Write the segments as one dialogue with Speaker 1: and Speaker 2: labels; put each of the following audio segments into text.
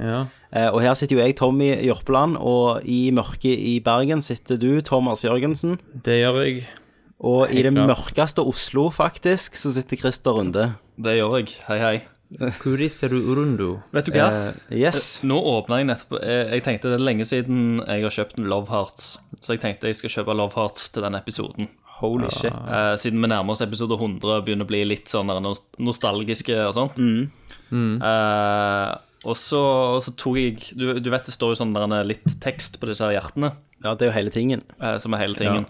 Speaker 1: Ja.
Speaker 2: Eh, Og her sitter jo jeg, Tommy Jørpeland, og i mørket i Bergen sitter du, Thomas Jørgensen.
Speaker 1: Det gjør jeg.
Speaker 2: Og i
Speaker 1: Helt
Speaker 2: det
Speaker 1: klart.
Speaker 2: mørkeste Oslo, faktisk, så sitter Christer Runde.
Speaker 3: Det gjør jeg. Hei, hei.
Speaker 1: Kuristeru Urundu. Eh,
Speaker 3: Vet du hva?
Speaker 2: Yes.
Speaker 3: Nå åpna jeg nettopp Jeg jeg tenkte det er lenge siden jeg har kjøpt en Love Hearts, så jeg tenkte jeg skal kjøpe Love Hearts til den episoden.
Speaker 2: Holy shit.
Speaker 3: Eh, siden vi nærmer oss episode 100 og begynner å bli litt sånn der nos- nostalgiske og sånt.
Speaker 1: Mm.
Speaker 3: Eh, og så, og så tok jeg du, du vet det står jo sånn der en litt tekst på disse her hjertene,
Speaker 2: Ja, det er jo hele tingen.
Speaker 3: eh, som er hele tingen.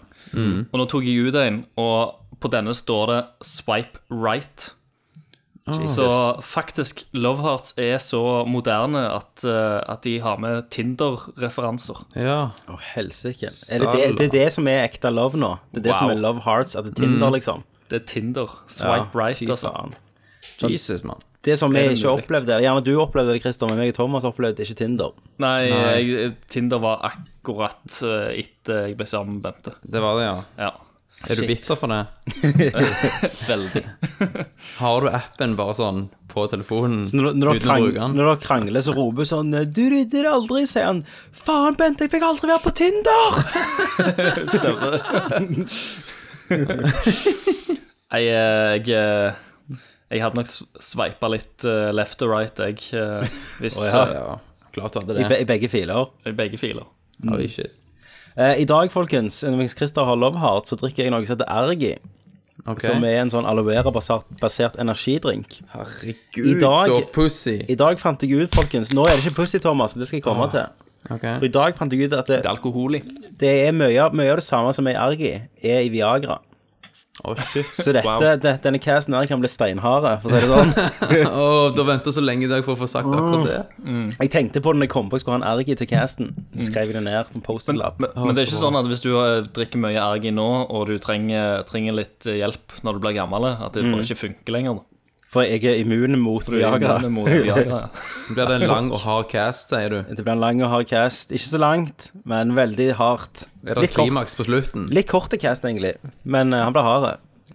Speaker 3: Og nå tok jeg ut en, og på denne står det 'swipe right'. Så faktisk, Love Hearts er så moderne at, eh, at de har med Tinder-referanser.
Speaker 1: Ja.
Speaker 2: Å, helsike. Er det, det, det er det som er ekte love nå. Det er det
Speaker 3: Wow.
Speaker 2: som er love hearts, at det er Tinder, liksom.
Speaker 3: Det er Tinder. Swipe right,
Speaker 2: fy
Speaker 3: altså.
Speaker 2: faen.
Speaker 1: Jesus, mann.
Speaker 2: Det som vi
Speaker 1: det
Speaker 2: ikke
Speaker 1: mulig?
Speaker 2: opplevde, eller gjerne du opplevde det, Christer, men meg og Thomas opplevde ikke Tinder.
Speaker 3: Nei, jeg, Tinder var akkurat eh, etter jeg ble sammen med Bente.
Speaker 1: Det var det, ja.
Speaker 3: Ja,
Speaker 1: Er du bitter for det?
Speaker 3: veldig.
Speaker 1: Har du appen bare sånn på telefonen
Speaker 2: Så når, når, dere
Speaker 1: uten å bruke
Speaker 2: krang,
Speaker 1: den?
Speaker 2: når dere krangler, så roper sånn Du rydder aldri, sier han. Faen, Bente, jeg fikk aldri være på Tinder!
Speaker 3: Stemmer. jeg, eh, jeg, eh, jeg hadde nok sveipa litt eh, left og right, jeg, eh, hvis
Speaker 1: Ja,
Speaker 3: eh,
Speaker 1: ja. Klart du hadde
Speaker 2: I,
Speaker 1: det.
Speaker 2: be, I begge filer.
Speaker 3: i begge filer.
Speaker 1: Oi, shit.
Speaker 2: Eh, I dag, folkens, mens Christer har love heart, så drikker jeg noe som heter Ergi.
Speaker 1: Ok.
Speaker 2: Som er en sånn aloe vera-basert basert energidrink.
Speaker 1: Herregud,
Speaker 2: I dag-
Speaker 1: så pussy.
Speaker 2: I dag fant jeg ut, folkens Nå er det ikke pussy, Thomas, det skal jeg komme til.
Speaker 1: Ok.
Speaker 2: For I dag fant jeg ut at det,
Speaker 3: Det er alkohol i.
Speaker 2: det er mye, av- mye av det samme som er i Ergi, er i Viagra.
Speaker 1: Å, shit.
Speaker 2: Så dette, det, denne casen her kan bli steinharde, for å si det sånn.
Speaker 1: Å, du har venta så lenge i dag for å få sagt akkurat det.
Speaker 2: Jeg tenkte på det når jeg kom på jeg skulle ha en Ergi til casten. Så skrev jeg det ned på en Post-It-lapp.
Speaker 3: Men, men det er ikke sånn at hvis du eh, drikker mye ergi nå, og du trenger, trenger litt eh, hjelp når du blir gammel, at det bare ikke funker lenger. da.
Speaker 2: For jeg Mm. er immun mot Viagra.
Speaker 3: Men mot Viagra.
Speaker 1: Blir det en lang og hard cast, sier du?
Speaker 2: Det blir en lang og hard cast. Ikke så langt, men veldig hardt.
Speaker 1: Er det
Speaker 2: Litt kort.
Speaker 1: klimaks på slutten?
Speaker 2: Litt korte cast, egentlig. Men eh, han ble hard.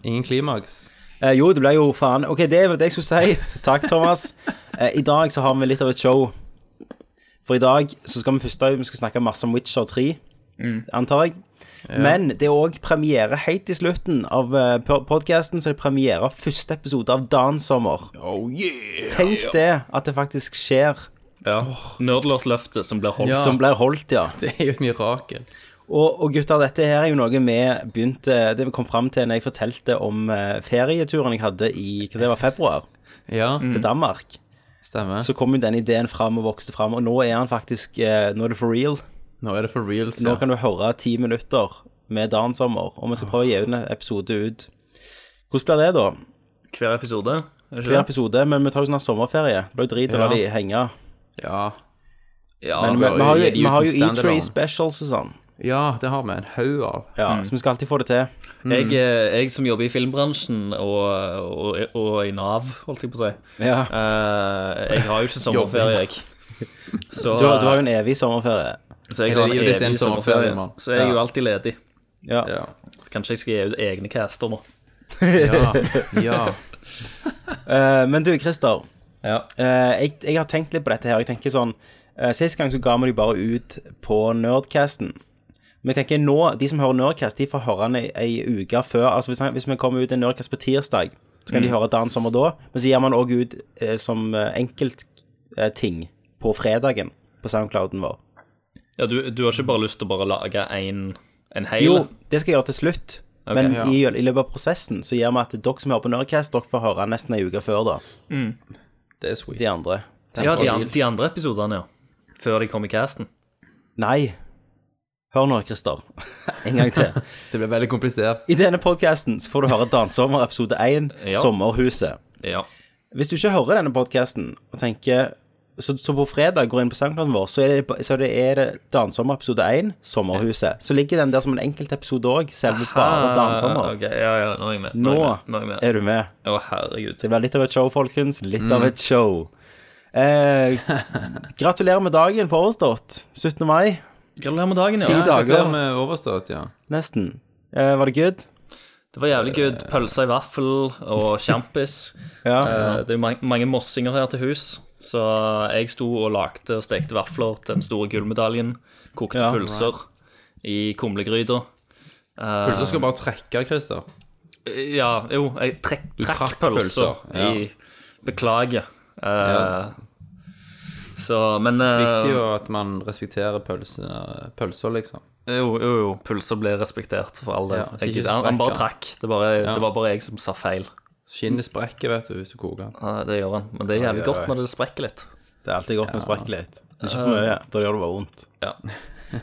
Speaker 1: Ingen klimaks?
Speaker 2: Eh, jo, det ble jo faen Ok, det er det jeg skulle si. Takk, Thomas. Eh, I dag så har vi litt av et show. For i dag så skal vi først vi skal snakke masse om Witcher 3,
Speaker 1: Mm.
Speaker 2: antar jeg. Men det er òg premiere helt i slutten av eh, po- podcasten, så det er premiere av første episode av Dansommer.
Speaker 1: Oh yeah!
Speaker 2: Tenk det, at det faktisk skjer.
Speaker 3: Ja. Nerdlort-løftet som blir holdt.
Speaker 1: Ja.
Speaker 2: Som blir holdt, ja.
Speaker 1: Det er jo et mirakel.
Speaker 2: Og, og gutter, dette her er jo noe vi begynte Det vi kom fram til når jeg fortalte om eh, ferieturen jeg hadde i hva det var, februar,
Speaker 1: Ja,
Speaker 2: til Danmark. Mm.
Speaker 1: stemmer.
Speaker 2: Så kom jo den ideen fram og vokste fram, og nå er han faktisk eh, Nå er det for real.
Speaker 1: Nå er det for reals.
Speaker 2: Nå
Speaker 1: Ja. Ah.
Speaker 2: kan du høre ti minutter med Dansommer, og vi skal prøve å gi ut en episode ut. Hvordan blir det, da?
Speaker 3: Hver episode. er det
Speaker 2: Hver
Speaker 3: ikke det?
Speaker 2: episode, men vi tar jo sånn her sommerferie. Det blir jo drit å la
Speaker 1: Ja.
Speaker 2: de henge.
Speaker 1: ja.
Speaker 3: Ja,
Speaker 2: Men vi,
Speaker 1: blir
Speaker 2: vi har jo,
Speaker 1: jo
Speaker 2: vi har jo
Speaker 1: uten
Speaker 2: E3
Speaker 1: standalone.
Speaker 2: specials og sånn,
Speaker 1: ja, det har vi en haug av.
Speaker 2: ja, så vi skal alltid få det til. mm.
Speaker 3: jeg, eh, jeg som jobber i filmbransjen og, og, og i Nav, holdt jeg på å si
Speaker 2: Ja.
Speaker 3: eh, Jeg har jo ikke sommerferie, jeg. Så,
Speaker 2: Du, har- du har jo en evig sommerferie.
Speaker 3: så jeg
Speaker 1: Eller
Speaker 3: har en
Speaker 1: livet ditt er en
Speaker 3: evig
Speaker 1: sommerferie,
Speaker 3: sommerferie.
Speaker 1: mann.
Speaker 3: Så jeg er jo alltid ledig.
Speaker 2: Ja.
Speaker 1: Ja.
Speaker 3: Kanskje jeg skal gi ut egne caster nå.
Speaker 1: Ja. ja.
Speaker 2: Eh, men du, Christer.
Speaker 3: Ja.
Speaker 2: Eh, jeg, jeg har tenkt litt på dette her. Jeg tenker sånn eh, Sist gang så ga vi de bare ut på Nerdcasten. Men jeg tenker nå, de som hører Nerdcast, de får høre den ei, ei uke før. Altså hvis, han, hvis vi kommer ut en Nerdcast på tirsdag, så kan de høre Dan Sommer da. Men så gir man òg ut eh, som enkeltting på fredagen på Soundclouden vår.
Speaker 3: Ja, du, du har ikke bare lyst til å bare lage en, en
Speaker 2: Jo,
Speaker 3: hel?
Speaker 2: det skal jeg gjøre til slutt. Men i, i løpet av prosessen så gir vi at dere som hører på Nerdcast, dere får høre nesten ei uke før, da.
Speaker 1: Det er sweet.
Speaker 2: De andre.
Speaker 3: Ja, de, an, de andre episodene, ja. Før de kom i casten.
Speaker 2: Nei. Hør nå, Christer. En gang til.
Speaker 1: Det blir veldig komplisert.
Speaker 2: I denne podcasten så får du høre Dansommer episode 1,
Speaker 3: Ja.
Speaker 2: Sommerhuset.
Speaker 3: Ja.
Speaker 2: Hvis du ikke hører denne podcasten og tenker Så, så på fredag går jeg inn på sangplanen vår, så er det, så det er det Dansommer episode 1, Sommerhuset. Så ligger den der som en enkeltepisode òg, selve bare
Speaker 3: Ah,
Speaker 2: Dansommer.
Speaker 3: ok, ja, ja, nå er jeg med.
Speaker 2: Nå
Speaker 3: Nå er jeg med. Nå er jeg med.
Speaker 2: er du med.
Speaker 3: Å, herregud.
Speaker 2: Det blir litt av et show, folkens. Litt av
Speaker 3: Mm.
Speaker 2: et show. Eh, gratulerer med dagen forestått. 17. mai,
Speaker 3: Gratulerer med dagen,
Speaker 2: Ti
Speaker 3: ja.
Speaker 2: dager.
Speaker 1: Det har vi overstått, ja.
Speaker 2: nesten. Eh, var det good?
Speaker 3: Det var jævlig good. Pølser i vaffel og kjampis.
Speaker 2: Ja.
Speaker 3: Eh, Det er jo mange, mange mossinger her til hus, så jeg sto og lagde og stekte vafler til den store gullmedaljen. Kokte
Speaker 2: Ja,
Speaker 3: pølser i kumlegryta. Eh,
Speaker 1: Pølser skal bare trekke, Christer.
Speaker 3: Ja, jo, jeg trekk, trekk
Speaker 1: trakk
Speaker 3: pølser.
Speaker 1: pølser, ja.
Speaker 3: I Beklager. Eh, Så, men
Speaker 1: Det er
Speaker 3: eh,
Speaker 1: viktig jo at man respekterer pølser, pølser liksom.
Speaker 3: jo, jo, jo, pølser ble respektert, for all del.
Speaker 1: Ja, så
Speaker 3: jeg,
Speaker 1: ikke
Speaker 3: han, han bare trakk. Det, bare,
Speaker 1: Ja.
Speaker 3: det var bare jeg som sa feil.
Speaker 1: Skinnet sprekker, vet du, hvis du koker den.
Speaker 3: Eh, det gjør han. Men det er
Speaker 2: Oi,
Speaker 3: jævlig
Speaker 2: oi, oi.
Speaker 3: godt når det sprekker litt.
Speaker 2: Det er alltid godt med sprekk litt. Ikke for mye, da gjør det bare vondt.
Speaker 3: Ja.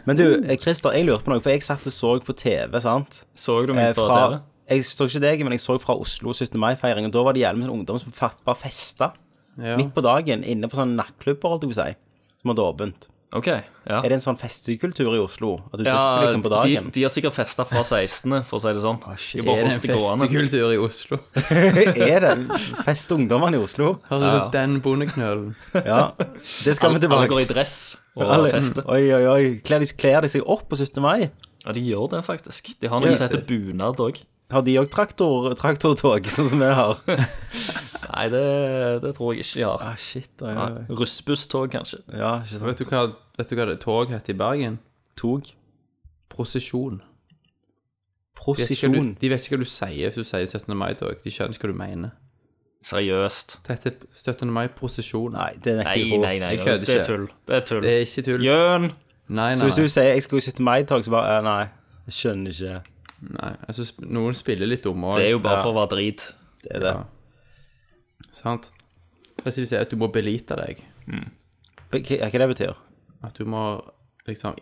Speaker 2: Men du, eh, Christer, jeg lurte på noe, for jeg satt og så på TV, sant?
Speaker 3: Så du
Speaker 2: Eh,
Speaker 3: meg på TV?
Speaker 2: fra, jeg så ikke deg, men jeg så fra Oslo 17. mai-feiring, og da var det gjerne med sånn ungdom som fa- bare festa
Speaker 1: Ja.
Speaker 2: midt på dagen inne på sånne nattklubber, holdt jeg på å si, som hadde åpent.
Speaker 3: OK. Ja.
Speaker 2: Er det en sånn festekultur i Oslo? At du
Speaker 3: Ja,
Speaker 2: drikker liksom på dagen? Ah,
Speaker 3: De, de har sikkert festa fra 16., for å si det sånn.
Speaker 2: shit.
Speaker 3: de bare
Speaker 1: Er det en
Speaker 3: holdt det gående.
Speaker 1: festekultur i Oslo?
Speaker 2: er det fest ungdommene i Oslo?
Speaker 1: Høres ut som den bondeknølen.
Speaker 2: Ja, det skal vi
Speaker 3: Alle går
Speaker 2: tilbake
Speaker 3: i dress og
Speaker 2: Alle-
Speaker 3: fester.
Speaker 2: Oi, oi, oi. Kler de, kler de seg opp på 17. mai?
Speaker 3: Ja, de gjør det, faktisk. De har noe som heter bunad òg.
Speaker 2: Har de òg traktor, traktortog, sånn som vi har?
Speaker 3: Nei, det, det tror jeg ikke de har.
Speaker 2: Ah, shit, oi, oi. oi.
Speaker 3: Russbusstog, kanskje.
Speaker 2: Ja, ikke sant.
Speaker 1: Vet du hva, vet du hva det tog heter i Bergen?
Speaker 2: Tog.
Speaker 1: Prosesjon. De vet ikke
Speaker 2: Prosesjon.
Speaker 1: hva du- De vet ikke hva du sier hvis du sier 17. mai-tog. De skjønner ikke hva du mener.
Speaker 3: Seriøst.
Speaker 1: Det heter 17. mai-prosesjon.
Speaker 2: Nei, det nekter
Speaker 3: Nei,
Speaker 2: jeg på.
Speaker 3: nei, nei.
Speaker 1: Jeg
Speaker 3: Det
Speaker 1: kødder
Speaker 3: er
Speaker 1: ikke.
Speaker 3: tull. Det er tull.
Speaker 1: Det er ikke tull.
Speaker 3: Jøn!
Speaker 1: Nei,
Speaker 2: Så
Speaker 1: nei,
Speaker 2: hvis du sier 'jeg skal jo 17. mai-tog', så bare eh, Nei, jeg skjønner ikke.
Speaker 1: nei. Altså, sp- noen spiller litt dumme òg.
Speaker 3: Det er jo bare for å være drit.
Speaker 2: Det er det.
Speaker 1: Sant. Det er som de sier, at du må belite deg.
Speaker 2: Hva hva- hva det betyr?
Speaker 1: At du må liksom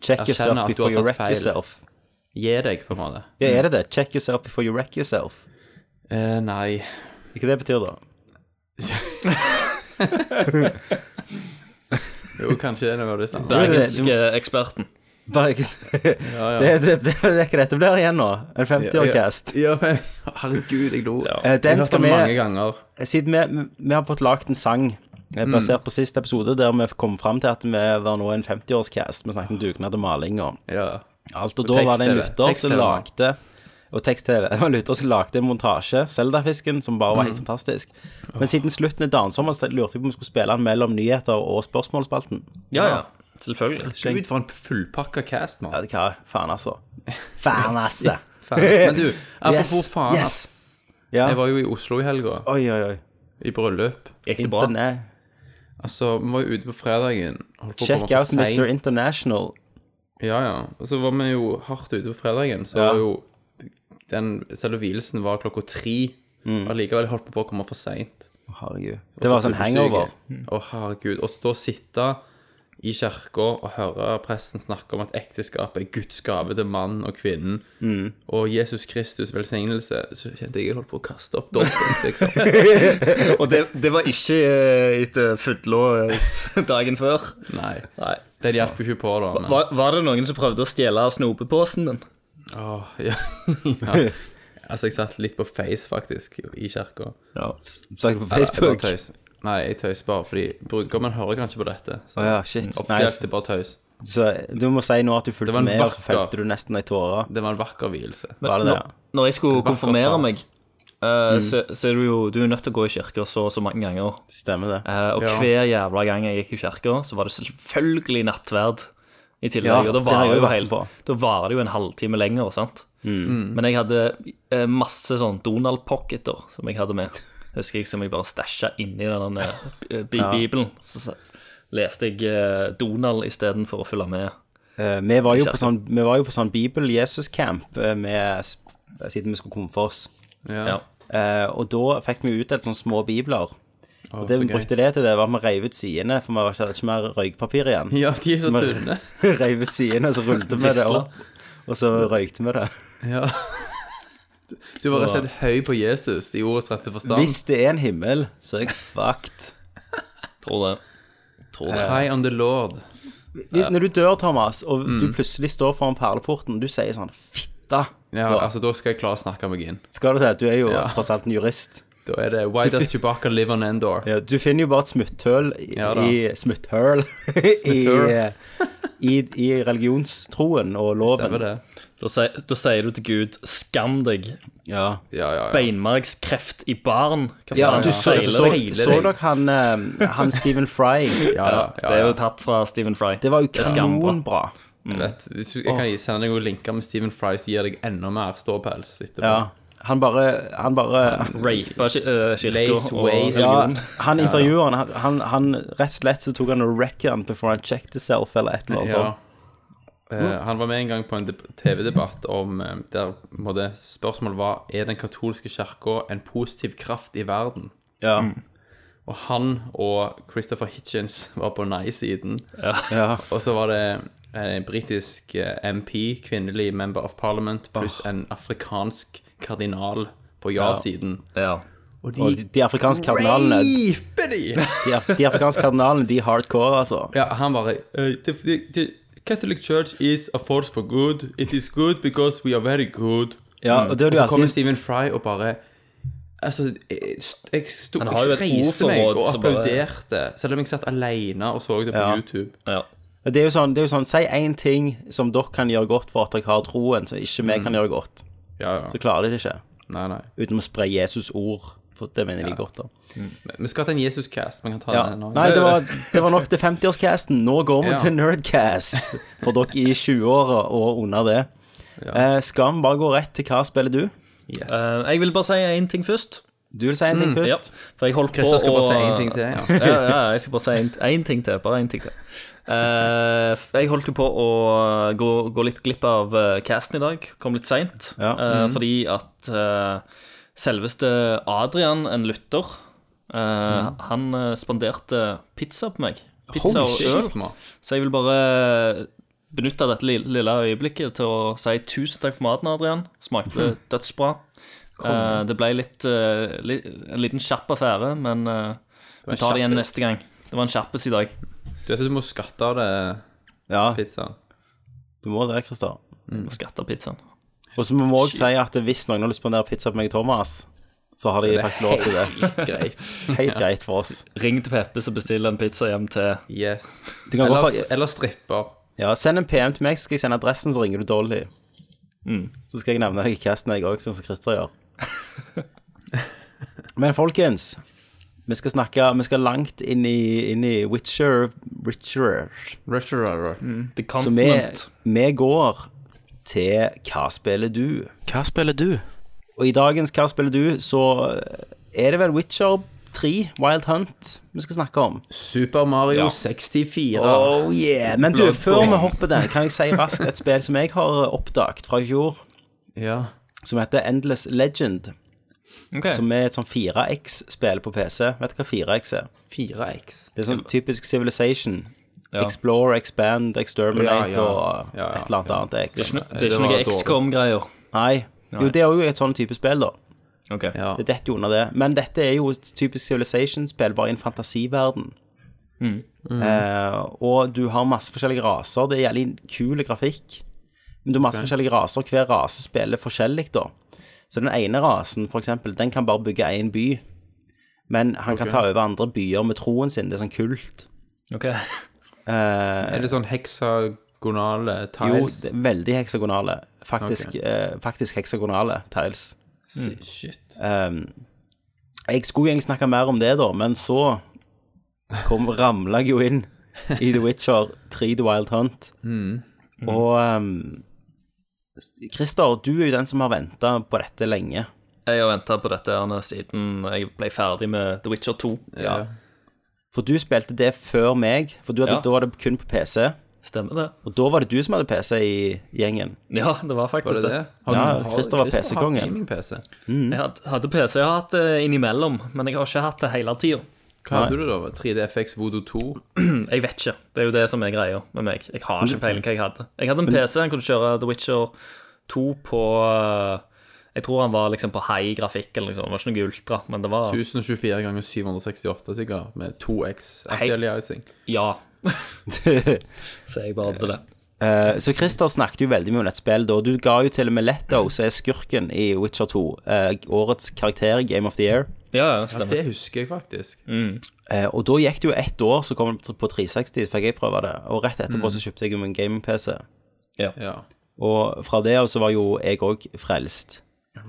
Speaker 2: Check
Speaker 1: Jeg
Speaker 2: yourself
Speaker 1: kjenner at du
Speaker 2: before
Speaker 1: har
Speaker 2: you
Speaker 1: tatt
Speaker 2: wreck
Speaker 1: feil.
Speaker 2: yourself.
Speaker 1: gi deg, på en måte.
Speaker 2: Ja, er det det? Check yourself before you wreck yourself.
Speaker 1: Eh, nei.
Speaker 2: Hva det betyr da?
Speaker 1: Jo, kanskje det er noe av det samme.
Speaker 3: Bergenske eksperten.
Speaker 2: Bare ikke s- Det det- det er hva dette blir igjen nå. En 50-årcast.
Speaker 1: Ja, men herregud, jeg lo. Ja.
Speaker 2: Eh, Den skal
Speaker 1: mange
Speaker 2: vi
Speaker 1: ganger.
Speaker 2: Siden vi, vi har fått lagt en sang eh, basert på siste episode, der vi kom fram til at vi var nå en 50-årscast. Vi snakket om dugnad og maling og
Speaker 1: Ja.
Speaker 2: alt. Og da var det en
Speaker 1: tekst-TV.
Speaker 2: lytter som
Speaker 1: Tekst-TV.
Speaker 2: lagde og tekst-TV. Det var en lytter som lagde en montasje, Zelda-fisken, som bare var helt
Speaker 1: Mm.
Speaker 2: fantastisk. Men siden slutten er dansommer, så lurte jeg på om vi skulle spille den mellom nyheter og spørsmålsspalten.
Speaker 3: Ja, ja. Selvfølgelig.
Speaker 1: Gud, for en fullpakka cast, mann.
Speaker 2: Ja, det kan jeg. Faen, altså. Faen, altså.
Speaker 1: Faen, ass. Men du, apropos
Speaker 2: Yes,
Speaker 1: faen,
Speaker 2: yes.
Speaker 1: ass.
Speaker 2: Ja.
Speaker 1: Jeg var jo i Oslo i helga,
Speaker 2: Oi, oi, oi.
Speaker 1: i bryllup.
Speaker 3: Gikk det bra?
Speaker 2: Interne
Speaker 1: Altså, vi var jo ute på fredagen. Holdt på å
Speaker 2: Check
Speaker 1: komme for
Speaker 2: out
Speaker 1: sent.
Speaker 2: Mr. International.
Speaker 1: Ja, ja. Og så var vi jo hardt ute på fredagen, så
Speaker 2: Ja.
Speaker 1: var jo den selve hvilelsen var klokka tre. Og likevel holdt vi på å komme for seint.
Speaker 2: Herregud. Mm. Det var sånn hangover.
Speaker 1: Å, herregud. Og så da sitte i kirka og høre presten snakke om at ekteskapet er Guds gave til mannen og kvinnen,
Speaker 2: Mm.
Speaker 1: og Jesus Kristus' velsignelse, så kjente jeg jeg holdt på å kaste opp dobbelt, liksom.
Speaker 3: Og det, det var ikke eh, etter fullå eh, dagen før.
Speaker 1: Nei.
Speaker 3: Nei.
Speaker 1: Den hjalp jo ikke på, da. Men...
Speaker 3: Var, var det noen som prøvde å stjele snopepåsen din?
Speaker 1: Åh, ja. ja. Altså, jeg satt litt på face, faktisk, i kirka.
Speaker 3: Ja.
Speaker 2: Sagt på
Speaker 1: Jeg bare
Speaker 2: Facebook.
Speaker 1: Eh, tøys. Nei, jeg tøys bare fordi brudgommen hører kanskje på dette.
Speaker 2: Å
Speaker 1: Så
Speaker 2: ja, shit.
Speaker 1: offisielt er det bare tøys.
Speaker 2: Nei, så du må si nå at du
Speaker 1: Det
Speaker 2: fulgte
Speaker 1: var en
Speaker 2: med, og så
Speaker 1: vakker-
Speaker 2: felte du nesten ei tåre.
Speaker 1: Det var en vakker vielse.
Speaker 2: Var det det?
Speaker 3: Når, når jeg skulle konfirmere
Speaker 1: par.
Speaker 3: meg, eh, så, så er du jo du er nødt til å gå i kirka så og så mange ganger.
Speaker 2: Stemmer det.
Speaker 3: Eh, og
Speaker 1: Ja.
Speaker 3: hver jævla gang jeg gikk i kirka, så var det selvfølgelig nattverd i tillegg.
Speaker 2: Ja,
Speaker 3: og da
Speaker 2: det har
Speaker 3: varer
Speaker 2: jeg
Speaker 3: det jo
Speaker 2: vært
Speaker 3: hele-
Speaker 2: på. Mm.
Speaker 3: da varer det jo en halvtime lenger, sant. Men jeg hadde eh, masse sånn Donald-pocketer som jeg hadde med. Husker jeg som jeg bare stæsja inni den der, eh, bi bibelen. Så, sa- leste jeg eh, Donald istedenfor å følge med.
Speaker 2: Eh, vi, var jo
Speaker 3: Ikke
Speaker 2: på sånn, vi var jo på sånn Bibel-Jesus-camp eh, med sp- siden vi skulle komme for oss.
Speaker 3: Ja.
Speaker 2: Eh, og da fikk vi utdelt sånne små bibler.
Speaker 1: Åh,
Speaker 2: Og det
Speaker 1: så
Speaker 2: vi
Speaker 1: gøy.
Speaker 2: brukte det til, det var at vi reiv ut sidene, for vi hadde ikke mer røykpapir igjen.
Speaker 1: Ja, de er så
Speaker 2: Vi
Speaker 1: tynne.
Speaker 2: reiv ut sidene, så rullet vi det
Speaker 3: Risla.
Speaker 2: opp, og så røykte vi det.
Speaker 1: Ja. Du var rett og slett Sånn. høy på Jesus i ordets rette forstand.
Speaker 2: Hvis det er en himmel, så er jeg fucked.
Speaker 3: Tror det. Tror det.
Speaker 1: High on the Lord.
Speaker 2: Hvis, når du dør, Thomas, og du
Speaker 1: Mm.
Speaker 2: plutselig står foran perleporten, du sier sånn Fitta!
Speaker 1: Ja,
Speaker 2: da,
Speaker 1: altså, da skal jeg klare å snakke meg inn.
Speaker 2: skal du til, du er jo
Speaker 1: Ja.
Speaker 2: tross alt en jurist.
Speaker 1: Da er det Why does Chewbacca live on Endor?
Speaker 2: Ja, du finner jo bare et smutthull i,
Speaker 1: Ja da.
Speaker 2: i Smutthull i, eh,
Speaker 1: Smutthull.
Speaker 2: i, i religionstroen og
Speaker 1: Stemmer
Speaker 2: loven.
Speaker 1: det?
Speaker 3: Da, sier, da sier du til Gud 'skam deg'.
Speaker 2: Ja.
Speaker 1: Ja, ja, ja.
Speaker 3: Beinmargskreft i baren. Hva
Speaker 2: Ja,
Speaker 3: faen
Speaker 2: du så,
Speaker 3: feiler
Speaker 2: så,
Speaker 3: deg?
Speaker 2: så dere han, eh, han Stephen Fry?
Speaker 1: ja, ja, ja,
Speaker 3: Det er
Speaker 1: ja.
Speaker 3: jo tatt fra Stephen Fry.
Speaker 2: Det var jo
Speaker 3: er skambra.
Speaker 2: kanonbra.
Speaker 1: Jeg vet. Hvis du- Jeg kan gi- sende deg noen linker med Stephen Fry som gir deg enda mer ståpels etterpå.
Speaker 2: Ja. Han bare, han bare
Speaker 3: Rapa ki- eh, kirka
Speaker 1: Lace
Speaker 3: og
Speaker 1: ways.
Speaker 2: ja,
Speaker 3: religion.
Speaker 2: Han intervjueren, han, han, han rett og slett så tok han og wrecket han before han checked himself, eller et eller annet
Speaker 1: Ja.
Speaker 2: sånt.
Speaker 1: Altså. Eh, han var med en gang på en deb- TV-debatt om eh, der på en måte, spørsmålet var Er den katolske kirka en positiv kraft i verden.
Speaker 2: Ja.
Speaker 1: Og han og Christopher Hitchens var på nei-siden.
Speaker 2: Ja.
Speaker 1: Og så var det en britisk eh, MP, kvinnelig member of parliament, pluss en afrikansk kardinal på ja-siden.
Speaker 3: Ja.
Speaker 1: Og
Speaker 2: Og de- de afrikanske kardinalene
Speaker 1: Griper de!
Speaker 2: De, af- de afrikanske kardinalene, de er hardcore, altså.
Speaker 1: Ja, han bare eh, the, the, the Catholic Church is a force for good. It is good because we are very good.
Speaker 2: Ja, og det er
Speaker 1: Mm.
Speaker 2: det
Speaker 1: Og så
Speaker 2: jo
Speaker 1: kommer
Speaker 2: alltid
Speaker 1: Stephen Fry og bare Altså, jeg, jeg, sto,
Speaker 3: Han har jo
Speaker 1: jeg
Speaker 3: et
Speaker 1: reiste meg
Speaker 3: ordforråd
Speaker 1: og
Speaker 3: som bare-
Speaker 1: applauderte, selv om jeg satt alene og så det på
Speaker 2: Ja.
Speaker 1: YouTube.
Speaker 3: ja.
Speaker 2: Det er jo sånn, det er jo sånn si én ting som dere kan gjøre godt for at dere har troen, som ikke vi kan gjøre godt.
Speaker 1: Ja, ja.
Speaker 2: Så klarer de det ikke.
Speaker 1: Nei, nei.
Speaker 2: Uten å spre Jesus ord. For det mener de godt, da.
Speaker 1: Men Vi skal ta en Jesus-cast. Man kan ta
Speaker 2: Ja.
Speaker 1: den nå.
Speaker 2: Nei, det var, det var nok til 50-årscasten. Nå går vi
Speaker 1: Ja.
Speaker 2: til Nerdcast. For dere i 20-åra og under det. Eh, skal vi bare gå rett til hva spiller du?
Speaker 1: Yes.
Speaker 3: Eh, jeg vil bare si én ting først.
Speaker 2: Du vil si en ting
Speaker 3: Ja,
Speaker 2: først?
Speaker 3: for jeg holdt på
Speaker 1: Christer skal
Speaker 3: å-
Speaker 1: bare si én ting til. Ja.
Speaker 3: ja, ja, jeg skal bare si en, en ting til. Bare en ting til. Eh, jeg holdt jo på å gå, gå litt glipp av eh, casten i dag. Kom litt seint.
Speaker 2: Ja.
Speaker 3: eh,
Speaker 1: Mhm.
Speaker 3: Fordi at eh, selveste Adrian, en lytter, eh, han eh, spanderte pizza på meg. Pizza
Speaker 1: Mhm. Holy
Speaker 3: og øl.
Speaker 1: shit, mann.
Speaker 3: Så jeg vil bare benytte dette lille, lille øyeblikket til å si tusen takk for maten, Adrian. Smakte dødsbra. Eh, det ble litt, eh, li, en liten kjapp affære, men eh, vi tar det igjen neste gang. Det var en kjappes i dag.
Speaker 1: Du vet at du må skatte av det
Speaker 2: Ja,
Speaker 1: pizzaen.
Speaker 2: du må det, Christer.
Speaker 3: Mm. Skatter pizzaen.
Speaker 2: Og så må vi òg si at hvis noen har lyst på en der pizza på meg og Thomas, så har de
Speaker 1: det er
Speaker 2: faktisk lov til det.
Speaker 1: Greit.
Speaker 2: Helt greit for oss.
Speaker 3: Ring til Peppe, så bestiller en pizza hjem til
Speaker 1: Yes.
Speaker 2: Du kan
Speaker 1: Eller,
Speaker 2: godt få-
Speaker 1: eller stripper.
Speaker 2: Ja, Send en PM til meg, så skal jeg sende adressen, så ringer du Dolly. Så skal jeg nevne deg i casten, jeg òg, sånn som Christer gjør. Men folkens, vi skal snakke Vi skal langt inn i, inn i Witcher Witcher.
Speaker 1: Retro-rara.
Speaker 3: The
Speaker 2: Så vi,
Speaker 3: Continent.
Speaker 2: vi går til Hva spiller du?
Speaker 4: Hva spiller du?
Speaker 2: Og i dagens Hva spiller du, så er det vel Witcher 3, Wild Hunt, vi skal snakke om.
Speaker 1: Super Mario 64.
Speaker 2: Oh yeah. Men du, før vi hopper der, kan jeg si raskt et spill som jeg har eh, oppdaget fra i fjor.
Speaker 1: Ja.
Speaker 2: som heter Endless Legend,
Speaker 3: Ok.
Speaker 2: som er et sånn 4X-spill på PC. Vet du hva 4X er?
Speaker 1: 4X.
Speaker 2: Det er sånn typisk Civilization.
Speaker 3: Ja.
Speaker 2: Explore, expand, exterminate
Speaker 1: Ja, ja.
Speaker 2: og
Speaker 1: Ja, ja.
Speaker 2: et eller annet annet X.
Speaker 3: Det er
Speaker 1: det
Speaker 3: ikke
Speaker 1: var
Speaker 3: noe
Speaker 1: dårlig.
Speaker 3: XCOM-greier.
Speaker 2: Nei. Jo, det er jo et sånn type spill, da.
Speaker 3: Ok.
Speaker 1: Ja.
Speaker 2: Det detter jo under det. Men dette er jo et typisk Civilization-spill, bare i en fantasiverden. Eh, og du har masse forskjellige raser. Det er jævlig kul grafikk. Men du har masse forskjellige raser, og hver rase spiller forskjellig, da. Så den ene rasen, for eksempel, den kan bare bygge én by. Men han kan ta over andre byer med troen sin. Det er sånn kult.
Speaker 3: Ok.
Speaker 1: Er det sånn heksagonale
Speaker 2: Jo,
Speaker 1: tiles?
Speaker 2: det er veldig heksagonale. Faktisk, eh, faktisk heksagonale tiles.
Speaker 1: Si- Shit.
Speaker 2: Ehm, jeg skulle egentlig snakke mer om det, da, men så kom, ramla jeg jo inn i The Witcher 3 The Wild Hunt. Og ehm, Christer, du er jo den som har venta på dette lenge.
Speaker 3: Jeg har venta på dette her nå siden jeg ble ferdig med The Witcher 2.
Speaker 1: Ja.
Speaker 2: For du spilte det før meg, for du hadde,
Speaker 3: Ja.
Speaker 2: da var det kun på PC.
Speaker 3: Stemmer det?
Speaker 2: Og da var det du som hadde PC i gjengen.
Speaker 3: Ja, det var
Speaker 1: Var
Speaker 3: faktisk
Speaker 1: det
Speaker 3: det.
Speaker 1: det?
Speaker 2: Ja, Christer var PC-kongen.
Speaker 1: gaming-PC.
Speaker 3: Jeg hadde, hadde PC. Jeg har hatt det innimellom, men jeg har ikke hatt det hele tida.
Speaker 1: Hva hadde du da? 3DFX Voodoo 2?
Speaker 3: Jeg vet ikke. Det er jo det som er greia med meg. Jeg har ikke peiling hva jeg hadde. Jeg hadde en PC, jeg kunne kjøre The Witcher 2 på eh, Jeg tror han var liksom på high grafikk, eller liksom. det var ikke noe ultra, men det var
Speaker 1: 1024 ganger 768, sikkert, med 2x anti-aliasing.
Speaker 3: ja. Så jeg bare hadde det.
Speaker 2: Eh, så Christer snakket jo veldig mye om dette spillet, og du ga jo til og med Letto, som er skurken i Witcher 2, eh, årets karakter i Game of the Year.
Speaker 3: Ja, ja, stemmer.
Speaker 1: Det husker jeg faktisk.
Speaker 2: Eh, og da gikk det jo ett år, så kom det på 360, fikk jeg prøve det. Og rett etterpå så kjøpte jeg jo min gaming-PC.
Speaker 1: Ja.
Speaker 2: Og fra det av så var jo jeg òg frelst.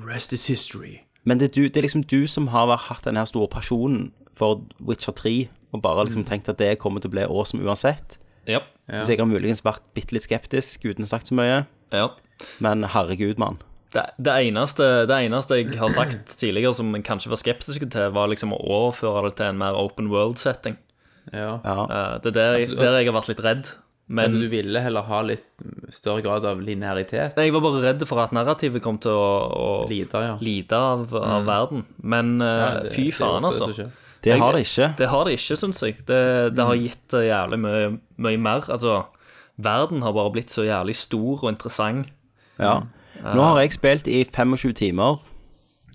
Speaker 1: Rest is history.
Speaker 2: Men det er, du, det er liksom du som har vært- hatt den her store pasjonen for Witcher 3, og bare liksom tenkt at det kommer til å bli år som uansett.
Speaker 3: Ja.
Speaker 2: Så jeg har muligens vært bitte litt skeptisk uten å ha sagt så mye,
Speaker 3: ja.
Speaker 2: men herregud, mann.
Speaker 3: Det, det, eneste, det eneste jeg har sagt tidligere som jeg kanskje var skeptisk til, var liksom å overføre det til en mer open world-setting.
Speaker 1: Ja. Mm.
Speaker 2: Ja.
Speaker 3: Eh, Det er der, jeg- der jeg har vært litt redd. Men
Speaker 1: Men du ville heller ha litt større grad av linearitet?
Speaker 3: jeg var bare redd for at narrativet kom til å, å
Speaker 1: Lite, ja. Mm.
Speaker 3: lite av, av verden. Men eh,
Speaker 1: Det-
Speaker 3: fy
Speaker 1: det er
Speaker 3: faen,
Speaker 1: ofte det
Speaker 3: altså.
Speaker 1: som skjer. Mm.
Speaker 2: Det har det ikke.
Speaker 3: Det har det ikke, syns jeg. Det, det har gitt eh, jævlig mye, mye mer. Altså, verden har bare blitt så jævlig stor og interessant.
Speaker 2: Ja. Nå har jeg spilt i 25 timer.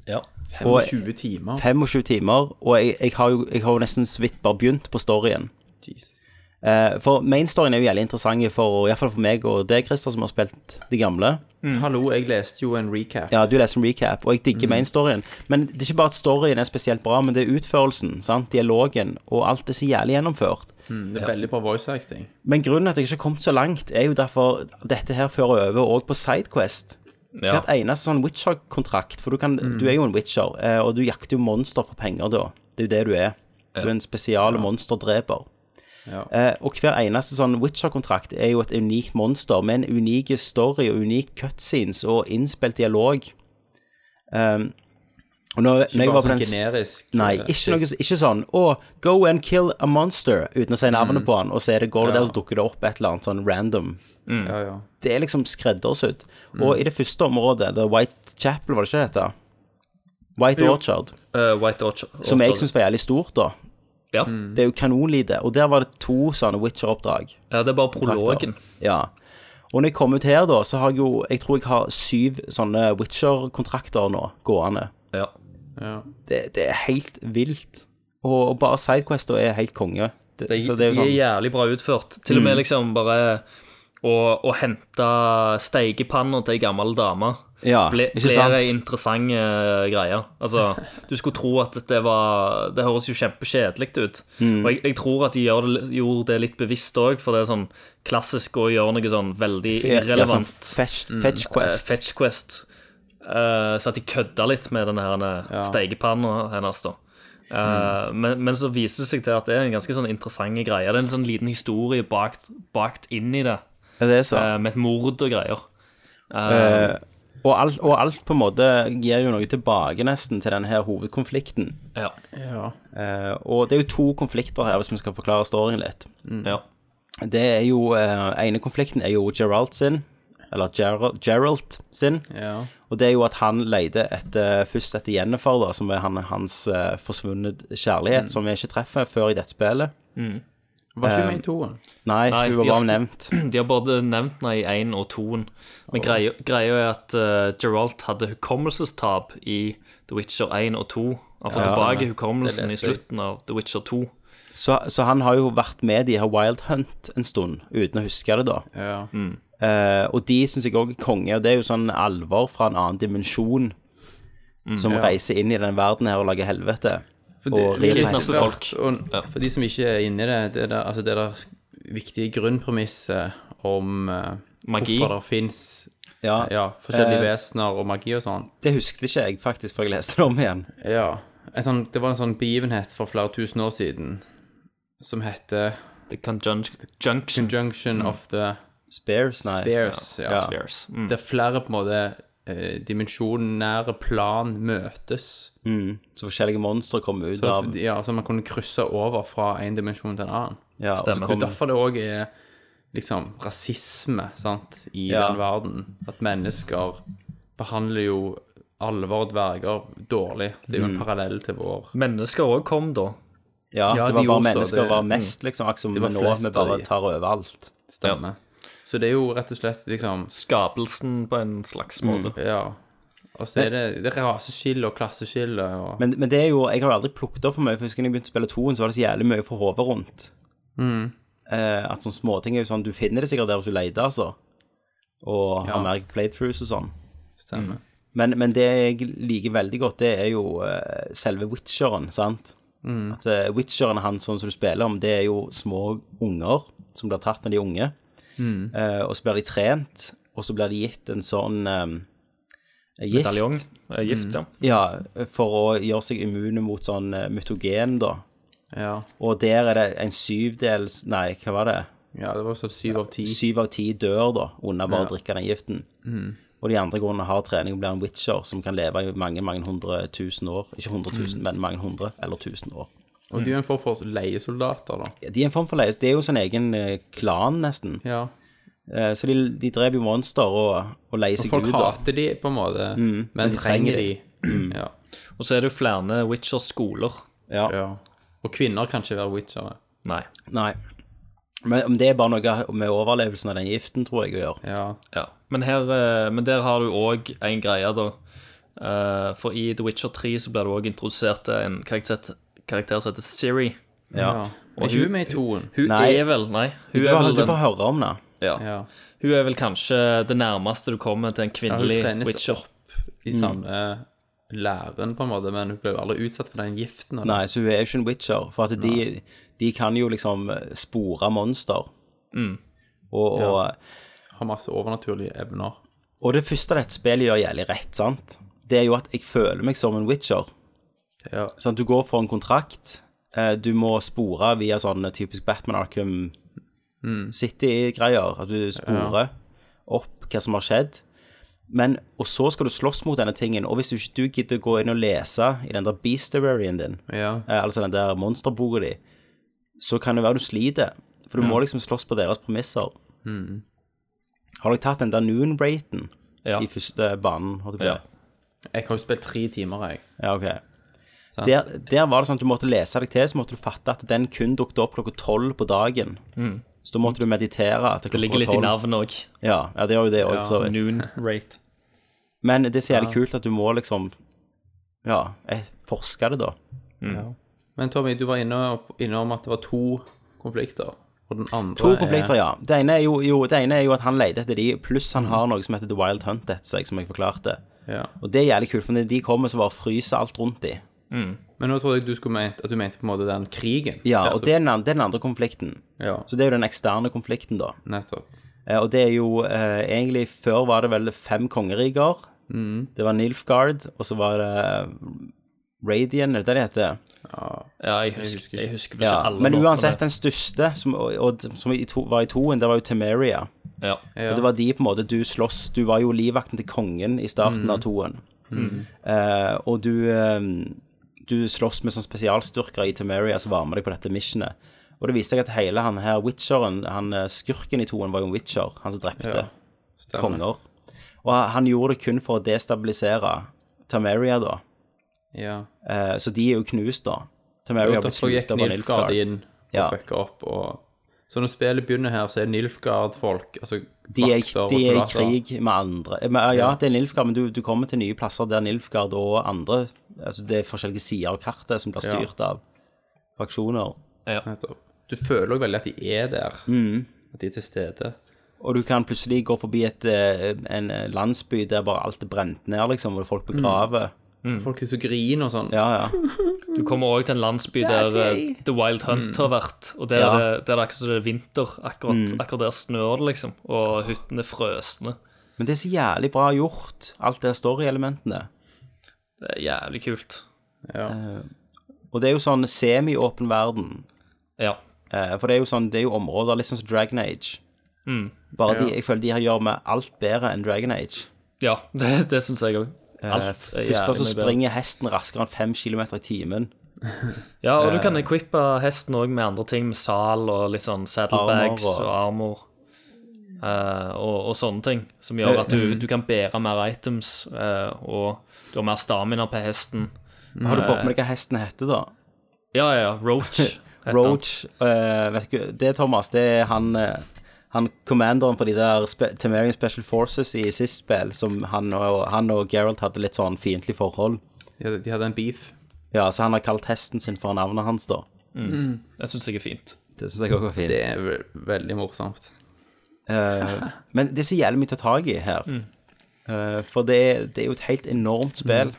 Speaker 3: Ja.
Speaker 1: 25 timer.
Speaker 2: 25 timer, og jeg, jeg, har, jo, jeg har jo nesten så vidt bare begynt på storyen.
Speaker 1: Jesus.
Speaker 2: Eh, for mainstoryen er jo jævlig interessant for, i hvert fall for meg og deg, Christer, som har spilt de gamle.
Speaker 1: Hallo, jeg leste jo en recap.
Speaker 2: Mm. Ja, du leser en recap, og jeg digger mainstoryen. Men det er ikke bare at storyen er spesielt bra, men det er utførelsen, sant? dialogen, og alt er så jævlig gjennomført.
Speaker 1: Mm, Det er veldig bra voice acting.
Speaker 2: Men grunnen til at jeg ikke har kommet så langt, er jo derfor dette her fører over òg på Sidequest.
Speaker 3: Ja.
Speaker 2: Hvert eneste sånn Witcher-kontrakt, for du, kan, du er jo en Witcher, eh, og du jakter jo monster for penger da. Det er jo det du er. Du er en spesial monsterdreper.
Speaker 1: Ja.
Speaker 2: Eh, og hver eneste sånn Witcher-kontrakt er jo et unikt monster med en unik story og unik cutscenes og innspilt dialog. Um, og når, når jeg
Speaker 1: Bare
Speaker 2: var på
Speaker 1: sånn
Speaker 2: den s-
Speaker 1: generisk.
Speaker 2: Nei,
Speaker 1: eh,
Speaker 2: ikke, noe, ikke sånn Å, go and kill a monster uten å si navnet på han, og så er det, går det der, så dukker det opp et eller annet sånn random.
Speaker 1: Ja, ja.
Speaker 2: Det er liksom skreddersydd. Og i det første området, The White Chapel, var det ikke det het? White Orchard,
Speaker 3: Eh, White Orchard.
Speaker 2: som jeg syns var jævlig stort, da.
Speaker 3: ja.
Speaker 1: Mm.
Speaker 2: Det er jo kanonlite. Og der var det to sånne Witcher-oppdrag.
Speaker 3: ja, det er bare prologen.
Speaker 2: Ja. Og når jeg kom ut her, da, så har jeg jo Jeg tror jeg har syv sånne Witcher-kontrakter nå gående.
Speaker 3: Ja.
Speaker 1: ja.
Speaker 2: Det, det er helt vilt. Og bare Sidequest er helt konge. Det,
Speaker 3: De,
Speaker 2: så det er jo
Speaker 3: de er
Speaker 2: sånn Mm.
Speaker 3: jævlig bra utført. Til og med liksom bare å, å hente steikepanner til ei gammel dame
Speaker 2: Ja,
Speaker 3: ble,
Speaker 2: ikke
Speaker 3: ble ei
Speaker 2: sant?
Speaker 3: interessante greier. Altså, du skulle tro at det var Det høres jo kjempekjedelig ut.
Speaker 2: Mm.
Speaker 3: Og jeg, jeg tror at de gjør det, gjorde det litt bevisst òg, for det er sånn klassisk å gjøre noe sånn veldig
Speaker 2: Ja, sånn
Speaker 3: irrelevant.
Speaker 2: fetch, fetch Quest.
Speaker 3: Eh, Fetch Quest. Eh, så at de kødda litt med den her ja. steikepanna hennes, da.
Speaker 2: Mm.
Speaker 3: Eh, men, men så viser det seg til at det er en ganske sånn interessant greie. Det er en sånn liten historie bakt, bakt inn i det,
Speaker 2: Ja, det er så.
Speaker 3: eh, med et mord og greier.
Speaker 2: Eh, og, alt, og alt på en måte gir jo noe tilbake, nesten, til den her hovedkonflikten.
Speaker 3: Ja.
Speaker 1: ja.
Speaker 2: Eh, og det er jo to konflikter her, hvis vi skal forklare storyen litt.
Speaker 3: ja.
Speaker 2: Det er jo eh, ene konflikten er jo Gerald sin, eller Gerald, Gerald sin.
Speaker 1: ja.
Speaker 2: Og det er jo at han leide etter, først etter Jennifer, da, som er han, hans eh, forsvunnet kjærlighet,
Speaker 3: Mm.
Speaker 2: som vi ikke treffer før i dette spillet.
Speaker 1: Var
Speaker 2: Eh,
Speaker 1: ikke med i toen?
Speaker 2: Nei,
Speaker 3: Nei,
Speaker 2: hun var
Speaker 3: de har-
Speaker 2: bare nevnt.
Speaker 3: De har både nevnt henne i én og toen, men greia, greia er at uh, Geralt hadde hukommelsestap i The Witcher 1 og 2. Han får tilbake hukommelsen i
Speaker 1: leste jeg.
Speaker 3: slutten av The Witcher 2.
Speaker 2: Så, så han har jo vært med i de her Wild Hunt en stund, uten å huske det, da.
Speaker 1: Ja.
Speaker 2: Eh, og de syns jeg òg er konge, og det er jo sånn alvor fra en annen dimensjon som reiser inn i den verden her og lager helvete. og
Speaker 1: Mm, det-
Speaker 2: rir på
Speaker 1: det-
Speaker 3: Kidnappe
Speaker 2: hester.
Speaker 3: folk.
Speaker 1: Og, for de som ikke er inni det, det der, altså det der viktige grunnpremisset om eh,
Speaker 3: Magi.
Speaker 1: hvorfor det fins
Speaker 2: Ja,
Speaker 1: ja, forskjellige
Speaker 2: Eh.
Speaker 1: vesener og magi og sånn.
Speaker 2: Det husket ikke jeg faktisk før jeg leste det om igjen.
Speaker 1: Ja. En sånn, det var en sånn begivenhet for flere tusen år siden som heter
Speaker 3: The Conjunction. Junction.
Speaker 1: Conjunction of the
Speaker 2: Spears, nei.
Speaker 1: Spheres. Ja.
Speaker 2: Ja.
Speaker 3: Spheres. Mm.
Speaker 1: Der flere på en måte eh, dimensjonære plan møtes.
Speaker 2: Mm. Så forskjellige monstre kommer ut
Speaker 1: Så,
Speaker 2: av
Speaker 1: at, ja, så man kunne krysse over fra en dimensjon til en annen.
Speaker 2: ja, og så
Speaker 3: stemmer.
Speaker 1: Det er
Speaker 2: kommer-
Speaker 1: derfor det òg er liksom rasisme sant, i
Speaker 2: Ja.
Speaker 1: den verden. At mennesker behandler jo alvor og dverger dårlig. Det er jo en
Speaker 2: Mm.
Speaker 1: parallell til vår
Speaker 3: Mennesker òg kom da.
Speaker 2: Ja,
Speaker 1: Ja,
Speaker 2: det var
Speaker 1: de
Speaker 2: bare
Speaker 1: også,
Speaker 2: mennesker
Speaker 1: det-
Speaker 2: var mest, liksom. Akkurat som
Speaker 1: var
Speaker 2: nå,
Speaker 1: flest
Speaker 2: vi
Speaker 1: av
Speaker 2: bare
Speaker 1: de.
Speaker 2: tar over alt.
Speaker 1: stemme. Så det er jo rett og slett liksom
Speaker 3: Skapelsen på en slags måte.
Speaker 1: Ja. Og så er det, det er raseskille og klasseskille og
Speaker 2: Men, men det er jo, jeg har jo aldri plukket opp for meg, for jeg husker når jeg begynte å spille toen, så var det så jævlig mye for hodet rundt. Eh, at sånne småting er jo sånn, du finner det sikkert der hvis du leter, altså. Og har
Speaker 1: Ja.
Speaker 2: mer playthroughs og sånn.
Speaker 1: Stemmer.
Speaker 2: Men, men det jeg liker veldig godt, det er jo eh, selve Witcheren, sant? At eh, Witcheren er han sånn som du spiller om, det er jo små unger som blir tatt når de er unge. Eh, og så blir de trent, og så blir de gitt en sånn eh, gift. Mm.
Speaker 3: Medaljong. Eh, Gift, ja.
Speaker 2: Ja, for å gjøre seg immune mot sånn eh, mutogen, da.
Speaker 1: Ja.
Speaker 2: Og der er det en syvdels Nei, hva var det?
Speaker 1: ja, det var sånn syv av ti.
Speaker 2: Syv av ti dør, da, under bare å
Speaker 1: Ja. Mm.
Speaker 2: drikke den giften. Og de andre grunnene har trening og blir en witcher som kan leve i mange, mange hundre tusen år. Ikke hundre
Speaker 1: Mm.
Speaker 2: tusen, men mange hundre eller tusen år.
Speaker 1: Og de er en form for leiesoldater, da.
Speaker 2: De er en form for leie. Det er jo sin egen eh, klan, nesten.
Speaker 1: Ja.
Speaker 2: Eh, Så de, de drev jo monster og, og leier seg
Speaker 1: Folk
Speaker 2: ut. da. Mm.
Speaker 1: hater de, på en måte, men
Speaker 2: de trenger
Speaker 1: trenger de.
Speaker 2: de.
Speaker 1: Ja.
Speaker 3: Og så er det jo flere Witcher-skoler.
Speaker 2: Ja.
Speaker 1: ja. Og kvinner kan ikke være witchere.
Speaker 3: Nei.
Speaker 2: Nei. Men om det er bare noe med overlevelsen av den giften, tror jeg, å gjøre.
Speaker 1: Ja.
Speaker 3: Ja. Men, her, eh, men der har du òg en greie, da. Eh, For i The Witcher 3 så blir du òg introdusert til en karakter, karakter som heter Siri.
Speaker 2: Ja.
Speaker 1: ja. Og
Speaker 3: hun-
Speaker 1: hun med i toen.
Speaker 3: Hun
Speaker 2: Nei.
Speaker 3: er vel Nei.
Speaker 2: Du,
Speaker 3: Hun er
Speaker 2: får,
Speaker 3: vel,
Speaker 2: du
Speaker 3: den,
Speaker 2: får høre om det.
Speaker 3: ja.
Speaker 1: Ja.
Speaker 3: hun er vel kanskje det nærmeste du kommer til en
Speaker 1: Hun
Speaker 3: kvinnelig
Speaker 1: trenes
Speaker 3: Witcher.
Speaker 1: opp
Speaker 2: Mm.
Speaker 1: i samme eh, læren, på en måte, men hun ble jo aldri utsatt for den giften. eller?
Speaker 2: Nei, så hun er jo ikke en witcher. For at de, de kan jo liksom spore monster. Og, og
Speaker 1: Har masse overnaturlige evner.
Speaker 2: Og det første dette spillet gjør jævlig rett, sant? Det er jo at jeg føler meg som en witcher.
Speaker 1: Ja.
Speaker 2: Sant? Du går for en kontrakt, eh, du må spore via sånn typisk Batman Arkham City-greier, at du sporer opp hva som har skjedd. Men, og så skal du slåss mot denne tingen, og hvis du ikke du gidder å gå inn og lese i den der beasteraryen din,
Speaker 1: ja.
Speaker 2: eh, altså den der monsterboka di, så kan det være du sliter, for du må liksom slåss på deres premisser. Har dere tatt den der noon-raten?
Speaker 3: Mm. Ja.
Speaker 2: i første banen, holdt jeg på å
Speaker 3: Ja.
Speaker 2: si.
Speaker 1: Jeg har jo spilt tre timer, jeg.
Speaker 2: Ja, ok.
Speaker 1: Sant.
Speaker 2: Der, der var det sånn at du måtte lese deg til, så måtte du fatte at den kun dukket opp klokka tolv på dagen. Så da måtte du meditere til klokka tolv.
Speaker 3: Mm. Det ligger litt i navnet òg.
Speaker 2: Ja, ja, det gjør jo det også, for så vidt.
Speaker 3: Noon Wraith.
Speaker 2: Men det er så jævlig kult at du må liksom, ja, eh, forske det da.
Speaker 1: Ja. Men Tommy, du var inne, innom at det var to konflikter. Og den andre
Speaker 2: To konflikter,
Speaker 1: er
Speaker 2: ja. Det ene, er jo, jo, det ene er jo at han leide etter de, pluss han har noe som heter The Wild Hunt etter seg, som jeg forklarte.
Speaker 1: ja.
Speaker 2: Og det er jævlig kult, for når de kommer, så bare fryser alt rundt de.
Speaker 1: Men nå trodde jeg du skulle ment, at du mente på en måte den krigen.
Speaker 2: Ja, og
Speaker 1: så-
Speaker 2: det er den, an- det er den andre konflikten.
Speaker 1: ja,
Speaker 2: Så det er jo den eksterne konflikten da.
Speaker 1: nettopp.
Speaker 2: Eh, Og det er jo eh, egentlig Før var det vel fem kongeriger. Det var Nilfgaard, og så var det eh, Radian, er det det det heter?
Speaker 3: Ja, jeg husker,
Speaker 1: ikke.
Speaker 3: jeg husker vel ikke
Speaker 2: Ja.
Speaker 3: alle
Speaker 2: Men
Speaker 3: navnene.
Speaker 2: uansett, den største, som, og, og, som i to, var i toen, det var jo Temeria.
Speaker 3: Ja.
Speaker 1: Ja.
Speaker 2: Og det var de på en måte du sloss Du var jo livvakten til kongen i starten
Speaker 1: Mm.
Speaker 2: av toen. Eh, og du eh, Du sloss med sånne spesialstyrker i Temeria som var med deg på dette missionet. Og det viste seg at hele han her witcheren, han eh, skurken i toen, var jo en witcher, han som drepte
Speaker 1: Ja, Stemmer.
Speaker 2: konger. Og han gjorde det kun for å destabilisere Tameria, da.
Speaker 1: Ja.
Speaker 2: Eh, så de er jo knust, da.
Speaker 1: Og
Speaker 2: Tameria har blitt
Speaker 1: derfor gikk
Speaker 2: slukt av
Speaker 1: Nilfgaard
Speaker 2: Nilfgaard.
Speaker 1: inn
Speaker 2: Ja.
Speaker 1: og fucka opp og Så når spillet begynner her, så er Nilfgaard-folk, altså
Speaker 2: De er,
Speaker 1: vakter og
Speaker 2: de er i
Speaker 1: soldater.
Speaker 2: krig med andre Eh, men, eh, Ja, det er Nilfgaard, men du, du kommer til nye plasser der Nilfgaard og andre Altså, det er forskjellige sider av kartet som blir
Speaker 1: Ja.
Speaker 2: styrt av fraksjoner.
Speaker 1: Nettopp. Du føler òg veldig at de er der.
Speaker 3: Mm.
Speaker 1: At de er til stede.
Speaker 2: Og du kan plutselig gå forbi et, eh, en eh, landsby der bare alt er brent ned, liksom, og folk begraver.
Speaker 1: Folk liksom griner og sånn.
Speaker 2: Ja, ja.
Speaker 3: Du kommer òg til en landsby der eh, The Wild Hunt
Speaker 1: Mm.
Speaker 3: har vært. Og der,
Speaker 2: Ja. Mm.
Speaker 3: er det- der er det akkurat som det er vinter. Akkurat, akkurat der snør det, liksom. Og hyttene er frøsne.
Speaker 2: Men det er så jævlig bra gjort, alt det story-elementene.
Speaker 3: Det er jævlig kult.
Speaker 2: Og det er jo sånn semi-åpen verden.
Speaker 3: Ja.
Speaker 2: Eh, For det er jo sånn, det er jo områder litt sånn som Dragon Age.
Speaker 1: Mm.
Speaker 2: Bare de, jeg føler de her gjør med alt bedre enn Dragon Age.
Speaker 3: Ja, det, det syns jeg òg. Alt er
Speaker 2: Først så
Speaker 3: Eh, jævlig mye bedre.
Speaker 2: springer hesten raskere enn fem kilometer i timen.
Speaker 3: Ja, og du kan equippe hesten òg med andre ting, med sal og litt sånn saddlebags
Speaker 2: Armor og-
Speaker 3: og armor. eh, og, og sånne ting, som gjør at du, du kan bære mer items, eh, og du har mer stamina på hesten.
Speaker 2: Har du fått med deg hva hesten heter, da?
Speaker 3: Ja, ja, ja. Roach. heter han.
Speaker 2: Roach. eh, vet ikke, det, Thomas, det er han eh, han commanderen for de der spe Temerian Special Forces i sist spill, som han og, han og Geralt hadde litt sånn fiendtlig forhold.
Speaker 1: De hadde, de hadde en beef.
Speaker 2: Ja, så han har kalt hesten sin for navnet hans, da.
Speaker 3: Det syns jeg er fint.
Speaker 2: Det syns jeg òg var fint.
Speaker 1: Det er ve veldig morsomt.
Speaker 2: Eh, men det er så jævlig mye å ta tak i her.
Speaker 3: Mm.
Speaker 2: Eh, for det er, det er jo et helt enormt spill.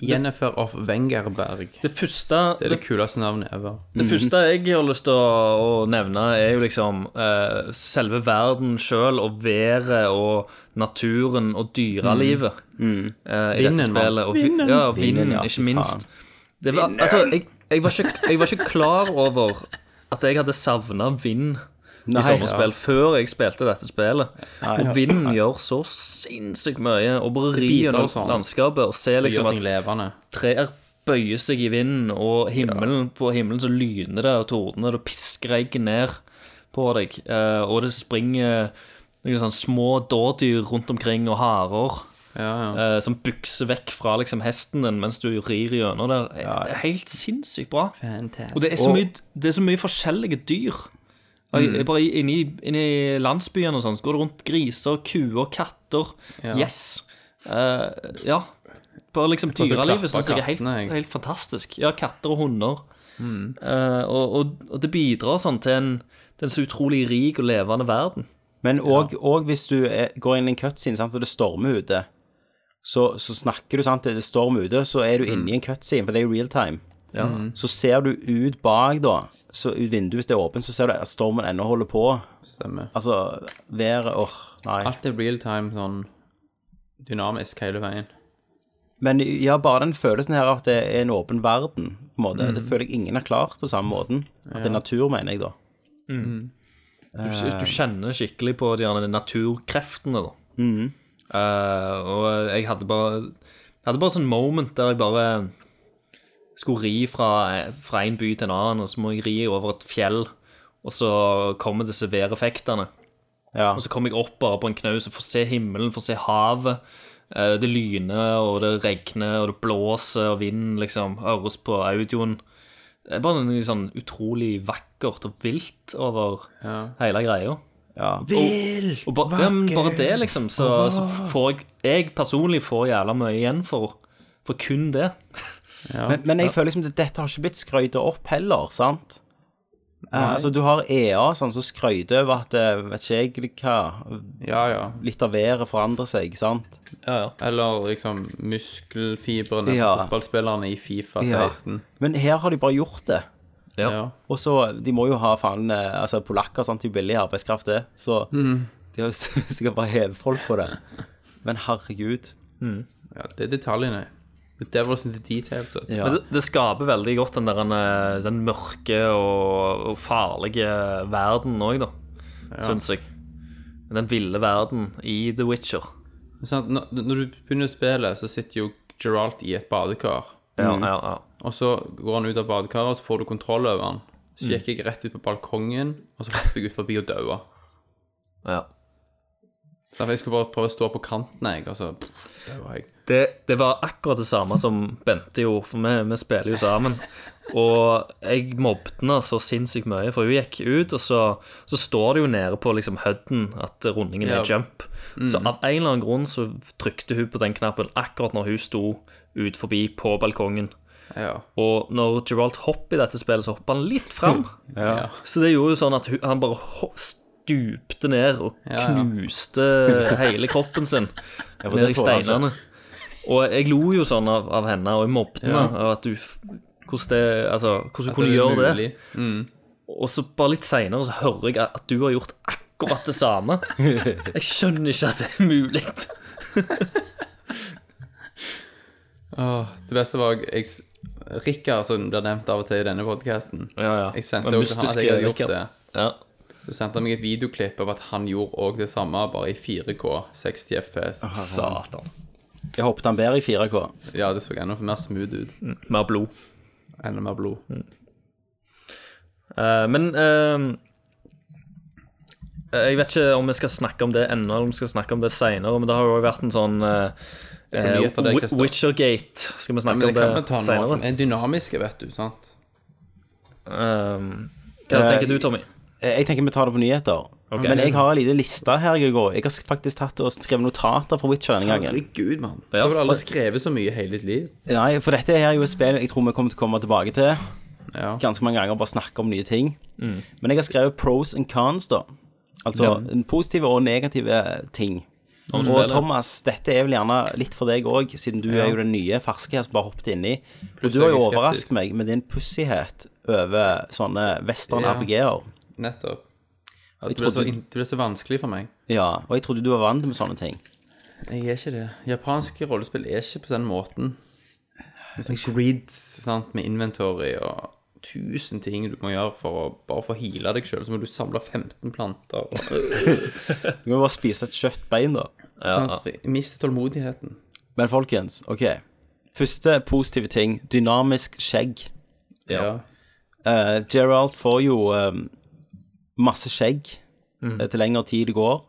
Speaker 1: Jennifer of Wengerberg.
Speaker 3: Det første,
Speaker 1: Det er det kuleste navnet ever.
Speaker 3: Det første jeg har lyst til å, å nevne, er jo liksom eh, selve verden sjøl, og været og naturen og dyrelivet
Speaker 1: Mhm.
Speaker 3: eh, i
Speaker 1: Vinden,
Speaker 3: dette spillet. Og, vi- Ja, og vinden,
Speaker 2: Vinden, ja, fy
Speaker 3: ikke minst. Det var, altså, jeg, jeg, var ikke, jeg var ikke klar over at jeg hadde savna vind i sommerspill før jeg spilte dette spillet. Og vinden gjør så sinnssykt mye, og bare rir
Speaker 1: biter og
Speaker 3: gjennom
Speaker 1: sånn.
Speaker 3: landskapet og ser
Speaker 1: Det
Speaker 3: liksom
Speaker 1: gjør
Speaker 3: at
Speaker 1: ting levende.
Speaker 3: trær bøyer seg i vinden, og himmelen, på himmelen så lyner det og tordner, og det pisker regn ned på deg, eh, og det springer noen sånne små dådyr rundt omkring, og harer.
Speaker 1: Ja, ja.
Speaker 3: eh, som bukser vekk fra liksom, hesten din mens du rir gjennom der. Det er helt sinnssykt bra. Og
Speaker 1: Fantastisk.
Speaker 3: det er så mye, det er så mye forskjellige dyr. Og
Speaker 1: Mm.
Speaker 3: jeg- jeg Bare inne i, inne i landsbyen og sånn, så går det rundt griser, kuer, katter,
Speaker 1: Ja.
Speaker 3: yes. Eh, ja. Bare liksom
Speaker 1: du
Speaker 3: dyrelivet
Speaker 1: klapper
Speaker 3: syns jeg er helt,
Speaker 1: kattene, jeg. Mm.
Speaker 3: helt fantastisk. Ja, katter og hunder. Eh, og, og, og det bidrar sånn til en, til en så utrolig rik og levende verden.
Speaker 2: Men òg hvis du er, går inn i en cutscene sant, og det stormer ute, så, så snakker du sant, det stormer ute, så er du
Speaker 3: Mm.
Speaker 2: inni en cutscene, for det er jo real time. Så ser du ut bak, da, så ut vinduet hvis det er åpent, så ser du at stormen ennå holder på.
Speaker 1: Stemmer.
Speaker 2: Altså, været Åh, nei.
Speaker 1: Alt er real time, sånn dynamisk hele veien.
Speaker 2: Men ja, bare den følelsen her av at det er en åpen verden, på en måte.
Speaker 3: Mm.
Speaker 2: Det føler jeg ingen har klart på samme måten. At det er natur, mener jeg, da.
Speaker 3: Du, du kjenner skikkelig på de gjerne naturkreftene, da. Eh, og jeg hadde bare Jeg hadde bare sånn moment der jeg bare skulle ri fra, fra en by til en annen, og så må jeg ri over et fjell, og så kommer disse væreffektene.
Speaker 2: Ja.
Speaker 3: Og så kommer jeg opp bare på en knaus og får se himmelen, får se havet. Eh, Det lyner, og det regner, og det blåser, og vinden liksom høres på audioen. Det er bare noe sånn utrolig vakkert og vilt over hele greia.
Speaker 2: ja.
Speaker 3: Og ba, ja, men bare det, liksom, så, så får jeg Jeg personlig får jævla mye igjen for, for kun det.
Speaker 2: Men, men jeg føler liksom at dette har ikke blitt skrøyta opp heller, sant? Eh, altså, du har EA sånn, som skrøyter over at eh, vet ikke jeg hva
Speaker 1: Ja, ja.
Speaker 2: Litt av været forandrer seg, sant?
Speaker 1: Eller liksom muskelfibrene til
Speaker 2: Ja.
Speaker 1: fotballspillerne i Fifa
Speaker 2: Ja.
Speaker 1: 16.
Speaker 2: Men her har de bare gjort det.
Speaker 3: Ja.
Speaker 1: Ja.
Speaker 2: Og så De må jo ha faen eh, Altså, polakker sant, de er billig arbeidskraft, det. Så de har sikkert bare hevet folk på det. Men herregud.
Speaker 1: ja. Det er detaljene. The devil's in the details. vet du.
Speaker 2: Ja.
Speaker 3: Men det, det skaper veldig godt den der eh, Den mørke og, og farlige verden òg, da, syns jeg. Den ville verden i The Witcher.
Speaker 1: Men sant, Sånn Når når du begynner spillet, så sitter jo Geralt i et badekar.
Speaker 3: Ja, ja, ja.
Speaker 1: Og så går han ut av badekaret, og så får du kontroll over han.
Speaker 3: Mm.
Speaker 1: Så gikk jeg rett ut på balkongen, og så hoppet jeg ut forbi og daua.
Speaker 3: ja.
Speaker 1: Så jeg skulle bare prøve å stå på kanten, jeg, altså. og så pff, daua jeg.
Speaker 3: Det, det var akkurat det samme som Bente gjorde, for vi, vi spiller jo sammen. Og jeg mobbet henne så sinnssykt mye, for hun gikk ut, og så, så står det jo nede på liksom hudden at rundingen
Speaker 1: Ja.
Speaker 3: er jump. Så av en eller annen grunn så trykte hun på den knappen akkurat når hun sto ut forbi på balkongen.
Speaker 1: Ja.
Speaker 3: Og når Geralt hopper i dette spillet, så hopper han litt fram.
Speaker 1: Ja.
Speaker 3: Så det gjorde jo sånn at hun, han bare ho- stupte ned og
Speaker 1: ja.
Speaker 3: knuste hele kroppen sin ned
Speaker 2: det
Speaker 3: i
Speaker 2: tror jeg
Speaker 3: steinene. Og jeg lo jo sånn av, av henne, og jeg mobbet henne av at du f- Hvordan det Altså, hvordan hun kunne
Speaker 1: er
Speaker 3: gjøre det.
Speaker 1: mulig.
Speaker 3: Og så bare litt seinere så hører jeg at du har gjort akkurat det samme. Jeg skjønner ikke at det er mulig.
Speaker 1: Åh, det beste var jeg, jeg Rikard, som blir nevnt av og til i denne podkasten.
Speaker 3: Ja, ja.
Speaker 1: Jeg sendte
Speaker 3: Den
Speaker 1: jo til han at jeg
Speaker 3: mystiske
Speaker 1: hadde gjort
Speaker 3: Rikard.
Speaker 1: det.
Speaker 3: Ja.
Speaker 1: Så sendte han meg et videoklipp av at han gjorde òg det samme, bare i 4K, 60 FPS.
Speaker 3: Satan.
Speaker 2: Jeg håpet han bedre i 4K.
Speaker 1: Ja, det så enda mer smooth ut.
Speaker 3: Mer blod.
Speaker 1: Enda mer blod.
Speaker 3: Eh, men eh, Jeg vet ikke om vi skal snakke om det ennå, eller om vi skal snakke om det seinere, men det har jo også vært en sånn uh,
Speaker 1: kommer nyheter der, Christer.
Speaker 3: Witchergate. Skal vi
Speaker 1: Men
Speaker 3: snakke
Speaker 1: det Eh, kan vi
Speaker 3: om det
Speaker 1: ta nå.
Speaker 3: seinere?
Speaker 1: Den er dynamiske, vet du. sant? Ehm,
Speaker 3: Eh, hva tenker du, Tommy?
Speaker 2: Eh, Jeg tenker vi tar det på nyheter.
Speaker 3: Ok.
Speaker 2: Men jeg har en liten liste her, Gregor. Jeg har s- faktisk tatt og skrevet notater fra Witcher denne gangen.
Speaker 1: Herregud, mann. Jeg har vel aldri skrevet så mye i hele ditt liv.
Speaker 2: Nei, for dette er jo et spill jeg tror vi kommer til å komme tilbake til
Speaker 1: Ja.
Speaker 2: ganske mange ganger, bare snakke om nye ting.
Speaker 1: Mm.
Speaker 2: Men jeg har skrevet pros and cons, da. Altså positive og negative ting.
Speaker 3: Om
Speaker 2: og
Speaker 3: spillet.
Speaker 2: Thomas, dette er vel gjerne litt for deg òg, siden du er jo den nye ferske her som bare hoppet inni. Og
Speaker 1: Pluss
Speaker 2: du har
Speaker 1: jeg
Speaker 2: jo
Speaker 1: er skeptisk.
Speaker 2: overrasket meg med din pussighet over sånne western
Speaker 1: Ja.
Speaker 2: RPG-er.
Speaker 1: Nettopp. At
Speaker 2: Jeg
Speaker 1: det, ble så,
Speaker 2: trodde-
Speaker 1: in- det ble så vanskelig for meg.
Speaker 2: Ja, og jeg trodde du var vant med sånne ting.
Speaker 1: Jeg er ikke det. Japanske rollespill er ikke på den måten. Med sånn grids, sant, med inventory og tusen ting du må gjøre for å bare få heala deg sjøl. Så må du samle 15 planter. Og,
Speaker 2: Du må jo bare spise et kjøttbein, da.
Speaker 1: sant? Mist tålmodigheten.
Speaker 2: Men folkens, OK. Første positive ting. Dynamisk skjegg.
Speaker 1: Ja.
Speaker 2: Eh, Gerald får jo eh, masse skjegg
Speaker 3: Mm.
Speaker 2: eh, til lengre tid det går.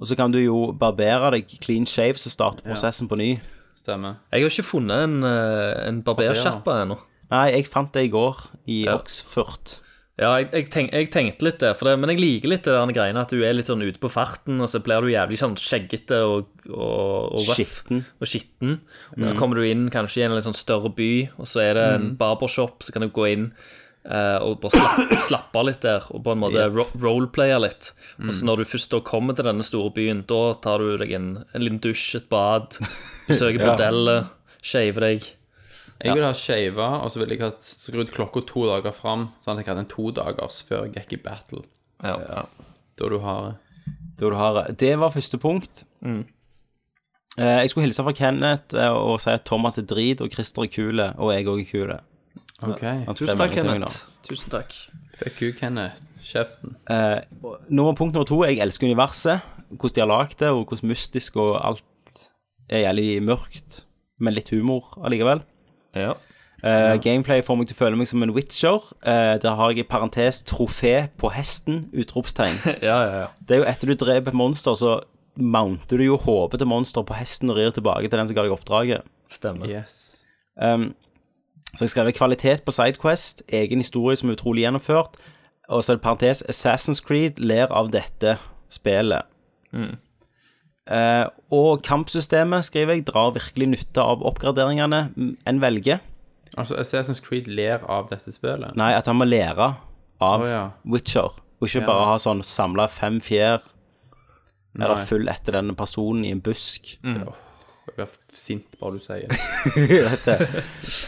Speaker 2: Og så kan du jo barbere deg clean shave, så starter prosessen på ny.
Speaker 1: Stemmer.
Speaker 3: Jeg har ikke funnet en, eh, en barbersjappe ennå.
Speaker 2: Nei, jeg fant det i går i Oxford.
Speaker 3: Ja, jeg, jeg, tenk, jeg tenkte litt det, for det, men jeg liker litt det der greiene at du er litt sånn ute på farten, og så blir du jævlig sånn skjeggete og, og, og røff.
Speaker 2: Skitten.
Speaker 3: Og skitten. Og så kommer du inn kanskje i en litt sånn større by, og så er det en barbershop, så kan du gå inn eh, og bare slappe, slappe av litt der, og på en måte ro roleplaye litt. Og så når du først da kommer til denne store byen, da tar du deg en, en liten dusj, et bad, besøker bordellet, shaver deg.
Speaker 1: Jeg ville ha shava, og så ville jeg ha skrudd klokka to dager fram, sånn at jeg hadde en to dagers før jeg gikk i battle.
Speaker 3: Ja.
Speaker 1: Da du har
Speaker 2: Da du har Det var første punkt.
Speaker 3: Mm.
Speaker 2: Eh, jeg skulle hilse fra Kenneth eh, og si at Thomas er drit, og Christer er kule, og jeg òg er kule.
Speaker 1: OK.
Speaker 2: Han skrev
Speaker 3: Tusen
Speaker 2: melding
Speaker 3: takk,
Speaker 2: til meg nå.
Speaker 3: Kenneth. Tusen takk.
Speaker 1: Fuck you, Kenneth. Kjeften.
Speaker 2: Nummer punkt nummer to, jeg elsker universet. Hvordan de har lagd det, og hvordan mystisk og alt er jævlig mørkt, men litt humor allikevel.
Speaker 3: Ja.
Speaker 2: Eh, Gameplay får meg til å føle meg som en witcher. Eh, der har jeg i parentes 'trofé på hesten'. utropstegn.
Speaker 3: Ja, ja, ja.
Speaker 2: Det er jo etter du dreper et monster, så mounter du jo hodet til monsteret på hesten og rir tilbake til den som ga deg oppdraget.
Speaker 3: Stemmer.
Speaker 1: Yes.
Speaker 2: Um, så jeg skrev kvalitet på Sidequest, egen historie som er utrolig gjennomført, og så er det parentes Assassin's Creed ler av dette spillet. Eh, og kampsystemet, skriver jeg, drar virkelig nytte av oppgraderingene mm, en velger.
Speaker 1: Altså, Assassin's Creed ler av dette spillet.
Speaker 2: Nei, at han må lære av
Speaker 1: Å, ja.
Speaker 2: Witcher, og ikke
Speaker 1: Ja.
Speaker 2: bare ha sånn samla fem fjær, eller
Speaker 1: Nei.
Speaker 2: full etter denne personen i en busk.
Speaker 3: Mm.
Speaker 1: Jeg blir sint bare du sier det.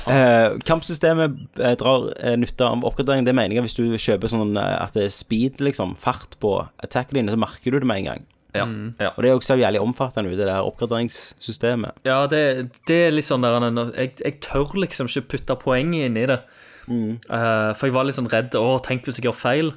Speaker 2: Eh, kampsystemet eh, drar eh, nytte av oppgradering. Det mener jeg hvis du kjøper sånn eh, at det er speed, liksom, fart på attackene dine, så merker du det med en gang.
Speaker 3: Ja. ja.
Speaker 2: Og det er jo også jævlig omfattende, det der oppgraderingssystemet.
Speaker 3: Ja, det, det er litt sånn der jeg, jeg tør liksom ikke putte poenget inn i det.
Speaker 2: Mm.
Speaker 3: Eh, for jeg var litt sånn redd. Å, tenk hvis jeg gjør feil.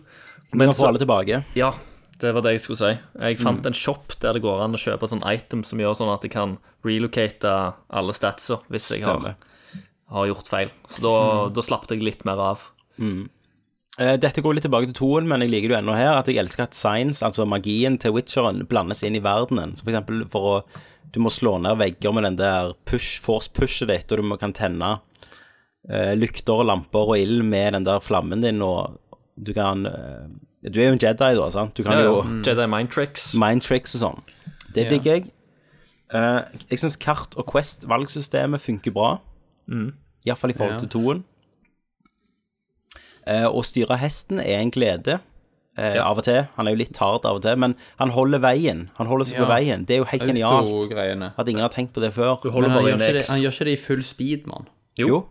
Speaker 2: Men
Speaker 3: Men
Speaker 2: får
Speaker 3: så
Speaker 2: alle Mm. tilbake.
Speaker 3: Ja, det var det jeg skulle si. Jeg fant en shop der det går an å kjøpe sånn item som gjør sånn at jeg kan relocate alle statser hvis jeg har,
Speaker 2: Stemmer. Mm.
Speaker 3: har gjort feil. Så da, da slapp jeg litt mer av.
Speaker 2: Eh, Dette går litt tilbake til toen, men jeg liker det jo ennå her. At jeg elsker at science, altså magien til witcheren, blandes inn i verdenen. Så for eksempel for å Du må slå ned vegger med den der push, force-pushet ditt, og du må kan tenne eh, lykter og lamper og ild med den der flammen din, og du kan eh, Du er jo en Jedi, da, sant? Du kan
Speaker 3: Ja, Mm.
Speaker 2: jo
Speaker 3: ja. Jedi Mind Tricks.
Speaker 2: mind tricks og sånn. Det
Speaker 1: Ja.
Speaker 2: digger jeg. Eh, jeg syns kart- og Quest-valgsystemet funker bra. Iallfall i forhold
Speaker 1: Ja.
Speaker 2: til toen. Eh, å styre hesten er en glede. eh, Av og til. Han er jo litt hard av og til, men han holder veien. Han holder seg på
Speaker 1: Ja.
Speaker 2: veien. Det er jo helt genialt.
Speaker 1: Auto-greiene.
Speaker 2: At ingen har tenkt på det før.
Speaker 3: Du
Speaker 1: Men
Speaker 3: holder
Speaker 1: han
Speaker 3: bare
Speaker 1: gjør, ikke
Speaker 3: inn
Speaker 1: det,
Speaker 3: X.
Speaker 1: han gjør ikke det i full speed, mann.
Speaker 2: Jo,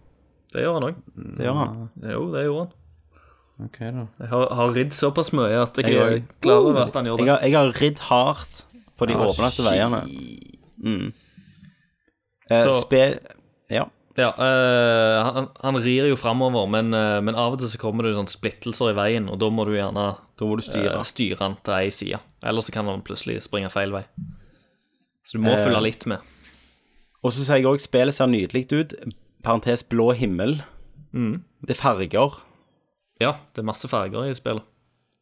Speaker 3: Det gjør han òg.
Speaker 2: det gjør han.
Speaker 3: Jo, det gjorde han.
Speaker 1: Ok, da.
Speaker 3: Jeg har, har ridd såpass mye at jeg,
Speaker 2: Jeg
Speaker 3: er
Speaker 2: òg.
Speaker 3: klar over at han gjør
Speaker 2: Jeg
Speaker 3: det.
Speaker 2: har, jeg har ridd hardt på de åpneste veiene. Mm. Eh,
Speaker 3: Så-
Speaker 2: Spill Ja.
Speaker 3: Ja, eh, han, han rir jo framover, men, eh, men av og til så kommer det sånn splittelser i veien, og da må du gjerne
Speaker 2: Da må du styre.
Speaker 3: eh, styre han til ei side. Ellers så kan han plutselig springe feil vei. Så du
Speaker 1: Eh.
Speaker 3: må følge litt med.
Speaker 2: Og så sier jeg òg spillet ser nydelig ut. Parentes blå himmel. Det er farger,
Speaker 3: Ja, det er masse farger i spillet.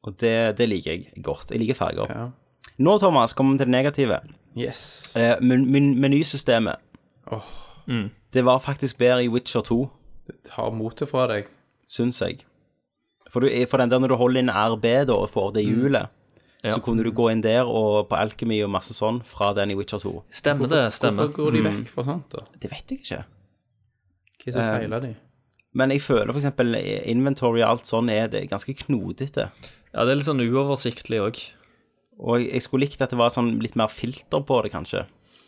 Speaker 2: og det, det liker jeg godt. Jeg liker farger.
Speaker 1: Ja.
Speaker 2: Nå, Thomas, kommer vi til det negative.
Speaker 1: Yes.
Speaker 2: Eh, men, men, menysystemet.
Speaker 1: Åh.
Speaker 2: Det var faktisk bedre i Witcher 2,
Speaker 1: Ta motet fra deg.
Speaker 2: syns jeg. For, du, for den der når du holder inn RB da, og får det hjulet, Så kunne du gå inn der og på Alchemy og masse sånn fra den i Witcher 2.
Speaker 3: Stemmer det, stemmer. Mm.
Speaker 1: Hvorfor går de vekk fra sånt, da?
Speaker 2: Det vet jeg ikke.
Speaker 1: Hva er det som
Speaker 3: Eh,
Speaker 1: feiler de?
Speaker 2: Men jeg føler for eksempel eh, inventory og alt sånn er det ganske knodete.
Speaker 3: Ja, Det er litt sånn uoversiktlig òg.
Speaker 2: Og jeg, jeg skulle likt at det var sånn litt mer filter på det, kanskje.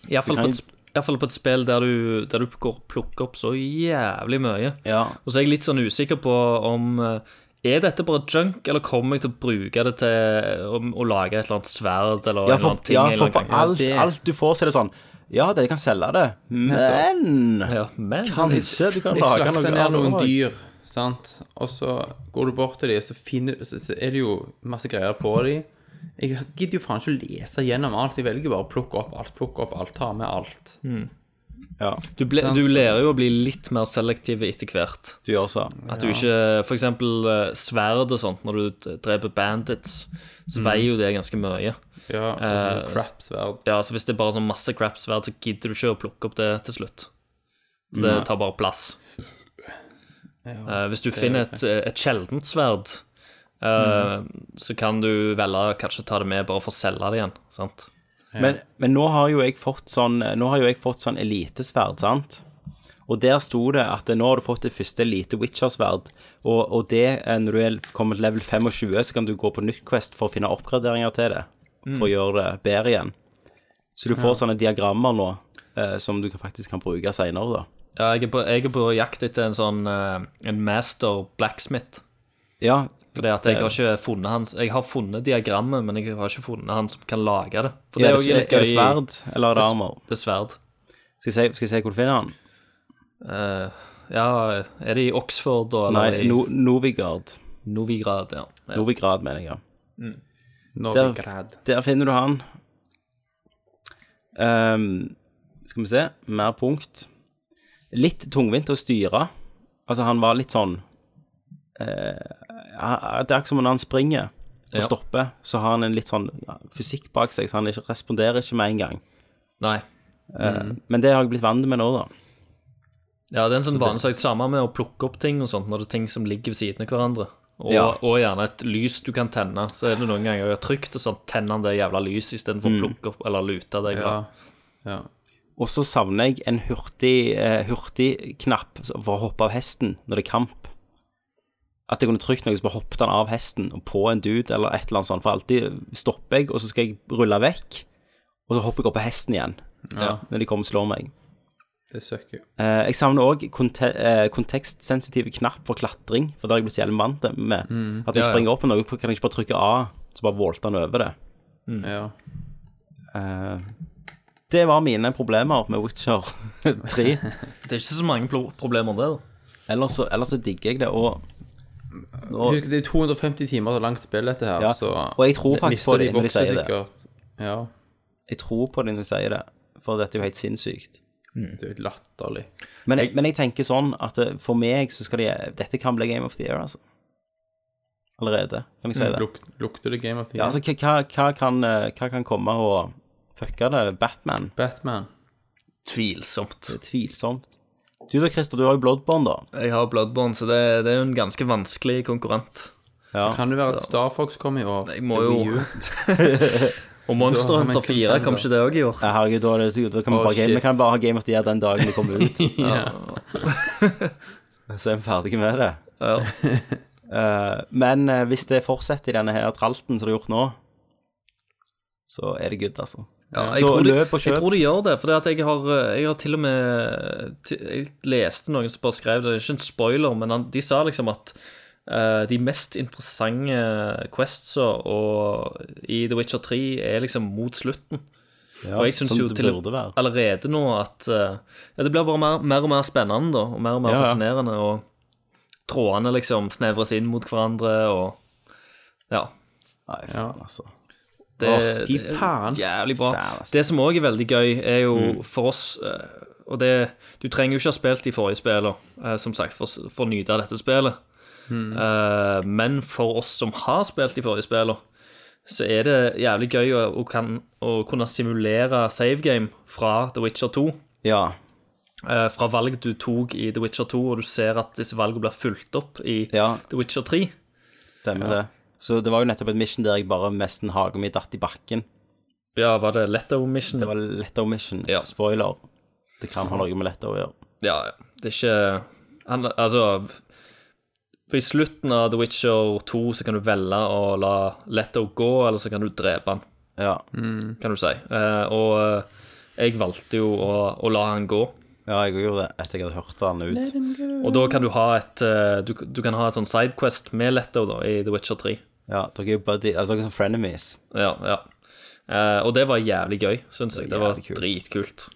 Speaker 3: Iallfall
Speaker 2: Du
Speaker 3: på,
Speaker 2: kan
Speaker 3: et sp- i hvert fall på et spill der du, der du går og plukker opp så jævlig mye.
Speaker 2: Ja.
Speaker 3: Og så er jeg litt sånn usikker på om eh, Er dette bare junk, eller kommer jeg til å bruke det til å, å lage et eller annet sverd
Speaker 2: Ja,
Speaker 3: eller en eller
Speaker 2: for,
Speaker 3: annen ting?
Speaker 2: ja,
Speaker 3: en eller
Speaker 2: for
Speaker 3: annen
Speaker 2: på
Speaker 3: gang?
Speaker 2: alt,
Speaker 1: det-
Speaker 2: alt du får, så er det sånn Ja, dere kan selge det, men
Speaker 3: ja, men sånn,
Speaker 2: Kanskje du kan
Speaker 1: Jeg
Speaker 2: lage
Speaker 1: slakter
Speaker 2: noe
Speaker 1: ned
Speaker 2: annet
Speaker 1: noen
Speaker 2: også.
Speaker 1: dyr, sant, og så går du bort til dem, så, finner, så så er det jo masse greier på dem. Jeg gidder jo faen ikke å lese gjennom alt. Jeg velger bare å plukke opp alt, plukke opp alt, ta med alt.
Speaker 2: Mm. Ja,
Speaker 3: du, ble, du lærer jo å bli litt mer selektiv etter hvert.
Speaker 2: du gjør så.
Speaker 3: At du ikke For eksempel eh, sverd og sånt, når du dreper bandits,
Speaker 2: Mm.
Speaker 3: så veier jo det ganske mye.
Speaker 1: Ja, og
Speaker 3: Eh,
Speaker 1: sånn crap-sverd.
Speaker 3: Ja, så hvis det er bare sånn masse crap-sverd, så gidder du ikke å plukke opp det til slutt. Det tar bare plass. Eh, hvis du finner et, et sjeldent sverd, eh, så kan du velge å kanskje ta det med bare for å selge det igjen. Sant?
Speaker 2: Men, men nå har jo jeg fått sånn Nå har jo jeg fått sånn elitesverd, sant? Og der sto det at nå har du fått det første elite Witcher-sverd, og, og det eh, når du er kommet level 25, så kan du gå på nytt Quest for å finne oppgraderinger til det.
Speaker 3: Mm.
Speaker 2: For å gjøre det bedre igjen. Så du får sånne diagrammer nå eh, som du kan- faktisk kan bruke seinere, da.
Speaker 3: Ja, jeg er, på, jeg er på jakt etter en sånn eh, En master blacksmith.
Speaker 2: Ja,
Speaker 3: Fordi at jeg har ikke funnet hans Jeg har funnet diagrammet, men jeg har ikke funnet han som kan lage det. For
Speaker 2: er det,
Speaker 3: det er jo
Speaker 2: er,
Speaker 3: litt gøy.
Speaker 2: det sverd eller er det armor?
Speaker 3: Det er sverd.
Speaker 2: Skal jeg si, skal jeg si hvor du finner den?
Speaker 3: Eh, ja, er det i Oxford og eller
Speaker 2: Nei,
Speaker 3: i
Speaker 2: no, Novigrad.
Speaker 3: Novigrad? Ja. ja.
Speaker 2: Novigrad, mener jeg. ja.
Speaker 1: Når
Speaker 2: der-
Speaker 1: vi græd.
Speaker 2: Der finner du han. Ehm, skal vi se, mer punkt. Litt tungvint å styre. Altså, han var litt sånn eh, ja, Det er ikke som når han springer og
Speaker 3: Ja.
Speaker 2: stopper, så har han en litt sånn ja, fysikk bak seg, så han ikke, responderer ikke med en gang.
Speaker 3: Nei.
Speaker 2: Eh, Men det har jeg blitt vant med nå, da.
Speaker 3: Ja, det er en sånn vanesak samme med å plukke opp ting og sånt, når det er ting som ligger ved siden av hverandre. Og,
Speaker 2: Ja.
Speaker 3: og gjerne et lys du kan tenne. Så er det noen ganger jeg har trykt, og sånn tenner han det jævla lyset istedenfor å plukke opp eller lute deg.
Speaker 1: Ja.
Speaker 3: Ja.
Speaker 1: ja.
Speaker 2: Og så savner jeg en hurtig, eh, hurtig knapp for å hoppe av hesten når det er kamp. At jeg kunne trykt noe, så bare hoppet han av hesten og på en dude eller et eller annet sånt. For alltid stopper jeg, og så skal jeg rulle vekk, og så hopper jeg opp på hesten igjen
Speaker 3: Ja.
Speaker 2: når de kommer og slår meg.
Speaker 1: Det søker jo.
Speaker 2: Eh, jeg savner òg konte eh, kontekstsensitive knapp for klatring, for det har jeg blitt så jævlig vant med. At når jeg
Speaker 3: Mm. Ja, ja.
Speaker 2: springer opp på noe, kan jeg ikke bare trykke A, så bare volter han over det. Mm.
Speaker 1: Ja.
Speaker 2: Eh, det var mine problemer med Witcher 3.
Speaker 3: Det er ikke så mange plo- problemer med det. da.
Speaker 2: Ellers så, ellers så digger jeg det, og
Speaker 1: Husk, det er 250 timer så langt spill, dette her,
Speaker 2: Ja,
Speaker 1: så
Speaker 2: og jeg tror
Speaker 1: det-
Speaker 2: faktisk
Speaker 1: mister
Speaker 2: på det når de
Speaker 1: vokser
Speaker 2: sier det.
Speaker 1: sikkert. Ja.
Speaker 2: jeg tror på det når jeg sier det, for dette er jo helt sinnssykt.
Speaker 1: Det er jo helt latterlig.
Speaker 2: Men jeg, men jeg tenker sånn at eh, for meg så skal de Dette kan bli Game of the Year, altså. Allerede, kan jeg si det.
Speaker 1: Luk, lukter det Game of the
Speaker 2: Ja, altså, hva, hva, hva, kan, eh, hva kan komme og fucke det? Batman?
Speaker 1: Batman.
Speaker 3: Tvilsomt.
Speaker 2: Det er tvilsomt. Du da, Christer, du har jo Bloodborne, da.
Speaker 3: Jeg har Bloodborne, så det, det er jo en ganske vanskelig konkurrent.
Speaker 2: Ja.
Speaker 1: Kan det være at Star Fox kommer i år?
Speaker 3: Jeg må
Speaker 1: til
Speaker 3: jo-
Speaker 1: Wii U?
Speaker 3: Og Monster
Speaker 1: har vi
Speaker 3: Hunter
Speaker 1: en
Speaker 3: 4, kom
Speaker 1: contender.
Speaker 3: ikke det òg i år?
Speaker 2: Nei, Herregud, da, er det- da kan vi
Speaker 1: Å,
Speaker 2: bare, game,
Speaker 1: shit.
Speaker 2: vi kan bare ha Game of the Year den dagen det kommer ut.
Speaker 1: Ja.
Speaker 2: Så er vi ferdige med det.
Speaker 3: Ja.
Speaker 2: Eh, men eh, hvis det fortsetter i denne her tralten som det er gjort nå, så er det good, altså.
Speaker 3: Ja,
Speaker 2: Så
Speaker 3: jeg, tror de,
Speaker 2: løp og kjøp.
Speaker 3: jeg tror de gjør det, for det at jeg, har, eh, jeg har til og med ti- Jeg leste noen som bare skrev det, det er ikke en spoiler, men han, de sa liksom at eh, de mest interessante questsa og, i The Witcher 3 er liksom mot slutten.
Speaker 2: Ja,
Speaker 3: Og jeg synes
Speaker 2: som
Speaker 3: jo
Speaker 2: det
Speaker 3: til-
Speaker 2: burde være.
Speaker 3: Allerede nå at eh, ja, Det blir bare mer, mer og mer spennende, da, og mer og mer
Speaker 2: Ja, ja.
Speaker 3: fascinerende, og trådene liksom snevres inn mot hverandre, og Ja.
Speaker 2: Nei, faen, altså.
Speaker 3: Det,
Speaker 1: Åh, fy
Speaker 3: det er
Speaker 1: faen.
Speaker 3: Jævlig bra.
Speaker 2: Faen, ass.
Speaker 3: Det som òg er veldig gøy, er jo for oss eh, Og det Du trenger jo ikke ha spilt de forrige spillene, eh, som sagt, for, s- for å nyte av dette spillet. Eh, men for oss som har spilt de forrige spillene, så er det jævlig gøy å, å, kan, å kunne simulere savegame fra The Witcher 2.
Speaker 2: Ja.
Speaker 3: eh, fra valg du tok i The Witcher 2, og du ser at disse valgene blir fulgt opp i
Speaker 2: Ja.
Speaker 3: The Witcher 3.
Speaker 2: Stemmer det. Så det var jo nettopp et mission der jeg bare mesten hagen min datt i bakken.
Speaker 3: Ja, var det Letto Mission?
Speaker 2: Det var Letto Mission.
Speaker 3: Ja.
Speaker 2: Spoiler. Det kan ha noe med Letto å gjøre.
Speaker 3: Ja, ja. det er ikke han, Altså For i slutten av The Witcher 2 så kan du velge å la Letto gå, eller så kan du drepe han,
Speaker 2: Ja,
Speaker 3: kan du si. Eh, og eh, jeg valgte jo å, å la han gå.
Speaker 2: ja jeg gjorde det etter jeg hadde hørt han ut.
Speaker 3: Og da kan du ha et eh, du, du kan ha et sånn sidequest med Letto da, i The Witcher 3.
Speaker 2: Ja, dere er jo buddy, altså dere er som frenemies.
Speaker 3: Ja, ja. Eh, og det var jævlig gøy, syns jeg.
Speaker 2: Det
Speaker 3: Det
Speaker 2: var
Speaker 3: var
Speaker 2: jævlig kult.
Speaker 3: dritkult.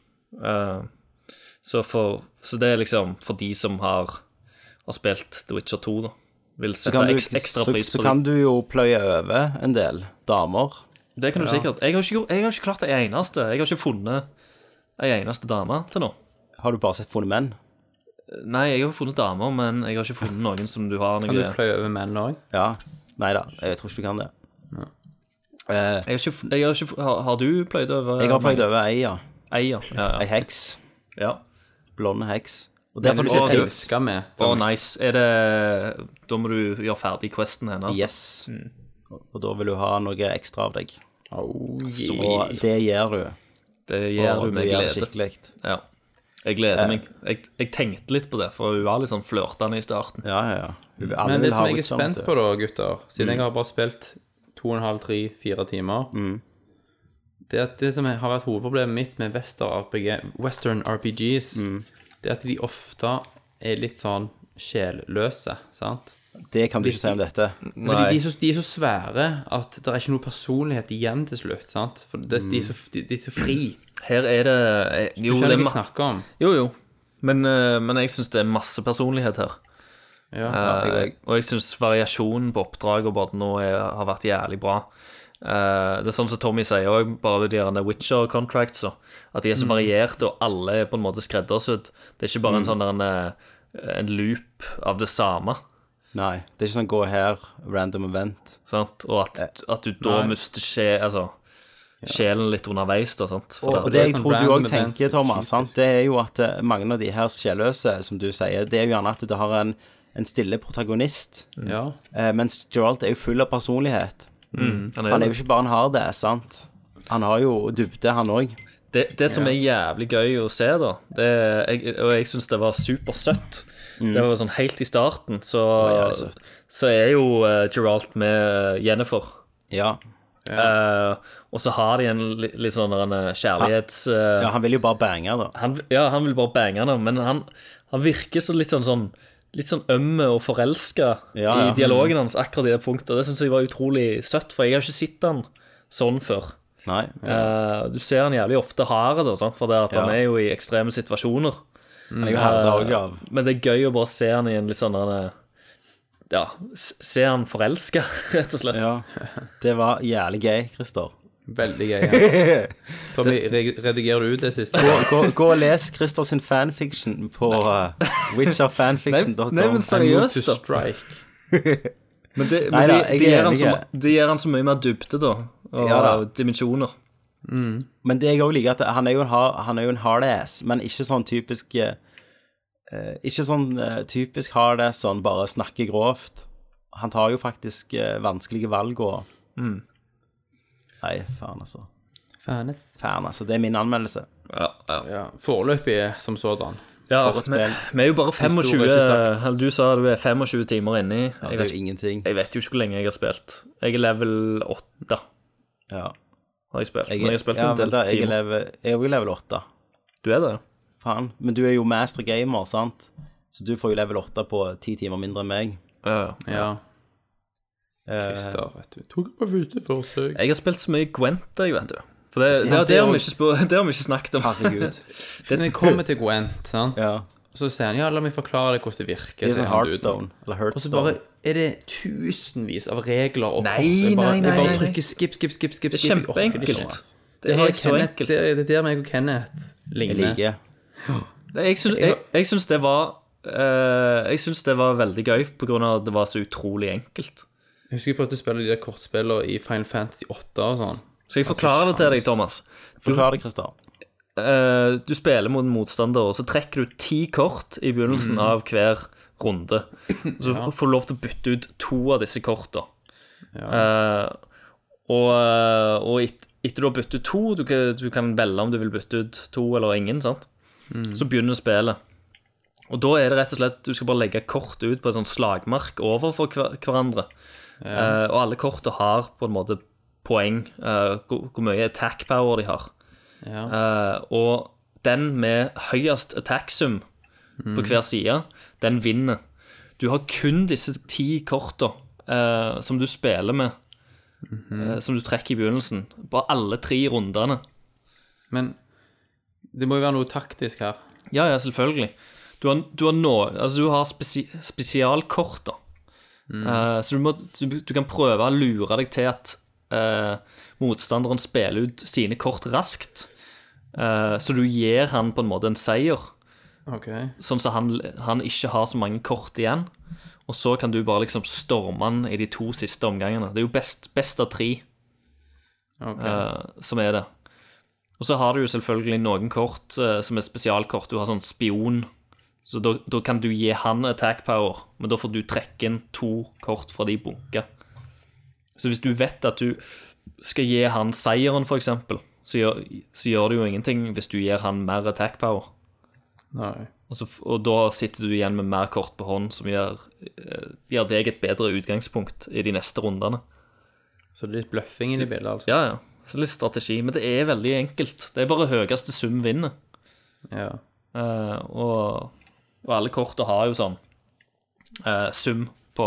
Speaker 3: Eh, så, for, så det er liksom for de som har, har spilt The Witcher 2, da. Vil
Speaker 2: Så
Speaker 3: sette
Speaker 2: kan, du,
Speaker 3: eks, ekstra
Speaker 2: så,
Speaker 3: pris
Speaker 2: så
Speaker 3: på
Speaker 2: kan du jo pløye over en del damer.
Speaker 3: det. Det kan du sikkert. Jeg har, ikke, gjort- jeg har ikke klart ei eneste. Jeg har ikke funnet ei eneste dame til nå.
Speaker 2: Har du bare sett funnet menn?
Speaker 3: Nei, jeg har funnet damer, men jeg har ikke funnet noen som du har noe
Speaker 1: Kan du pløye over menn òg?
Speaker 2: Ja. Nei da, jeg tror ikke du kan det. Eh,
Speaker 3: jeg har ikke, jeg har, ikke, har, har du pløyd over
Speaker 2: jeg har pløyd over ei, ja.
Speaker 3: ei, ja. ja,
Speaker 2: Ei
Speaker 3: ja.
Speaker 2: heks.
Speaker 3: ja.
Speaker 2: Blonde heks. Og der får du
Speaker 3: Å,
Speaker 2: se
Speaker 3: du-
Speaker 2: tanks.
Speaker 1: Elsker med.
Speaker 3: Å, nice. Er det Da må du gjøre ferdig questen hennes.
Speaker 2: Yes.
Speaker 1: Mm.
Speaker 2: Og da vil du ha noe ekstra av deg.
Speaker 1: Oh,
Speaker 2: Og det gjør du.
Speaker 3: Det gjør
Speaker 2: Og
Speaker 3: du med
Speaker 2: gjør det
Speaker 3: glede.
Speaker 2: skikkelig.
Speaker 3: Ja. Jeg gleder meg. Jeg, jeg tenkte litt på det, for hun var litt sånn flørtende i starten.
Speaker 2: Ja, ja, ja.
Speaker 3: Mm.
Speaker 2: Hun- alle
Speaker 1: Men
Speaker 2: vil
Speaker 1: det
Speaker 2: ha
Speaker 1: som jeg er
Speaker 2: Witcher, vet
Speaker 1: spent
Speaker 2: du.
Speaker 1: på, da, gutter Siden jeg har bare spilt to og en halv, tre, fire timer
Speaker 3: Mm.
Speaker 1: Det at det som har vært hovedproblemet mitt med Western, RPG, Western RPGs,
Speaker 3: Mm.
Speaker 1: det er at de ofte er litt sånn sjelløse, sant?
Speaker 2: Det kan du ikke si om dette.
Speaker 1: Fordi de, er så, de er så svære at det er ikke noe personlighet igjen til slutt, sant? For det, de, er så, de, de er så fri.
Speaker 3: Her er det eh,
Speaker 1: Du
Speaker 3: Jo, det
Speaker 1: skjønner
Speaker 3: er
Speaker 1: hva jeg
Speaker 3: ma
Speaker 1: snakker om.
Speaker 3: jo, jo. Men, eh, men jeg syns det er masse personlighet her.
Speaker 1: Ja,
Speaker 3: Eh, og jeg syns variasjonen på oppdrag og både nå er, har vært jævlig bra. Eh, det er sånn som Tommy sier òg, bare de der Witcher contracts, så, at de er så varierte, og alle er på en måte skreddersydd. Det er ikke bare en sånn der en, eh, en loop av det samme,
Speaker 2: Nei, det er ikke sånn gå her, random event.
Speaker 3: sant? og at,
Speaker 2: Eh,
Speaker 3: at du da mister sje, altså, sjelen litt underveis. Da, sant? For
Speaker 2: Og
Speaker 3: det,
Speaker 2: det jeg
Speaker 1: sånn
Speaker 2: tror du
Speaker 1: random
Speaker 2: òg
Speaker 1: events,
Speaker 2: tenker, Thomas,
Speaker 1: typisk.
Speaker 2: sant? det er jo at eh, mange av de her sjelløse, som du sier, det er jo gjerne at det har en, en stille protagonist,
Speaker 1: ja.
Speaker 2: eh, mens Geralt er jo full av personlighet.
Speaker 3: Mm. han
Speaker 2: Han
Speaker 3: er,
Speaker 2: er
Speaker 3: jo-
Speaker 2: jo ikke bare en hard ass, sant? Han har jo dybde, han òg.
Speaker 3: det, det som er jævlig gøy å se, da, det, er- jeg, og jeg syns det var supersøtt Det var sånn helt i starten, så,
Speaker 2: Mm. jævlig søtt.
Speaker 3: så er jo eh, Geralt med eh, Jennifer.
Speaker 2: Ja.
Speaker 3: Eh, og så har de en li, litt sånn der en eh, kjærlighets... eh,
Speaker 2: ja. Han vil jo bare bange, da.
Speaker 3: han, ja, han vil bare bange henne, men han, han virker så litt sånn sånn Litt sånn ømme og forelska
Speaker 2: Ja, Mm. ja.
Speaker 3: i dialogen hans, akkurat i det punktet. Det syns jeg var utrolig søtt, for jeg har ikke sett han sånn før.
Speaker 2: Nei.
Speaker 3: Eh, du ser han jævlig ofte hard, da, sant, for det at han
Speaker 2: Ja.
Speaker 3: er jo i ekstreme situasjoner.
Speaker 2: Han er jo
Speaker 3: eh,
Speaker 2: herda òg av
Speaker 3: Men det er gøy å bare se han i en litt sånn der, Ja, s- se han forelska, rett og slett.
Speaker 2: Ja. Det var jævlig gøy, Christer.
Speaker 1: Veldig gøy. Ja. Tommy, re- redigerer du ut det siste?
Speaker 2: Gå, gå og les Christer sin fanfiction på uh, witcherfanfiction.com.
Speaker 3: Nei, nei, men
Speaker 1: I move
Speaker 3: seriøst,
Speaker 1: to
Speaker 3: da.
Speaker 1: strike.
Speaker 3: Men det,
Speaker 2: Nei
Speaker 3: men
Speaker 2: da,
Speaker 3: de,
Speaker 2: jeg
Speaker 3: de,
Speaker 2: er
Speaker 3: gir han så,
Speaker 2: enig.
Speaker 3: de gir han så mye mer dybde, da. Og
Speaker 2: Ja da.
Speaker 3: dimensjoner.
Speaker 2: Men det jeg òg liker, at han er jo en, hard, han er jo en hard ass, men ikke sånn typisk eh, eh, Ikke sånn eh, typisk hard ass, sånn bare snakke grovt. Han tar jo faktisk eh, vanskelige valg og Nei, faen, altså.
Speaker 1: Fanes.
Speaker 2: Faen, altså. Det er min anmeldelse.
Speaker 3: Ja, ja.
Speaker 1: Ja, Foreløpig som sådan.
Speaker 3: Ja,
Speaker 2: For et
Speaker 3: men
Speaker 2: spill.
Speaker 3: vi er jo bare
Speaker 1: Siste ordet
Speaker 3: 25
Speaker 1: er ikke sagt.
Speaker 3: eller Du sa du er 25 timer inni.
Speaker 2: Ja,
Speaker 3: jeg,
Speaker 2: det er
Speaker 3: vet,
Speaker 2: jo ingenting.
Speaker 3: jeg vet jo ikke hvor lenge jeg har spilt. Jeg er level 8,
Speaker 2: Ja.
Speaker 3: har jeg spilt.
Speaker 2: Jeg,
Speaker 3: Men jeg har spilt
Speaker 2: ja,
Speaker 3: en del
Speaker 2: vent da, jeg er
Speaker 3: timer.
Speaker 2: level- jeg er jo level 8.
Speaker 3: Du er det?
Speaker 2: Faen. Men du er jo master gamer, sant? Så du får jo level 8 på ti timer mindre enn meg.
Speaker 3: Ja. ja.
Speaker 1: Ja.
Speaker 2: Eh,
Speaker 1: Christer, vet du. Tok på første forsøk.
Speaker 3: Jeg har spilt så mye Gwent, jeg, vet du. For det, det,
Speaker 1: Ja,
Speaker 3: det,
Speaker 1: det er
Speaker 3: har
Speaker 1: jo-
Speaker 3: vi ikke spå- det har vi ikke snakket om.
Speaker 2: herregud.
Speaker 1: Eh, Den kommer til Gwent, sant?
Speaker 2: Ja.
Speaker 1: Så sier han ja, la meg forklare deg hvordan det virker.
Speaker 2: Det er
Speaker 1: sier
Speaker 2: sånn
Speaker 1: han
Speaker 2: Heartstone. Eller
Speaker 1: duden. Og så
Speaker 2: Heartstone.
Speaker 1: bare er det tusenvis av regler og
Speaker 3: Nei,
Speaker 1: Jeg bare,
Speaker 3: nei, nei,
Speaker 1: Jeg
Speaker 3: nei.
Speaker 1: bare trykker skip, skip, skip, skip.
Speaker 3: Det er
Speaker 1: skip. Jeg orker det ikke.
Speaker 3: kjempeenkelt.
Speaker 1: Det,
Speaker 3: Det
Speaker 1: har
Speaker 3: er
Speaker 1: jeg
Speaker 3: så
Speaker 1: Kenneth-
Speaker 3: enkelt.
Speaker 1: Det, er- det er der meg og Kenneth
Speaker 2: Jeg
Speaker 1: ligner.
Speaker 2: liker.
Speaker 3: Det- Jeg syns, jeg, jeg syns det var eh, Jeg syns det var veldig gøy pga. at det var så utrolig enkelt.
Speaker 1: Jeg husker jeg prøvde å spille de der kortspillene i Final Fantasy 8 og sånn.
Speaker 3: Skal jeg forklare det til deg, Thomas?
Speaker 2: Forklar det, Christer.
Speaker 3: Eh, du spiller mot en motstander, og så trekker du ti kort i begynnelsen av hver runde. Så f- får du lov til å bytte ut to av disse korta. Eh, og eh, og et, etter du har byttet ut to, du kan, du kan velge om du vil bytte ut to eller ingen, sant? så begynner spillet. Og da er det rett og slett du skal bare legge kort ut på en sånn slagmark overfor hver, hverandre. Eh, og alle kortene har på en måte poeng, eh, hvor, hvor mye attack power de har.
Speaker 1: Ja.
Speaker 3: Eh, og den med høyest attack-sum på hver side, den vinner. Du har kun disse ti kortene eh, som du spiller med, eh, som du trekker i begynnelsen, på alle tre rundene.
Speaker 1: Men det må jo være noe taktisk her.
Speaker 3: Ja, ja, selvfølgelig. Du har, du har, nå, altså du har spesi, spesialkort, da. Eh, så du, må, du, du kan prøve å lure deg til at eh, motstanderen spiller ut sine kort raskt. Eh, så du gir han på en måte en seier,
Speaker 1: Ok.
Speaker 3: sånn at han, han ikke har så mange kort igjen. Og så kan du bare liksom storme han i de to siste omgangene. Det er jo best, best av tre
Speaker 1: ok.
Speaker 3: eh, som er det. Og så har du jo selvfølgelig noen kort eh, som er spesialkort. Du har sånn spion, så da da kan du gi han attack power, men da får du trekke inn to kort fra de bunker. Så hvis du vet at du skal gi han seieren, for eksempel, så gjør, så gjør det jo ingenting hvis du gir han mer attack power.
Speaker 1: Nei.
Speaker 3: Og, så, f- og da sitter du igjen med mer kort på hånd, som gjør, eh, gjør deg et bedre utgangspunkt i de neste rundene.
Speaker 1: Så det er litt bløffing inni bildet, altså.
Speaker 3: Ja, ja. Så litt strategi. Men det er veldig enkelt. Det er bare høyeste sum vinner.
Speaker 1: Ja.
Speaker 3: Eh, og, og alle kortene har jo sånn eh, sum på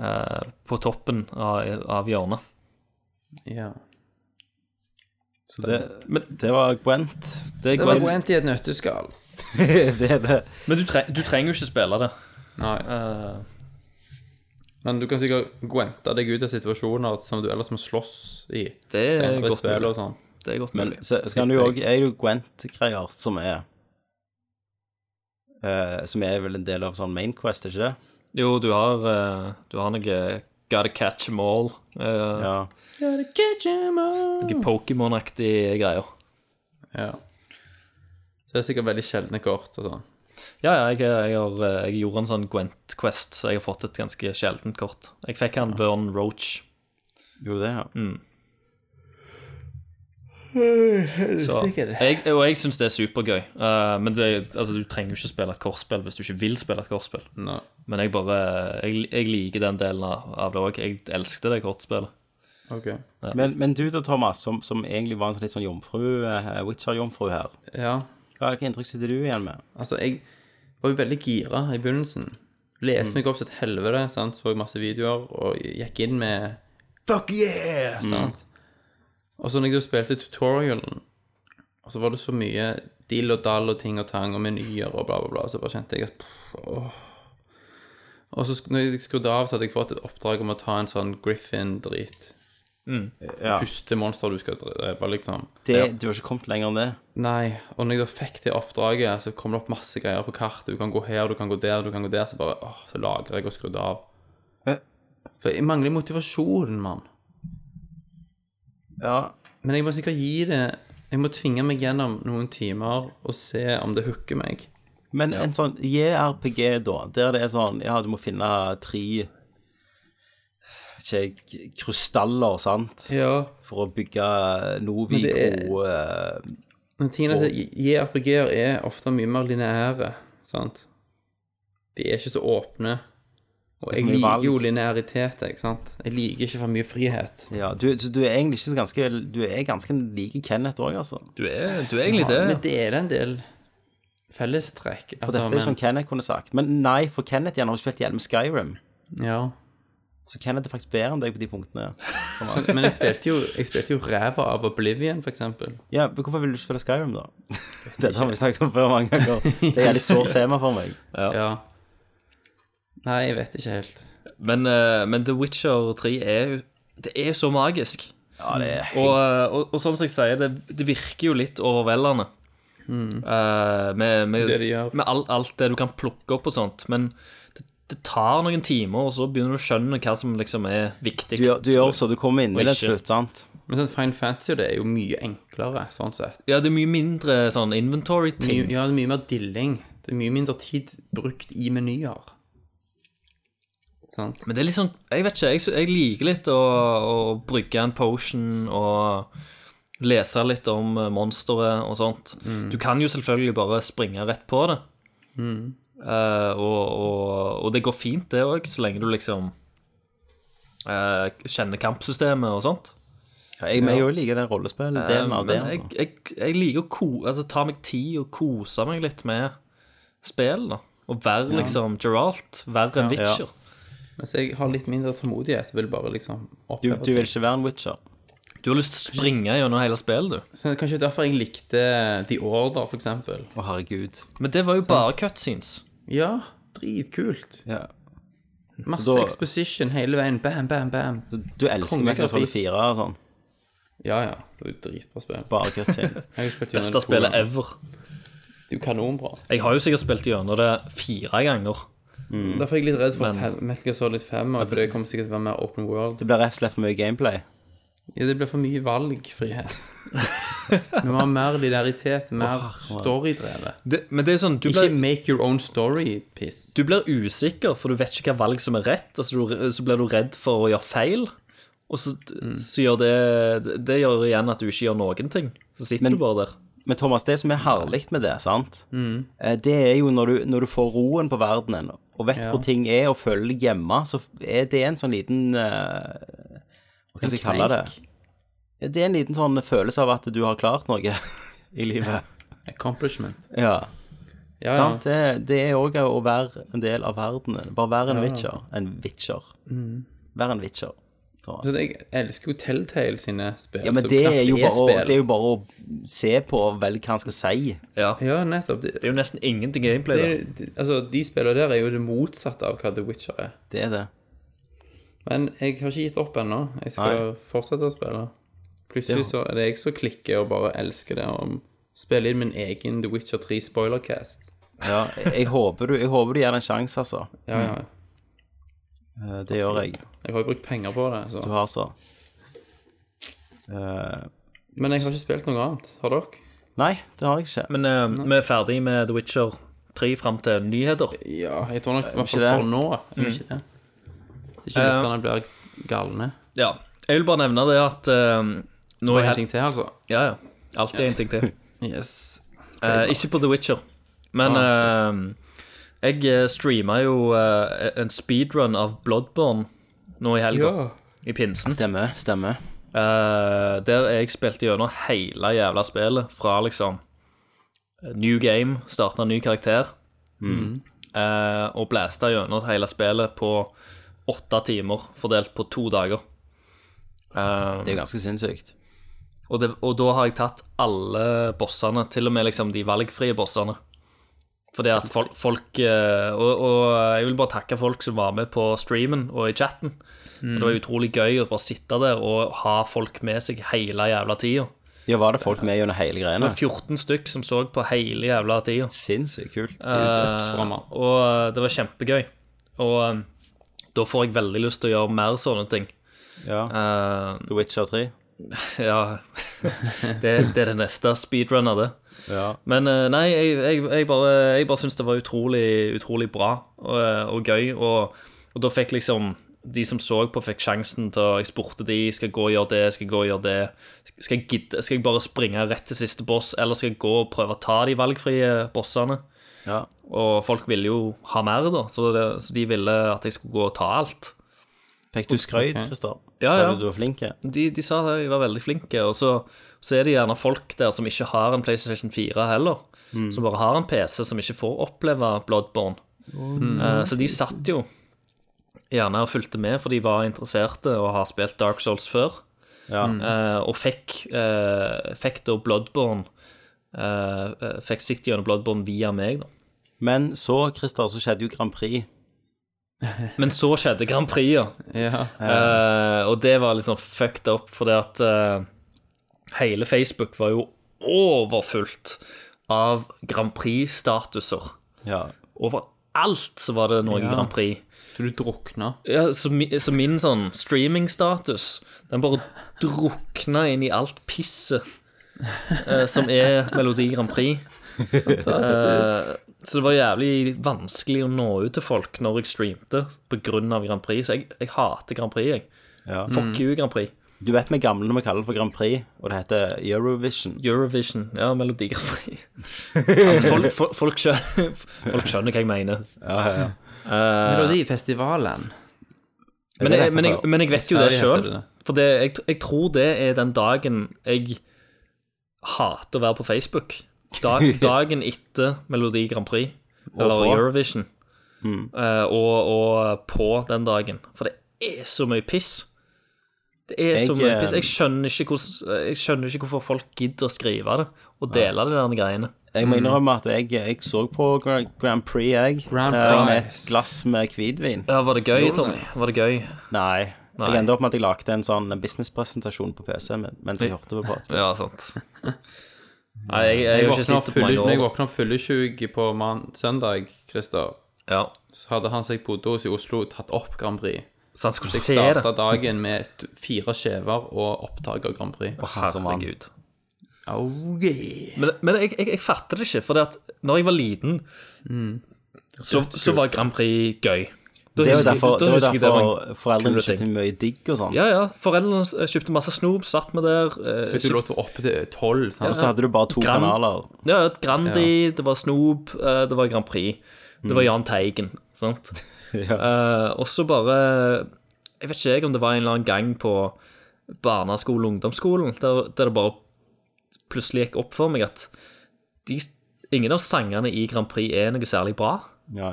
Speaker 3: eh, På toppen av, av hjørnet.
Speaker 1: ja.
Speaker 2: Så det,
Speaker 3: Men-
Speaker 2: det var Gwent.
Speaker 3: Det er
Speaker 1: Det var
Speaker 3: Gwent.
Speaker 1: Gwent i et nøtteskall.
Speaker 2: det er det.
Speaker 3: Men du, tre du trenger jo ikke spille det.
Speaker 1: Nei.
Speaker 3: Eh,
Speaker 1: Men du kan sikkert gwente deg ut av situasjoner som du ellers må slåss i.
Speaker 3: det, er
Speaker 1: Senere i
Speaker 3: godt
Speaker 1: spill
Speaker 3: mulig.
Speaker 1: og sånn.
Speaker 3: det er godt
Speaker 2: Men
Speaker 3: mulig.
Speaker 2: så, så kan du jo òg Er det jo Gwent-greier som er eh, Som er vel en del av sånn Main Quest, er ikke det?
Speaker 3: Jo, du har, eh, du har noe Gotta catch them all. eh,
Speaker 2: Ja.
Speaker 3: Noe Pokémon-aktige greier.
Speaker 1: Ja. Så det er sikkert veldig sjeldne kort og sånn.
Speaker 3: Ja, ja, jeg, jeg, har, eh, jeg gjorde en sånn Gwent Quest, så jeg har fått et ganske sjeldent kort. Jeg fikk han Vern Roach,
Speaker 2: Jo, det, ja.
Speaker 3: så jeg, og jeg syns det er supergøy. Eh, men det, altså, du trenger jo ikke spille et kortspill hvis du ikke vil spille et kortspill.
Speaker 1: Nei.
Speaker 3: Men jeg bare Jeg, jeg liker den delen av av det òg. Jeg elsket det kortspillet.
Speaker 1: Ok.
Speaker 2: Men, men du da, Thomas, som, som egentlig var en sånn litt sånn jomfru, eh, Witcher-jomfru her,
Speaker 1: Ja.
Speaker 2: hva hva inntrykk sitter du igjen med?
Speaker 1: Altså, jeg var jo veldig gira i begynnelsen. Leste meg opp til et helvete, sant? så masse videoer og gikk inn med Fuck yeah! Sant? Og så når jeg da spilte tutorialen, og så var det så mye dill og dall og ting og tang og menyer og bla, bla, bla, så bare kjente jeg at pff, åh. Og så sk- når jeg skrudde av, så hadde jeg fått et oppdrag om å ta en sånn Griffin-drit.
Speaker 2: Ja.
Speaker 1: Første monster du skal drepe, liksom.
Speaker 2: Det, Du har ikke kommet lenger enn det?
Speaker 1: Nei, og når jeg da fikk det oppdraget, så kom det opp masse greier på kartet. Du kan gå her, du kan gå der, du kan gå der. Så bare åh, så lagrer jeg og skrudde av.
Speaker 2: Hæ?
Speaker 1: For jeg mangler motivasjon, mann.
Speaker 2: Ja.
Speaker 1: Men jeg må sikkert gi det Jeg må tvinge meg gjennom noen timer og se om det hooker meg.
Speaker 2: Men en sånn JRPG, da, der det er sånn Ja, du må finne tre ikke jeg, k- krystaller, sant,
Speaker 1: Ja.
Speaker 2: for å bygge
Speaker 1: Men det
Speaker 2: Novikro eh,
Speaker 1: Men tingen er at JRPG-er er ofte mye mer lineære, sant? De er ikke så åpne. Og
Speaker 2: er for
Speaker 1: jeg
Speaker 2: mye valg.
Speaker 1: liker jo lineæritet, ikke sant? Jeg liker ikke for mye frihet.
Speaker 2: Ja, du, så du er egentlig ikke så ganske Du er ganske like Kenneth òg, altså.
Speaker 3: Du er, du er egentlig det.
Speaker 1: Men det er det en del fellestrekk. Altså,
Speaker 2: For dette er som Kenneth kunne sagt. Men nei, for Kenneth igjen har jo spilt gjennom Skyrim.
Speaker 1: Ja.
Speaker 2: Så Kenneth er faktisk bedre enn deg på de punktene.
Speaker 1: Så- Sånn- Men jeg spilte jo, jeg spilte jo ræva av Oblivion, for eksempel.
Speaker 2: Ja, men Hvorfor vil du ikke spille Skyrim, da? Dette har vi snakket om før mange ganger. Det er et jævlig sårt tema for meg.
Speaker 1: Ja. Nei, jeg vet ikke helt.
Speaker 3: Men, eh, men The Witcher 3 er jo Det er jo så magisk.
Speaker 2: Ja, det er
Speaker 3: Og, og, og sånn som jeg sier, det, det virker jo litt overveldende. Eh, med med,
Speaker 1: Det det gjør.
Speaker 3: med all, alt det du kan plukke opp og sånt. Men det, det tar noen timer, og så begynner du å skjønne hva som liksom er viktig.
Speaker 2: Du gjør, du gjør så du kommer inn i
Speaker 3: Og
Speaker 2: det
Speaker 3: ikke.
Speaker 2: til slutt, sant?
Speaker 1: Men sånn Fine Fantasy det er jo mye enklere, sånn sett.
Speaker 3: Ja, det er mye mindre sånn
Speaker 1: Mye,
Speaker 3: inventory-ting.
Speaker 1: ja, det er mye mer dilling. Det er mye mindre tid brukt i menyer. Sant?
Speaker 3: Men det er litt sånn Jeg vet ikke, jeg, sy- jeg liker litt å, å brygge en potion og lese litt om eh, monsteret og sånt.
Speaker 2: Mm.
Speaker 3: Du kan jo selvfølgelig bare springe rett på det.
Speaker 2: Mm.
Speaker 3: Eh, og, og, og det går fint, det òg, så lenge du liksom eh, kjenner kampsystemet og sånt.
Speaker 2: Ja, jeg, men jeg jo liker den rollespilldelen av
Speaker 3: Eh, Men
Speaker 2: det.
Speaker 3: jeg,
Speaker 2: Altså.
Speaker 3: jeg, jeg liker å ko, altså, ta meg tid og kose meg litt med spill, da. Og være liksom Geralt. Være
Speaker 2: Ja.
Speaker 3: en witcher.
Speaker 1: Mens jeg har litt mindre tålmodighet. Vil bare liksom
Speaker 2: Du,
Speaker 1: oppheve
Speaker 2: du vil ikke
Speaker 1: ting.
Speaker 2: være en witcher.
Speaker 3: Du har lyst til å springe gjennom hele spillet, du.
Speaker 1: Så det er kanskje derfor jeg likte The Order, for eksempel.
Speaker 2: Å, herregud.
Speaker 3: Men det var jo bare cutscenes.
Speaker 1: Ja, dritkult.
Speaker 2: Ja.
Speaker 1: Masse
Speaker 2: Så da-
Speaker 1: exposition hele veien. Bam, bam, bam.
Speaker 2: Du elsker
Speaker 1: Kongegrafik.
Speaker 2: Metal Solid 4 og sånn.
Speaker 1: Ja, ja. Det var jo dritbra spill.
Speaker 2: Bare cutscene.
Speaker 1: Jeg har jo spilt gjennom
Speaker 3: Beste
Speaker 1: det to
Speaker 3: spillet
Speaker 1: ganger.
Speaker 3: ever.
Speaker 1: Det er jo kanonbra.
Speaker 3: Jeg har jo sikkert spilt gjennom det fire ganger.
Speaker 1: Mm. Derfor er jeg litt redd for fem, Metal Gear Solid 5, og for det kommer sikkert til å være mer open world.
Speaker 2: Det blir rett og slett for mye gameplay.
Speaker 1: Ja, det blir for mye valgfrihet. Vi må ha mer linearitet, mer storydrevet.
Speaker 3: men det er sånn, du
Speaker 1: Ikke
Speaker 3: blir,
Speaker 1: make your own story-piss.
Speaker 3: du blir usikker, for du vet ikke hva valg som er rett. Altså, du, så blir du redd for å gjøre feil, og så, så gjør det Det gjør igjen at du ikke gjør noen ting. Så sitter du bare der.
Speaker 2: Men Thomas, det som er herlig med det, sant? Eh, Det er jo når du, når du får roen på verdenen, og vet hvor ting er, og føler deg hjemme, så er det en sånn liten eh, Hva skal jeg kalle det? Ja, Det er en liten sånn følelse av at du har klart noe i livet.
Speaker 1: Accomplishment.
Speaker 2: Ja,
Speaker 1: Ja, ja.
Speaker 2: sant? Det, det er òg å være en del av verdenen. Bare være en witcher. En witcher. Vær en witcher. Thomas.
Speaker 1: Mm. Så jeg elsker jo Telltale sine spill.
Speaker 2: Ja, men
Speaker 1: som
Speaker 2: det
Speaker 1: knapt
Speaker 2: er, jo bare, å-
Speaker 1: spill.
Speaker 2: det er jo bare å se på og velge hva han skal si.
Speaker 3: Ja. Det
Speaker 1: Ja, nettopp. Det,
Speaker 3: er jo nesten ingenting gameplay
Speaker 1: det,
Speaker 3: der.
Speaker 1: det, altså, de spillene der er jo det motsatte av hva The Witcher er.
Speaker 2: Det er det.
Speaker 1: Men jeg har ikke gitt opp ennå. Jeg skal
Speaker 2: Nei.
Speaker 1: fortsette å spille. Plutselig så er det jeg som klikker og bare elsker det. Og spiller inn min egen The Witcher 3 spoilercast.
Speaker 2: Ja, jeg, jeg, håper du, jeg håper du gir det en sjanse, altså.
Speaker 1: Ja, ja.
Speaker 2: Eh, Det gjør jeg.
Speaker 1: Mm. Jeg har jo brukt penger på det. Så.
Speaker 2: Du har så. Eh,
Speaker 1: Men jeg har ikke spilt noe annet. Har dere?
Speaker 2: nei, det har jeg ikke.
Speaker 3: Men eh, vi er ferdig med The Witcher 3 fram til nyheter.
Speaker 1: Ja, jeg tror nok i hvert
Speaker 2: ikke
Speaker 1: fall
Speaker 2: det.
Speaker 1: for nå. er det Mm. Ikke det. Det er ikke
Speaker 3: Eh,
Speaker 1: lytterne blir galne.
Speaker 3: Ja. Jeg vil bare nevne det at eh, nå
Speaker 1: Og
Speaker 3: er
Speaker 1: en
Speaker 3: hel...
Speaker 1: ting til, altså.
Speaker 3: Ja, ja. Alltid en ting til.
Speaker 1: Yes.
Speaker 3: Eh, ikke på The Witcher, men eh, jeg streama jo eh, en speedrun av Bloodborne nå i helga, i pinsen.
Speaker 2: Stemmer. stemmer.
Speaker 3: Eh, der jeg spilte gjennom hele jævla spillet fra liksom eh, New game, starta ny karakter, eh, og blæsta gjennom hele spillet på åtte timer, fordelt på to dager. Eh,
Speaker 2: Det er jo ganske sinnssykt.
Speaker 3: og, det, og da har jeg tatt alle bossene, til og med liksom de valgfrie bossene. Fordi at folk, folk eh, og, og jeg vil bare takke folk som var med på streamen og i chatten. For det var utrolig gøy å bare sitte der og ha folk med seg hele jævla tida.
Speaker 2: Ja, var det folk med gjennom hele
Speaker 3: Det
Speaker 2: greiene?
Speaker 3: var 14 stykk som så på hele jævla tida.
Speaker 2: Sinnssykt kult.
Speaker 1: Dødsbra, mann.
Speaker 3: Og eh, det var kjempegøy. Og eh, da får jeg veldig lyst til å gjøre mer sånne ting.
Speaker 2: Ja.
Speaker 3: Eh,
Speaker 2: The Witcher 3.
Speaker 3: ja det, det er det neste speedrun av det.
Speaker 2: Ja.
Speaker 3: Men eh, nei, jeg, jeg, jeg bare, jeg bare syns det var utrolig, utrolig bra og, eh, og gøy. Og, og da fikk liksom de som så på, fikk sjansen til å Jeg spurte de skal jeg gå og gjøre det, skal jeg gå og gjøre det. Skal jeg, gidde, skal jeg bare springe rett til siste boss, eller skal jeg gå og prøve å ta de valgfrie bossene?
Speaker 2: ja.
Speaker 3: Og folk ville jo ha mer, da, så, det, så de ville at jeg skulle gå og ta alt.
Speaker 2: Fikk du skrøyt, Christer?
Speaker 3: Ja,
Speaker 2: Sa
Speaker 3: ja.
Speaker 2: du du var flink? ja?
Speaker 3: De, de sa at jeg var veldig flinke, og så, så er det gjerne folk der som ikke har en PlayStation 4 heller, som bare har en PC som ikke får oppleve Bloodborne. Eh, så de satt jo gjerne og fulgte med, for de var interesserte og har spilt Dark Souls før,
Speaker 2: Ja.
Speaker 3: eh, og fikk, eh, fikk da Bloodborne eh, eh, Fikk sitt gjennom Bloodborne via meg, da.
Speaker 2: Men så, Christer, så skjedde jo Grand Prix.
Speaker 3: Men så skjedde Grand Prix, ja.
Speaker 1: Ja.
Speaker 3: Eh, og det var liksom fucked up, fordi at eh, hele Facebook var jo overfullt av Grand Prix-statuser.
Speaker 2: Ja.
Speaker 3: Overalt så var det noe
Speaker 1: Ja.
Speaker 3: Grand Prix.
Speaker 1: Så du drukna.
Speaker 3: Ja, så, mi, så min sånn streaming-status, den bare drukna inn i alt pisset eh, som er Melodi Grand Prix. Eh, Så det var jævlig vanskelig å nå ut til folk når jeg streamte pga. Grand Prix. Så jeg, jeg hater Grand Prix, jeg.
Speaker 2: Ja.
Speaker 3: Fuck
Speaker 1: Mm.
Speaker 3: you, Grand Prix.
Speaker 2: Du vet vi er gamle når vi kaller det for Grand Prix, og det heter Eurovision.
Speaker 3: Eurovision. Ja, Melodi Grand Prix. Ja, men folk, folk, folk, skjønner, folk skjønner hva jeg mener.
Speaker 1: Eh, Melodifestivalen.
Speaker 3: Men
Speaker 2: det
Speaker 3: jeg,
Speaker 2: dette
Speaker 3: men jeg,
Speaker 2: for-
Speaker 3: men jeg vet jo
Speaker 1: Ja,
Speaker 3: det
Speaker 1: jeg heter
Speaker 3: sjøl.
Speaker 1: det det.
Speaker 3: For det, jeg, jeg tror det er den dagen jeg hater å være på Facebook. Da, dagen etter Melodi Grand Prix, eller
Speaker 2: på.
Speaker 3: Eurovision, eh, og, og på den dagen. For det er så mye piss. Det er så
Speaker 2: Jeg,
Speaker 3: mye
Speaker 2: eh,
Speaker 3: piss. Jeg skjønner ikke, hvordan, eh, jeg skjønner ikke hvorfor folk gidder å skrive det og dele de der greiene.
Speaker 2: Jeg må innrømme at jeg, jeg så på Gra- Grand Prix, jeg.
Speaker 1: Grand
Speaker 2: eh, Med et
Speaker 1: Prix.
Speaker 2: glass med hvitvin.
Speaker 3: Ja, var det gøy,
Speaker 1: Gjorde
Speaker 3: Tommy?
Speaker 1: det?
Speaker 3: Var det gøy?
Speaker 2: Nei.
Speaker 3: Nei.
Speaker 2: Jeg endte opp med at jeg lagde en sånn businesspresentasjon på PC-en min mens jeg hørte på podkasten.
Speaker 3: Ja, sant. Nei, jeg, jeg, har
Speaker 1: Jeg
Speaker 3: ikke
Speaker 1: våkna opp
Speaker 3: sett det på
Speaker 1: fylle- når jeg
Speaker 3: mange år.
Speaker 1: våkna opp fyllesjuk på man søndag, Christer,
Speaker 3: Ja.
Speaker 1: så hadde han som jeg bodde hos i Oslo, tatt opp Grand Prix.
Speaker 3: Så han Sånn, skulle
Speaker 1: Så
Speaker 3: se
Speaker 1: jeg
Speaker 3: det.
Speaker 1: starta dagen med et, fire skjever og opptak av Grand Prix.
Speaker 3: Herregud.
Speaker 1: Oh, yeah.
Speaker 3: Men, men jeg, jeg, jeg fatter det ikke, for det at når jeg var liten, så, så var Grand Prix gøy. Da
Speaker 2: Mm. Det er jo
Speaker 3: husker jeg-
Speaker 2: derfor,
Speaker 3: da
Speaker 2: det er jo
Speaker 3: husker jeg det var en-
Speaker 2: derfor foreldrene
Speaker 3: kul ting.
Speaker 2: kjøpte mye digg og sånn.
Speaker 3: Ja, ja. Foreldrene eh, kjøpte masse snop, satt med der. eh,
Speaker 1: Fikk du lov til å opp til tolv, sant?
Speaker 2: Og så hadde du bare to
Speaker 3: Grand-
Speaker 2: kanaler.
Speaker 3: Ja, et Grandi, det var Snoop, eh, det var Grand Prix. Det
Speaker 2: Mm.
Speaker 3: var Jahn Teigen, sant? Eh, og så bare Jeg vet ikke jeg om det var en eller annen gang på barneskolen og ungdomsskolen der, der det bare plutselig gikk opp for meg at de, ingen av sangene i Grand Prix er noe særlig bra.
Speaker 2: Ja.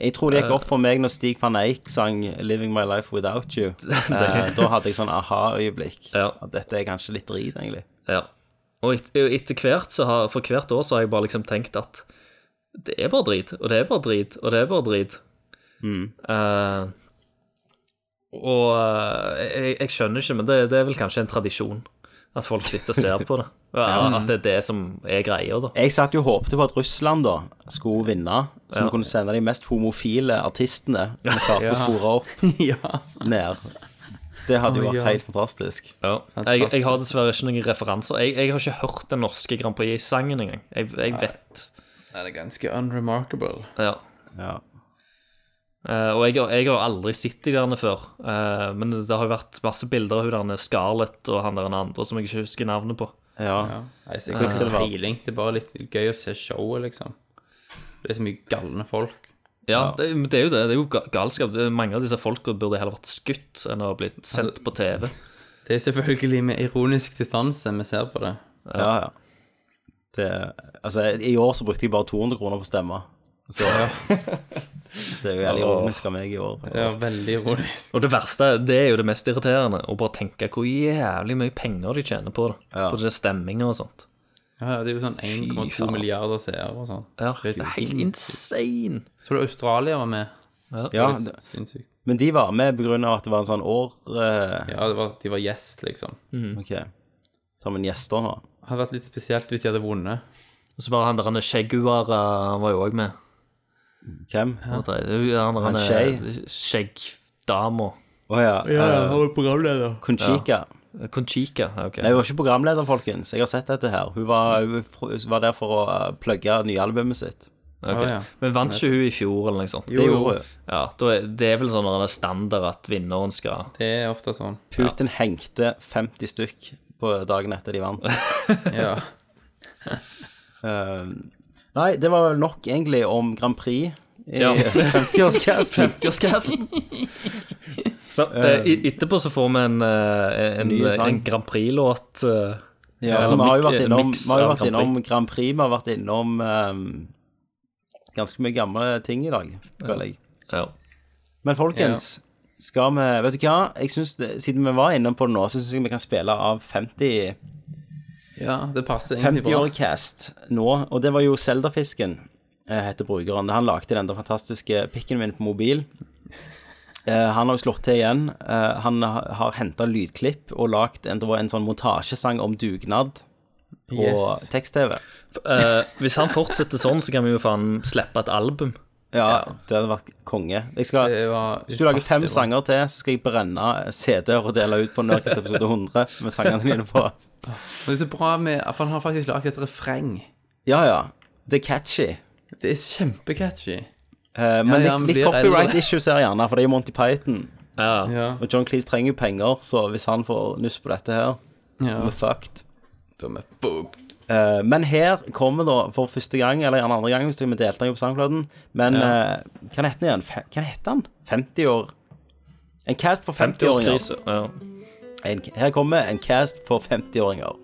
Speaker 2: Jeg tror det gikk opp for meg når Stig van Eijk sang 'Living My Life Without You'. Eh, da hadde jeg sånn aha-øyeblikk.
Speaker 3: Ja.
Speaker 2: At dette er kanskje litt drit, egentlig.
Speaker 3: Ja. Og et, og etter hvert, så har, for hvert år, så har jeg bare liksom tenkt at det er bare drit, og det er bare drit, og det er bare drit. Eh, og eh, jeg, jeg skjønner ikke, men det, det er vel kanskje en tradisjon at folk sitter og ser på det. Ja, at det er det som er greia, da.
Speaker 2: Jeg satt jo og håpte på at Russland da skulle vinne, så
Speaker 3: Ja.
Speaker 2: vi kunne sende de mest homofile artistene vi klarte å spore opp,
Speaker 1: Ja.
Speaker 2: ned. Det hadde jo
Speaker 1: Å,
Speaker 2: vært
Speaker 1: ja.
Speaker 2: helt fantastisk.
Speaker 3: Ja. Jeg,
Speaker 1: Fantastisk.
Speaker 3: jeg har dessverre ikke noen referanser. Jeg, jeg har ikke hørt den norske Grand Prix-sangen engang. Jeg, jeg vet
Speaker 1: Det er ganske unremarkable.
Speaker 3: ja.
Speaker 2: Ja.
Speaker 3: Eh, og jeg, har- jeg har aldri sett de derne før, eh, men det har jo vært masse bilder av hun derne Scarlett og han der andre som jeg ikke husker navnet på.
Speaker 2: ja.
Speaker 1: Nei, så jeg har ikke peiling. Det er bare litt gøy å se showet, liksom. Det er så mye galne folk.
Speaker 3: Ja, det, men det er jo det. Det er jo ga- galskap. Det, er mange av disse folka burde heller vært skutt enn å ha blitt sendt på TV.
Speaker 1: Det er selvfølgelig med ironisk distanse vi ser på det.
Speaker 2: ja, ja. Det, altså, I år så brukte jeg bare 200 kroner på stemme. Så det er jo jævlig ironisk av meg i år.
Speaker 1: Ja, veldig ironisk.
Speaker 3: Og det verste, det er jo det mest irriterende, å bare tenke hvor jævlig mye penger de tjener på det.
Speaker 2: Ja.
Speaker 3: På det stemminger og sånt.
Speaker 1: Ja, det er jo sånn 1,2
Speaker 3: faen.
Speaker 1: milliarder seere og sånn.
Speaker 3: Ja,
Speaker 1: Det er
Speaker 3: det er helt
Speaker 1: sinnssykt.
Speaker 3: insane.
Speaker 1: Så du Australia var med?
Speaker 2: Ja,
Speaker 1: Det
Speaker 2: det,
Speaker 1: er Sinnssykt.
Speaker 2: men de var med på grunn av at det var en sånn år... Eh,
Speaker 1: Ja, det var, de var gjest, liksom.
Speaker 2: ok, tar vi en gjester nå.
Speaker 1: Det hadde vært litt spesielt hvis de hadde vunnet.
Speaker 3: Og så var han der han Skjegguar eh, han var jo òg med.
Speaker 2: Hvem?
Speaker 3: Han der han
Speaker 2: Han
Speaker 3: der- Skjeggdama.
Speaker 2: Åja, eh,
Speaker 1: var programleder.
Speaker 2: Conchita.
Speaker 3: Conchika. ja, ok.
Speaker 2: Nei, Hun var ikke programleder, folkens. Jeg har sett dette her. Hun var, hun fr- var der for å eh, plugge nyalbumet sitt.
Speaker 3: Ok.
Speaker 1: Ah, ja.
Speaker 3: Men vant ikke hun i fjor eller noe sånt?
Speaker 2: Det
Speaker 1: jo.
Speaker 2: gjorde hun.
Speaker 3: Ja, da er, det er vel sånn at det er standard at vinneren skal
Speaker 1: Det er ofte sånn.
Speaker 2: Putin hengte 50 stykk på dagen etter de vant.
Speaker 1: Ja.
Speaker 2: Eh, nei, det var vel nok egentlig om Grand Prix i
Speaker 3: Ja.
Speaker 2: 50-årscasten.
Speaker 3: Så eh, i- etterpå så får vi en, eh, en,
Speaker 2: Ny
Speaker 3: en,
Speaker 2: sang.
Speaker 3: Grand Prix-låt. eh,
Speaker 2: Ja,
Speaker 3: Eller
Speaker 2: for vi har jo
Speaker 3: mik-
Speaker 2: vært innom,
Speaker 3: mix
Speaker 2: vi har jo
Speaker 3: av
Speaker 2: vært
Speaker 3: Grand Prix.
Speaker 2: innom Grand Prix, vi har vært innom eh, ganske mye gamle ting i dag, føler jeg.
Speaker 3: Ja.
Speaker 2: Men folkens, skal vi Vet du hva? Jeg synes det, Siden vi var innom på det nå, så syns jeg vi kan spille av 50
Speaker 1: ja, det passer egentlig bra.
Speaker 2: 50-år-cast nå, og det var jo Zelda-fisken, eh, heter brukeren. Han lagde den der fantastiske pikken min på mobil. Eh, Han har jo slått til igjen. Eh, Han ha- har henta lydklipp og lagd en, det var en sånn montasjesang om dugnad på
Speaker 1: Yes.
Speaker 2: tekst-TV.
Speaker 3: Eh, hvis han fortsetter sånn, så kan vi jo faen slippe et album.
Speaker 2: Ja, det hadde vært konge. Jeg skal,
Speaker 1: Det var
Speaker 2: hvis du lager fem
Speaker 1: ufattelig bra.
Speaker 2: sanger til, så skal jeg brenne CD-er og dele ut på Nørkes episode 100 med sangene dine på.
Speaker 1: Men det er så bra med For han har faktisk laget et refreng.
Speaker 2: Ja, ja. Det er catchy.
Speaker 1: Det er kjempecatchy.
Speaker 2: Eh, men
Speaker 1: ja, men
Speaker 2: litt, litt
Speaker 1: blir eldre.
Speaker 2: copyright issues her gjerne, for det er jo Monty Python.
Speaker 3: Ja.
Speaker 1: Ja.
Speaker 2: Og John Cleese trenger jo penger, så hvis han får nuss på dette her,
Speaker 1: Ja.
Speaker 2: så er vi fucked.
Speaker 1: Da er vi fucked.
Speaker 2: Eh, men her kommer da for første gang, eller gjerne andre gang, hvis vi delte den jo på SoundClouden Men
Speaker 1: Ja.
Speaker 2: eh, hva heter den igjen? Fe- Hva heter han? 50 år? En cast for 50-åringer.
Speaker 3: 50-årskrise. Ja.
Speaker 2: En, her kommer en cast for 50-åringer.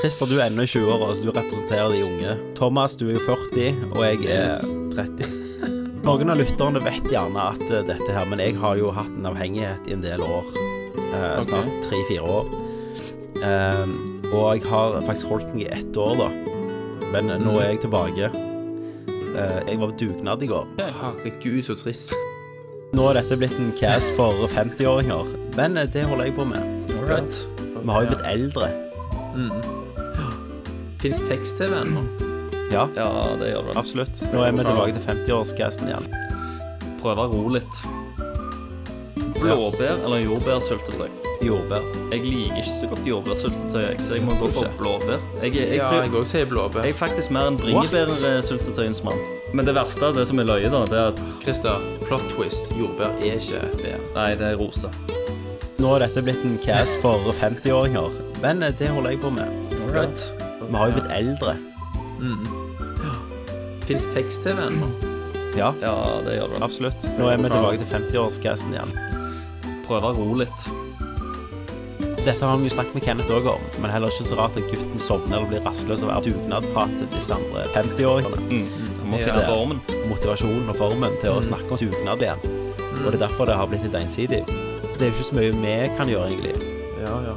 Speaker 2: Christer, du er ennå i 20-åra, så du representerer de unge. Thomas, du er jo 40, og jeg er 30. Noen av lytterne vet gjerne at eh, dette her, men jeg har jo hatt en avhengighet i en del år. Eh, snart tre-fire år. Ehm, og jeg har faktisk holdt meg i ett år, da. Men eh, nå er jeg tilbake. Eh, jeg var på dugnad i går.
Speaker 1: Herregud, så trist.
Speaker 2: Nå er dette blitt en cast for 50-åringer, men eh, det holder jeg på med.
Speaker 1: Right.
Speaker 2: Vi har jo blitt eldre.
Speaker 1: Fins tekst-TV ennå?
Speaker 2: Ja,
Speaker 3: ja, det gjør det.
Speaker 2: absolutt. Nå er vi tilbake til 50-årscasten igjen.
Speaker 3: Prøve å ro litt. Blåbær eller jordbærsyltetøy?
Speaker 2: Jordbær.
Speaker 3: Jeg liker ikke så godt jordbærsyltetøy, jeg, så jeg må gå for blåbær. Jeg, jeg,
Speaker 1: Ja,
Speaker 3: prøver-
Speaker 1: jeg òg sier blåbær.
Speaker 3: Jeg er faktisk mer en bringebærsyltetøyens mann. Men det verste, det som er løye, da, det er at
Speaker 1: Christer, plot twist. Jordbær er ikke et bær.
Speaker 3: Nei, det er rosa.
Speaker 2: Nå er dette blitt en cast for 50-åringer, men eh, det holder jeg på med.
Speaker 3: Right.
Speaker 2: Vi har jo blitt eldre.
Speaker 1: Fins tekst-TV ennå?
Speaker 2: Ja,
Speaker 3: Ja, det gjør det.
Speaker 2: absolutt. Nå er vi tilbake til 50-årscasten igjen.
Speaker 3: Prøve å ro litt.
Speaker 2: Dette har vi jo snakket med Kenneth òg om, men heller ikke så rart at gutten sovner eller blir rastløs av å være dugnadprat til disse andre 50-åringene.
Speaker 3: Jeg må
Speaker 1: Ja.
Speaker 3: finne formen.
Speaker 2: Motivasjonen og formen til å snakke om dugnad igjen. Og det er derfor det har blitt litt ensidig. Det er jo ikke så mye vi kan gjøre, egentlig.
Speaker 1: Ja, ja.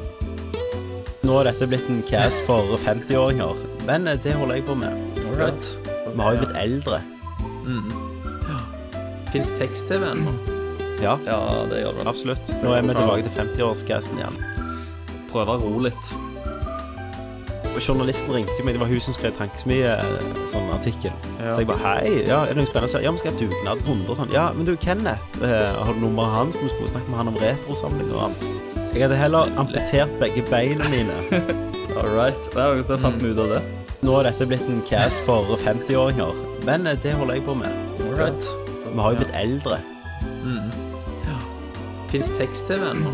Speaker 2: Nå er dette blitt en cast for 50-åringer, men eh, det holder jeg på med.
Speaker 1: Right.
Speaker 2: Vi har jo blitt eldre.
Speaker 1: Fins tekst-TV ennå?
Speaker 2: Ja,
Speaker 3: Ja, det gjør det.
Speaker 2: absolutt. Nå er vi tilbake til 50-årscasten igjen.
Speaker 3: Prøve å ro litt.
Speaker 2: Og Journalisten ringte jo meg, det var hun som skrev Tankesmie, eh, sånn artikkel. Så jeg bare hei, ja, er det noe spennende? Så, Ja, vi skal ha dugnad, runder og sånn. Ja, men du, Kenneth, eh, har du nummeret hans? Vi skulle snakke med han om retrosamlinga hans. Jeg hadde heller amputert begge beina mine.
Speaker 3: All right. Mm. Da da fant vi ut av det.
Speaker 2: Nå er dette blitt en cast for 50-åringer, men eh, det holder jeg på med.
Speaker 3: All right.
Speaker 2: Vi har jo blitt eldre.
Speaker 1: Fins tekst-TV ennå?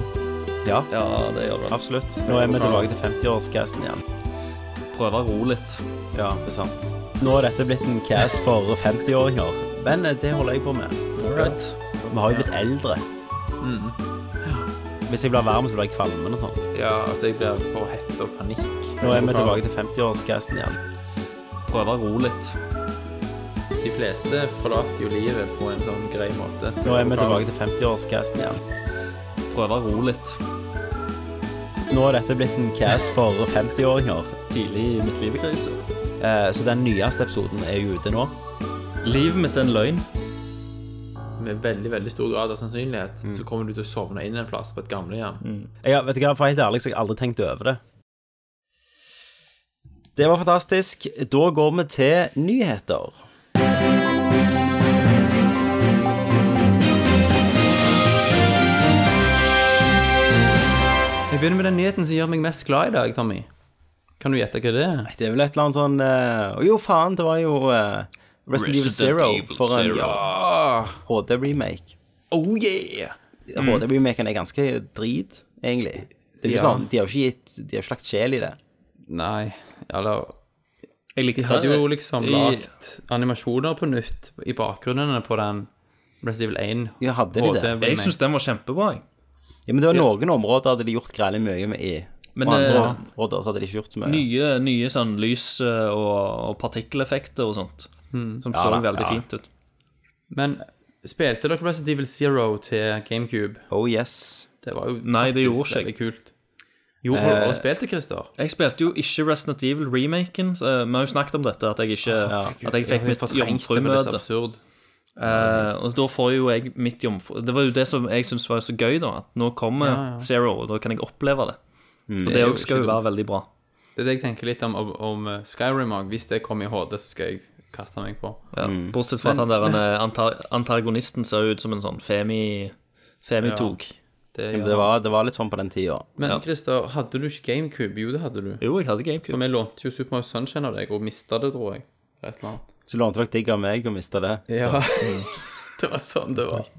Speaker 2: Ja,
Speaker 3: Ja, det gjør det.
Speaker 2: absolutt. Nå er vi tilbake til 50-årscasten igjen.
Speaker 3: Prøve å ro litt.
Speaker 2: Ja, det er sant. Nå er dette blitt en cast for 50-åringer, men eh, det holder jeg på med.
Speaker 3: All right.
Speaker 2: Vi har jo blitt eldre. Mm. Hvis jeg blir varm, så blir jeg kvalmen og sånn.
Speaker 1: Ja, altså, jeg blir for hett og panikk.
Speaker 2: Nå er vi tilbake til 50-årscasten igjen.
Speaker 3: Prøve å ro litt.
Speaker 1: De fleste forlater jo livet på en sånn grei måte.
Speaker 2: Nå er vi tilbake til 50-årscasten igjen.
Speaker 3: Prøve å ro litt.
Speaker 2: Nå er dette blitt en cast for 50-åringer,
Speaker 3: Tidlig i mitt liv-krise.
Speaker 2: eh, så den nyeste episoden er jo ute nå.
Speaker 3: Livet mitt er en løgn.
Speaker 1: Med veldig veldig stor grad av sannsynlighet så kommer du til å sovne inn en plass på et gamlehjem.
Speaker 2: Jeg, har- vet du hva, for å være helt ærlig, så har jeg aldri tenkt over det. Det var fantastisk. Da går vi til nyheter.
Speaker 1: Jeg begynner med den nyheten som gjør meg mest glad i dag, Tommy. Kan du gjette hva det er?
Speaker 2: Det er vel et eller annet sånn eh, Jo, faen, det var jo eh, Resident Evil Zero for en HD-remake.
Speaker 1: Oh yeah!
Speaker 2: HD-remaken er ganske drit, egentlig. Det er jo ikke
Speaker 1: Ja.
Speaker 2: sånn, De har jo ikke gitt De har ikke lagt sjel i det.
Speaker 1: Nei, eller
Speaker 3: Jeg likte
Speaker 1: De hadde jo liksom
Speaker 3: eh, I-
Speaker 1: lagt animasjoner på nytt i bakgrunnene på den Resident Evil 1.
Speaker 2: Ja, hadde de det?
Speaker 3: Jeg syns den var kjempebra. jeg.
Speaker 2: Ja, Men det var noen områder hadde de gjort greit mye med i.
Speaker 3: Men,
Speaker 2: og andre
Speaker 3: eh,
Speaker 2: områder så hadde de ikke gjort så mye.
Speaker 3: Nye, nye sånn lys eh, og, og partikkeleffekter og sånt.
Speaker 1: Mm.
Speaker 3: Som så
Speaker 2: da,
Speaker 3: veldig
Speaker 2: ja.
Speaker 3: fint ut.
Speaker 1: Men spilte dere Resident Evil Zero til GameCube?
Speaker 2: Oh yes.
Speaker 1: Det var jo
Speaker 3: Nei, det gjorde
Speaker 1: faktisk
Speaker 3: ikke jeg. Eh,
Speaker 1: veldig kult. Jo, har du spilt det, Christer?
Speaker 3: Jeg spilte jo ikke Resident Evil-remaken. så, eh, Vi har jo snakket om dette, at jeg ikke At jeg
Speaker 1: Gud,
Speaker 3: fikk
Speaker 1: Ah, har
Speaker 3: mitt
Speaker 1: fortrengt det, men det er så
Speaker 3: jomfrumøte.
Speaker 1: absurd.
Speaker 3: Eh, og da får jo jeg mitt jomfru... Det var jo det som jeg syntes var så gøy, da. At nå kommer Zero, og da kan jeg oppleve det. For det
Speaker 1: Mm. er jo
Speaker 3: også skal
Speaker 1: ikke
Speaker 3: jo være veldig bra.
Speaker 1: Det er det jeg tenker litt om, om, om Skyrim òg. Hvis det kommer i HD, så skal jeg kaste meg på.
Speaker 3: Ja. Bortsett fra at han der han, eh, anta- antagonisten ser ut som en sånn femi... Femitog.
Speaker 1: Det,
Speaker 2: Men Det var, det var litt sånn på den tida.
Speaker 1: Men Christer, hadde du ikke GameCube? Jo, det hadde du.
Speaker 3: Jo, jeg hadde GameCube.
Speaker 1: For vi lånte jo Super Mario Sunshine av deg, og mista det, tror jeg. Et eller annet.
Speaker 2: Så lånte dere digg av meg og mista det.
Speaker 1: Ja. det var sånn det var.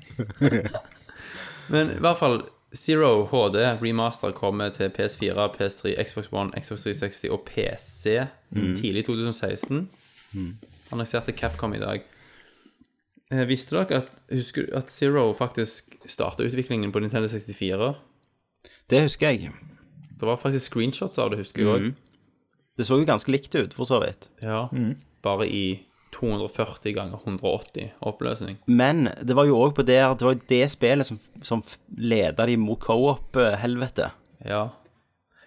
Speaker 1: Men i hvert fall Zero HD remaster kommer til PS4, PS3, Xbox One, Xbox 360 og PC tidlig i 2016. Annonserte Capcom i dag. Eh, visste dere at, husker, du at Zero faktisk starta utviklingen på Nintendo 64?
Speaker 2: Det husker jeg.
Speaker 1: Det var faktisk screenshots av det, husker jeg òg.
Speaker 2: Det så jo ganske likt ut, for så vidt.
Speaker 1: Ja,
Speaker 2: Mm.
Speaker 1: bare i 240 ganger 180 oppløsning.
Speaker 2: Men det var jo òg på det Det var jo det spillet som, som leda de mot eh, co-op-helvete.
Speaker 1: Ja.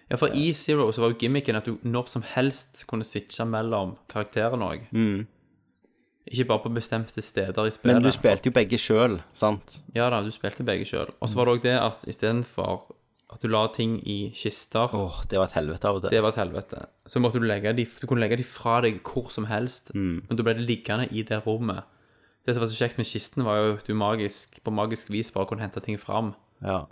Speaker 1: ja, for i Zero så var jo gimmicken at du når som helst kunne switche mellom karakterene òg. Ikke bare på bestemte steder i spillet.
Speaker 2: Mm. Men du spilte jo begge sjøl, sant?
Speaker 1: Ja da, du spilte begge sjøl.
Speaker 2: Mm.
Speaker 1: Og så var det òg det at istedenfor at du la ting i kister
Speaker 2: Åh, det var et helvete av og til.
Speaker 1: Det var et helvete. Så måtte du legge de, du kunne legge de fra deg hvor som helst,
Speaker 2: Mm.
Speaker 1: men da ble det liggende i det rommet. Det som var så kjekt med kisten, var jo at du magisk, på magisk vis bare kunne hente ting fram.
Speaker 2: Ja.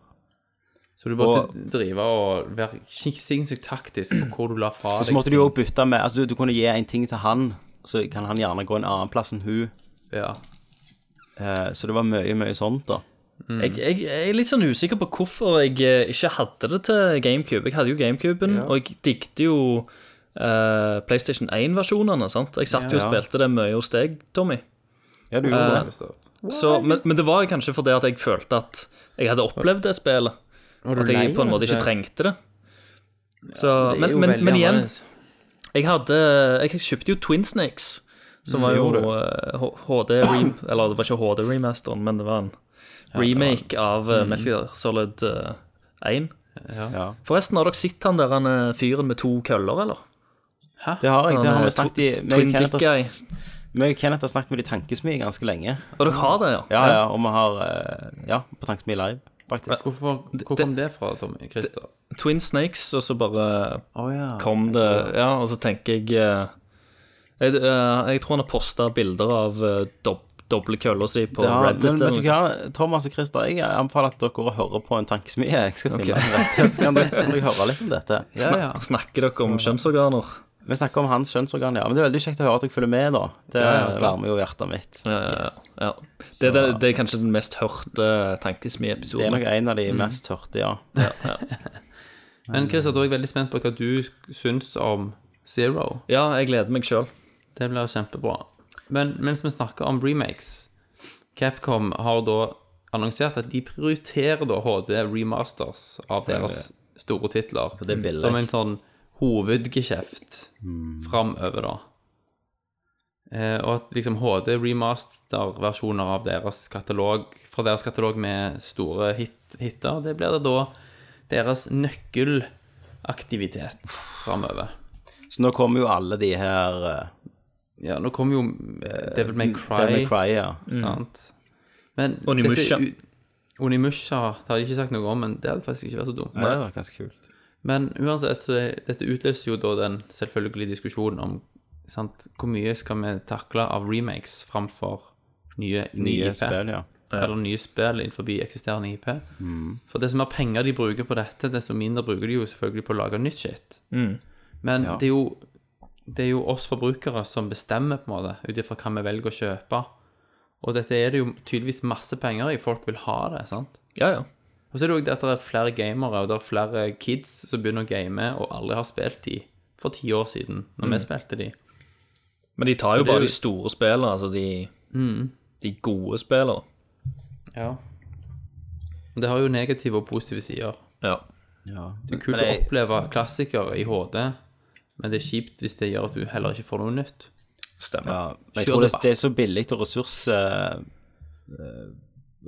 Speaker 1: Så du måtte drive og være sik- sinnssykt taktisk på hvor du la fra deg.
Speaker 2: Så måtte du jo bytte med Altså, du, du kunne gi en ting til han, så kan han gjerne gå en annen plass enn hun.
Speaker 1: Ja.
Speaker 2: Eh, så det var mye, mye sånt, da. Mm.
Speaker 3: Jeg, jeg, jeg er litt sånn usikker på hvorfor jeg eh, ikke hadde det til GameCube. Jeg hadde jo GameCuben, og jeg digget jo eh, PlayStation 1-versjonene. sant? Jeg satt jo og
Speaker 2: Ja.
Speaker 3: spilte det mye hos deg, Tommy.
Speaker 2: Ja, du gjorde det.
Speaker 3: Så, men, men det var kanskje fordi at jeg følte at jeg hadde opplevd det spillet.
Speaker 1: Var altså?
Speaker 3: At jeg på en måte ikke trengte det. Så, men, men, men igjen, jeg hadde Jeg kjøpte jo Twinsnakes, som var jo
Speaker 1: gjorde
Speaker 3: eh, H- HD rem, Eller det var ikke HD remasteren, men det var en remake av eh, Metal Gear Solid eh, 1.
Speaker 2: Ja.
Speaker 3: Forresten, har dere sett han der han, eh, fyren med to køller, eller?
Speaker 2: Det har jeg. Det har
Speaker 3: Han er
Speaker 2: vi snakket i
Speaker 3: tw-
Speaker 2: meg og
Speaker 3: twin
Speaker 2: Kenneth
Speaker 3: dick
Speaker 2: har
Speaker 3: guy.
Speaker 2: s- meg og Kenneth har snakket med de tankesmiene ganske lenge.
Speaker 3: Og dere har det, ja?
Speaker 2: Ja, ja, og vi har eh, Ja, på Tankesmi Live, faktisk.
Speaker 1: Hvorfor, hvor kom det fra, Tommy? Christer?
Speaker 3: Twin Snakes, og så bare
Speaker 1: Å ja.
Speaker 3: kom det Ja, og så tenker jeg eh, Jeg, eh, jeg tror han har posta bilder av eh, dob doble kølla si på
Speaker 2: Det har,
Speaker 3: Reddit.
Speaker 2: men
Speaker 3: eller
Speaker 2: vet
Speaker 3: noe
Speaker 2: du hva, Thomas og Christer, jeg anbefaler at dere hører på en tankesmi. Jeg skal finne en rett til, så kan dere, kan dere høre litt om dette.
Speaker 3: sånt. Snak- Snakker dere om kjønnsorganer?
Speaker 2: Vi snakker om hans kjønnsorgan, ja. Men det er veldig kjekt å høre at dere følger med, da. Det varmer jo hjertet mitt.
Speaker 3: Ja, ja, Eh, ja. Det, er det, det er kanskje den mest hørte
Speaker 2: Det er
Speaker 3: tankesmiepisoden.
Speaker 2: nok Mm. en av de mest hørte, ja.
Speaker 1: Men
Speaker 2: eh,
Speaker 1: Christer, da er jeg veldig spent på hva du syns om Zero.
Speaker 3: Ja, jeg gleder meg sjøl.
Speaker 1: Det blir kjempebra. Men mens vi snakker om remakes Capcom har da annonsert at de prioriterer da HD remasters av deres store titler.
Speaker 2: det er billig.
Speaker 1: Som en sånn hovedgeskjeft framover, da. Eh, og at liksom HD remaster-versjoner av deres katalog fra deres katalog med store hit hitter, det blir det da deres nøkkelaktivitet framover.
Speaker 2: Så nå kommer jo alle de her uh,
Speaker 1: Ja, nå kommer jo eh, Devil May Cry.
Speaker 2: Devil May Cry, ja.
Speaker 1: Sant? Mm. Men
Speaker 3: Onimusha.
Speaker 1: dette u- Onimusha det har de ikke sagt noe om, men det hadde faktisk ikke vært så dumt.
Speaker 2: Det var ganske kult.
Speaker 1: Men uansett, så er- dette utløser jo da den selvfølgelige diskusjonen om sant, hvor mye skal vi takle av remakes framfor nye, nye,
Speaker 2: Nye
Speaker 1: IP,
Speaker 2: spill, ja.
Speaker 1: Eller nye spill innenfor eksisterende IP. For desto mer penger de bruker på dette, desto mindre bruker de jo selvfølgelig på å lage nytt shit. Men det, er jo, det er jo oss forbrukere som bestemmer, på en måte, ut ifra hva vi velger å kjøpe. Og dette er det jo tydeligvis masse penger i. Folk vil ha det, sant?
Speaker 3: Ja, ja.
Speaker 1: Og så er det jo det at det er flere gamere, og det er flere kids som begynner å game og aldri har spilt de for ti år siden, når vi spilte de.
Speaker 3: Men de tar jo
Speaker 1: er
Speaker 3: bare
Speaker 1: jo-
Speaker 3: de store spillene, altså de,
Speaker 2: Mm.
Speaker 3: de gode spillene.
Speaker 1: Ja. Men det har jo negative og positive sider.
Speaker 3: Ja.
Speaker 2: ja.
Speaker 1: Det er kult å oppleve klassikere i HD, men det er kjipt hvis det gjør at du heller ikke får noe nytt.
Speaker 3: Stemmer.
Speaker 2: Ja, men jeg
Speaker 1: Kjør
Speaker 2: tror det,
Speaker 1: debatt.
Speaker 2: det er så billig og ressurs eh, eh,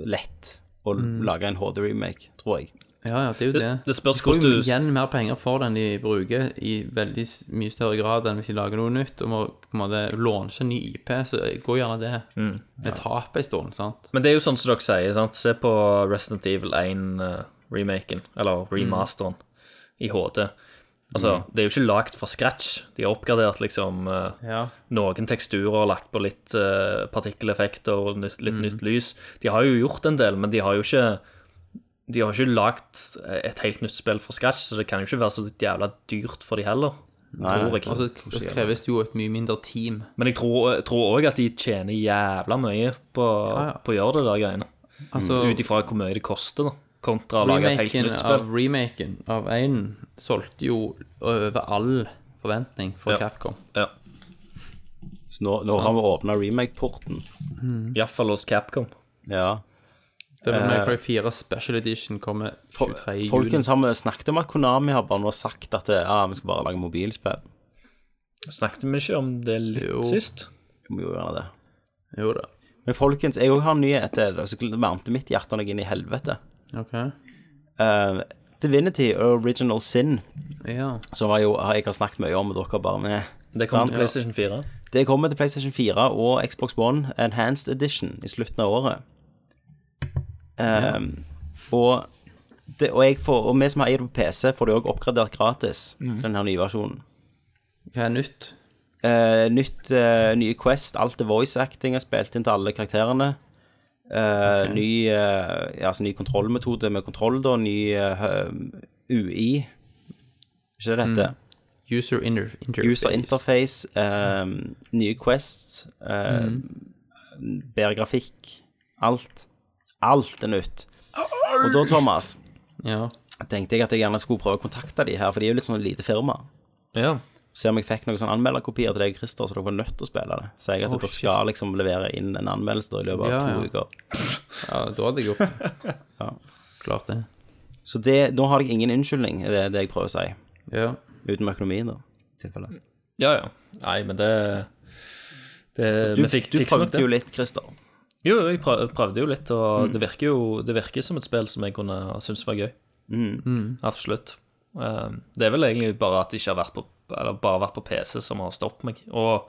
Speaker 2: lett å lage en HD-remake, tror jeg.
Speaker 1: Ja, ja, det er jo det.
Speaker 3: det spørs
Speaker 1: de får jo
Speaker 3: hvordan du-
Speaker 1: igjen mer penger for den de bruker, i veldig s- mye større grad enn hvis de lager noe nytt. Og må på en måte launche en ny IP, så går gjerne det.
Speaker 3: Mm.
Speaker 1: Det taper en stund, sant.
Speaker 3: Men det er jo sånn som dere sier, sant? se på Resident Evil 1-remaken,
Speaker 2: Mm.
Speaker 3: eller remasteren, i HD. Altså, det er jo ikke lagt fra scratch. De har oppgradert liksom eh,
Speaker 1: Ja.
Speaker 3: noen teksturer, lagt på litt eh, partikkeleffekter og nytt, litt
Speaker 1: Mm.
Speaker 3: nytt lys. De har jo gjort en del, men de har jo ikke de har ikke lagt et helt nytt spill fra scratch, så det kan jo ikke være så jævla dyrt for de heller.
Speaker 2: Nei, nei.
Speaker 3: tror jeg.
Speaker 1: Og så kreves det jo et mye mindre team.
Speaker 3: Men jeg tror òg at de tjener jævla mye på,
Speaker 1: ja.
Speaker 3: på å gjøre det der greiene.
Speaker 1: Altså,
Speaker 3: Ut ifra hvor mye det koster, da. Kontra å lage et helt
Speaker 1: remaken
Speaker 3: nytt spill.
Speaker 1: av, remaken av Einen solgte jo over all forventning for
Speaker 3: Ja.
Speaker 1: Capcom.
Speaker 3: Ja.
Speaker 2: Så nå, nå har vi åpna remake-porten.
Speaker 1: Mm.
Speaker 3: Iallfall hos Capcom.
Speaker 2: Ja.
Speaker 1: Det var Cry 4 Special Edition kommer 23. juni.
Speaker 2: Eh, Folkens, har vi snakket om at Konami har bare nå sagt at det, ja, vi skal bare lage mobilspill?
Speaker 3: Snakket vi ikke om det litt
Speaker 1: Jo.
Speaker 3: sist?
Speaker 2: Vi må jo gjøre det.
Speaker 1: Jo da.
Speaker 2: Men folkens, jeg òg har en nyhet til dere, så varmte mitt hjerte noe inn i helvete.
Speaker 1: Ok.
Speaker 2: Eh, Divinity Original Sin,
Speaker 1: Ja.
Speaker 2: som var jo, jeg har snakket mye om, og dere bare med.
Speaker 3: Det kom til PlayStation 4.
Speaker 2: Det kommer til PlayStation 4 og Xbox One Enhanced Edition i slutten av året. Ehm, og, det, og, jeg får, og vi som har eier det på PC, får det òg oppgradert gratis til denne nye versjonen.
Speaker 1: Hva er nytt?
Speaker 2: Eh, nytt, eh, nye Quest, alt er voice acting, er spilt inn til alle karakterene. Eh, ny, eh, ja, altså, ny kontrollmetode med kontroll, da. Ny eh, hø- UI. Ikke det dette?
Speaker 1: User inter interface.
Speaker 2: User interface, ehm, nye quests, eh, bedre grafikk. Alt. Alt er nytt. Og da, Thomas,
Speaker 1: Ja.
Speaker 2: tenkte jeg at jeg gjerne skulle prøve å kontakte de her, for de er jo litt sånn lite firma.
Speaker 3: Ja.
Speaker 2: Se om jeg fikk noen sånn anmelderkopier til deg, Christer, så dere var nødt til å spille det. Så jeg at
Speaker 1: Oh,
Speaker 2: dere
Speaker 1: shit.
Speaker 2: skal liksom levere inn en anmeldelse da i løpet av
Speaker 1: Ja,
Speaker 2: to
Speaker 1: ja.
Speaker 2: uker.
Speaker 1: ja, da hadde jeg gjort det.
Speaker 2: Ja.
Speaker 1: Klart det.
Speaker 2: Så det, nå har jeg ingen unnskyldning, er det, det jeg prøver å si.
Speaker 1: Ja.
Speaker 2: Uten økonomien, da. i tilfelle.
Speaker 3: ja, ja. Nei, men det, det
Speaker 2: Du,
Speaker 3: Vi fikk
Speaker 2: du
Speaker 3: fiksa nok
Speaker 2: prøvde
Speaker 3: det.
Speaker 2: jo litt, Mm. Christer.
Speaker 3: Jo, jeg prøv, prøvde jo litt, og det virker jo det virker som et spill som jeg kunne synes var gøy.
Speaker 2: Mm.
Speaker 1: Mm.
Speaker 3: Absolutt. Um, det er vel egentlig bare at jeg ikke har vært på, eller bare vært på PC som har stoppet meg. Og,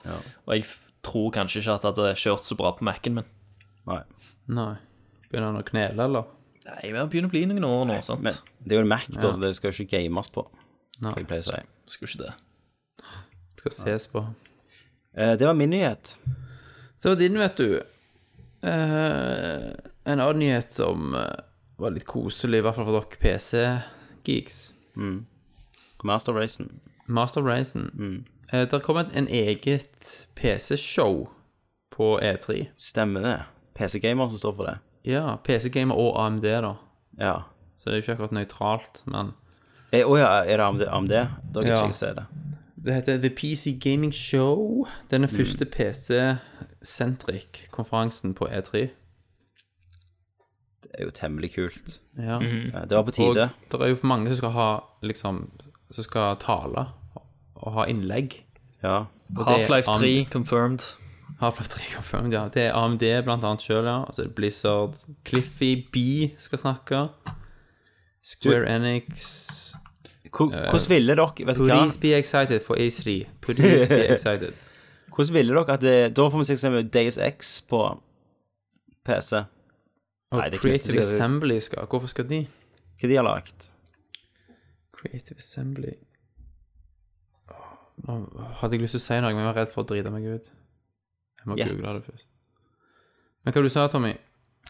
Speaker 3: og jeg f- tror kanskje ikke at det hadde kjørt så bra på Mac-en min.
Speaker 2: Nei.
Speaker 1: Nei. Begynner han å knele, eller?
Speaker 3: Nei, jeg begynner å bli noen år nå, sant?
Speaker 2: Men det er jo en Mac, da, så det skal jo ikke games på. Som jeg pleier å si.
Speaker 3: Skulle ikke det.
Speaker 1: Skal ses på.
Speaker 2: Eh, det var min nyhet.
Speaker 1: Det var din, vet du. Eh, en annen nyhet som eh, var litt koselig, i hvert fall for dere PC-geeks.
Speaker 2: Master Racing.
Speaker 1: Master Racing.
Speaker 2: Mm.
Speaker 1: Eh, der kom et en eget PC-show på E E3.
Speaker 2: Stemmer det. PC Gamer som står for det.
Speaker 1: Ja, PC-gamer og AMD, da.
Speaker 2: Ja.
Speaker 1: Så det er jo ikke akkurat nøytralt, men
Speaker 2: Eh, Å ja, er det AMD? AMD? Da kan
Speaker 1: Ja.
Speaker 2: ikke jeg se det.
Speaker 1: Det heter The PC Gaming Show. Den er første PC-sentric-konferansen på E E3.
Speaker 2: Det er jo temmelig kult.
Speaker 1: Ja.
Speaker 2: Eh, Det var på
Speaker 1: Mm. Og
Speaker 2: tide.
Speaker 1: det er jo mange som skal ha liksom Som skal tale og ha innlegg.
Speaker 2: Ja.
Speaker 1: Og det er
Speaker 3: Half-Life
Speaker 1: AMD
Speaker 3: 3 confirmed.
Speaker 1: Half-Life 3 confirmed, ja. Det er AMD blant annet selv, ja. Altså det er Blizzard. Cliffy B skal snakke. Square Enix.
Speaker 2: Hvor-
Speaker 1: Eh,
Speaker 2: Hvordan ville dere Vet du hva?
Speaker 1: Please be excited for A3. Please be excited.
Speaker 2: Hvordan ville dere at det Da får vi se eksempel Days X på PC.
Speaker 1: Og
Speaker 2: Nei, det er ikke
Speaker 1: Creative
Speaker 2: sikkert.
Speaker 1: Assembly skal Hvorfor skal de?
Speaker 2: Hva de har lagd.
Speaker 1: Creative Assembly Åh, Nå hadde jeg lyst til å si noe, men jeg var redd for å drite meg ut. Jeg må
Speaker 2: Gjett.
Speaker 1: google det først. Men hva du sa du, Tommy?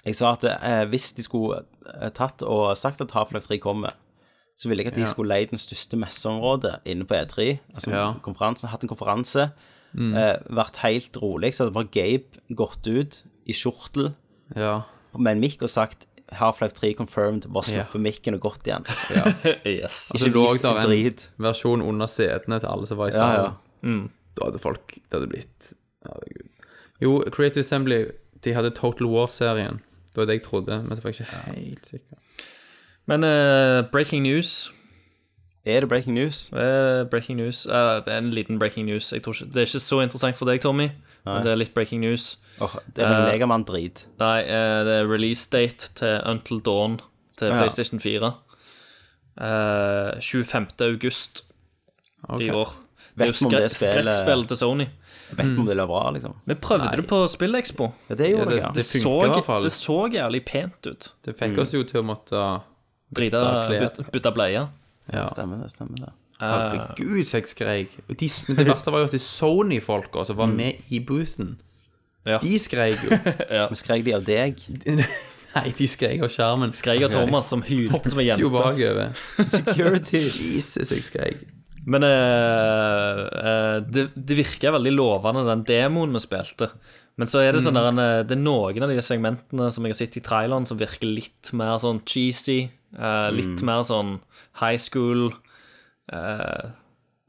Speaker 2: Jeg sa at eh, hvis de skulle eh, tatt og sagt at Half-Life 3 kommer, så ville jeg at de
Speaker 1: Ja.
Speaker 2: skulle leid den største messeområdet inne på E3, altså
Speaker 1: Ja. Mm.
Speaker 2: konferansen, hatt en konferanse, eh, vært helt rolig, så hadde bare Gabe gått ut i skjortel
Speaker 1: Ja.
Speaker 2: med en mikk og sagt Half-Life 3 confirmed, bare
Speaker 1: Ja.
Speaker 2: sluppet mikken og gått igjen.
Speaker 3: Yes.
Speaker 1: Så
Speaker 2: Ikke
Speaker 1: lå
Speaker 2: vist
Speaker 1: der
Speaker 2: en
Speaker 1: en
Speaker 2: drit.
Speaker 1: versjon under setene til alle som var i
Speaker 2: Ja, Mm.
Speaker 1: salen.
Speaker 2: ja.
Speaker 1: Da hadde folk Det hadde blitt Herregud. Jo, Creative Assembly De hadde Total War-serien. Det var det jeg trodde, men så var jeg ikke helt sikker.
Speaker 3: Men eh, breaking news
Speaker 2: Er det breaking news?
Speaker 3: Eh, breaking news. Eh, det er en liten breaking news. Jeg tror ikke, det er ikke så interessant for deg, Tommy. Men det er litt breaking news.
Speaker 2: Åh, det er
Speaker 1: Eh,
Speaker 2: en Megamann-drit.
Speaker 3: Nei, eh, det er release date til Until Dawn til
Speaker 2: Ja.
Speaker 3: PlayStation 4. Eh, 25. august
Speaker 1: Ok.
Speaker 3: i år.
Speaker 2: Vet
Speaker 3: Det er jo
Speaker 2: vi om det
Speaker 3: skrek,
Speaker 2: spillet-
Speaker 3: skrekkspill til Sony.
Speaker 2: Vet vi om det blir bra, liksom?
Speaker 3: Vi prøvde det på SpillExpo.
Speaker 2: Ja, det gjorde
Speaker 1: mm. det-
Speaker 2: jeg, ja.
Speaker 1: det-
Speaker 3: så,
Speaker 1: funker i hvert fall.
Speaker 3: det så jævlig pent ut.
Speaker 1: Det fikk oss jo til å måtte
Speaker 3: Drita
Speaker 1: klær.
Speaker 3: byt- bytta bleie.
Speaker 1: Ja.
Speaker 2: Stemmer det, stemmer det.
Speaker 1: Herregud, så jeg skrek. Og de, men det verste var jo at de Sony-folka som var med i boothen,
Speaker 3: Ja.
Speaker 1: de skrek jo.
Speaker 2: Men skrek de av deg?
Speaker 1: Nei, de skrek av skjermen.
Speaker 3: Skrek av Thomas som hylte som ei
Speaker 1: jo
Speaker 3: jente.
Speaker 1: bakover.
Speaker 2: Security!
Speaker 1: Jesus, jeg skrek.
Speaker 3: Men eh, eh, det, det virker veldig lovende, den demoen vi spilte. Men så er det
Speaker 1: Mm.
Speaker 3: sånn der, en, eh, det er noen av de segmentene som jeg har sett i traileren, som virker litt mer sånn cheesy. eh,
Speaker 1: Mm.
Speaker 3: litt mer sånn high school eh,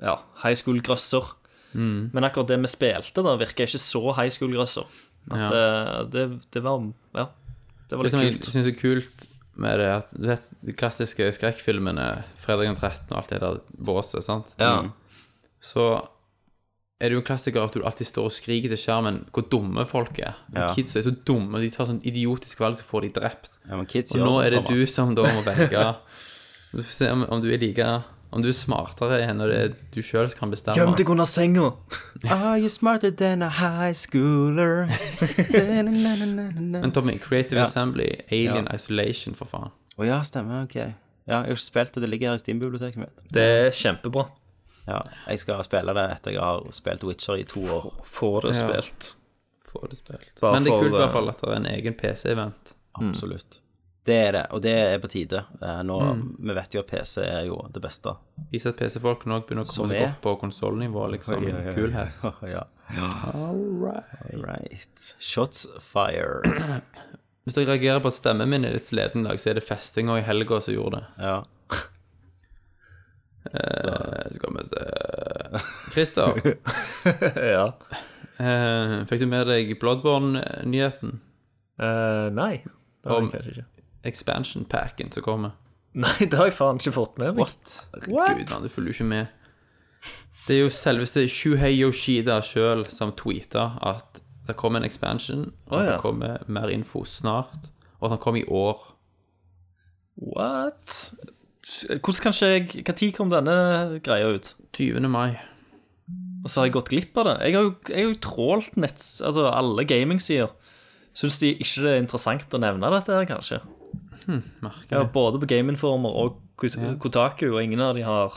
Speaker 3: Ja, high school-grøsser.
Speaker 1: Mm.
Speaker 3: Men akkurat det vi spilte, da virker ikke så high school-grøsser. At eh, det, det var Ja, det var
Speaker 1: Det
Speaker 3: litt
Speaker 1: som jeg
Speaker 3: kult.
Speaker 1: syns er kult med det, er at du vet de klassiske skrekkfilmene, 'Fredag den 13.' og alt det der båset, sant? Mm.
Speaker 3: Ja.
Speaker 1: Så er det jo en klassiker at du alltid står og skriker til skjermen hvor dumme folk er. De
Speaker 2: Ja.
Speaker 1: Kids er så dumme, de tar sånn idiotisk valg, så får de drept.
Speaker 2: Ja, men kids
Speaker 1: Og
Speaker 2: gjør
Speaker 1: nå er det
Speaker 2: Thomas.
Speaker 1: du som da må velge. Du får se om, om du er like Om du er smartere enn når det er du sjøl som kan bestemme.
Speaker 3: Gjem deg under senga!
Speaker 2: Are you smarter than a high schooler?
Speaker 1: Men Tommy, Creative
Speaker 2: Ja.
Speaker 1: Assembly, Alien Isolation, for faen.
Speaker 2: Å ja, stemmer. Ok. Ja, jeg har ikke spilt det. Det ligger her i Steam-biblioteket mitt.
Speaker 3: Det er kjempebra.
Speaker 2: Ja, jeg skal spille det etter jeg har spilt Witcher i to år.
Speaker 3: Få det spilt.
Speaker 1: Får det spilt.
Speaker 3: Bare
Speaker 1: Men det er
Speaker 3: for,
Speaker 1: kult i
Speaker 3: eh,
Speaker 1: hvert fall at det er en egen PC-event.
Speaker 2: Mm. Absolutt. Det er det, og det er på tide. Eh, Nå, Vi vet jo at PC er jo det beste.
Speaker 1: Viser at PC-folkene òg begynner å komme
Speaker 2: Som
Speaker 1: seg
Speaker 2: er-
Speaker 1: opp på konsollnivå, liksom. i Kulhet.
Speaker 2: ja. All right. Shots fire.
Speaker 1: Hvis dere reagerer på at stemmen min er litt sliten i dag, så er det festinga i helga som gjorde det.
Speaker 2: Ja.
Speaker 1: Eh, skal vi se Christer,
Speaker 3: Ja.
Speaker 1: eh, fikk du med deg Bloodborne-nyheten?
Speaker 3: Eh, nei. Det har
Speaker 1: Om-
Speaker 3: jeg kanskje ikke.
Speaker 1: Expansion packen som kommer?
Speaker 3: Nei, det har jeg faen ikke fått med meg.
Speaker 1: Herregud, man, du følger jo ikke med. Det er jo selveste Shuhei Yoshida sjøl som tweeta at det kommer en expansion, og
Speaker 3: Å,
Speaker 1: at
Speaker 3: ja.
Speaker 1: det kommer mer info snart, og at den kommer i år.
Speaker 3: What? Hvordan kan ikke jeg Når kom denne greia ut?
Speaker 1: 20. mai.
Speaker 3: Og så har jeg gått glipp av det. Jeg har jo, jeg har jo trålt netts, altså alle gamingsider. Syns de ikke det er interessant å nevne dette her, kanskje?
Speaker 2: Hm,
Speaker 1: Merker
Speaker 3: Ja,
Speaker 1: jeg.
Speaker 3: både på Gameinformer og Kot- Kotaku, og ingen av de har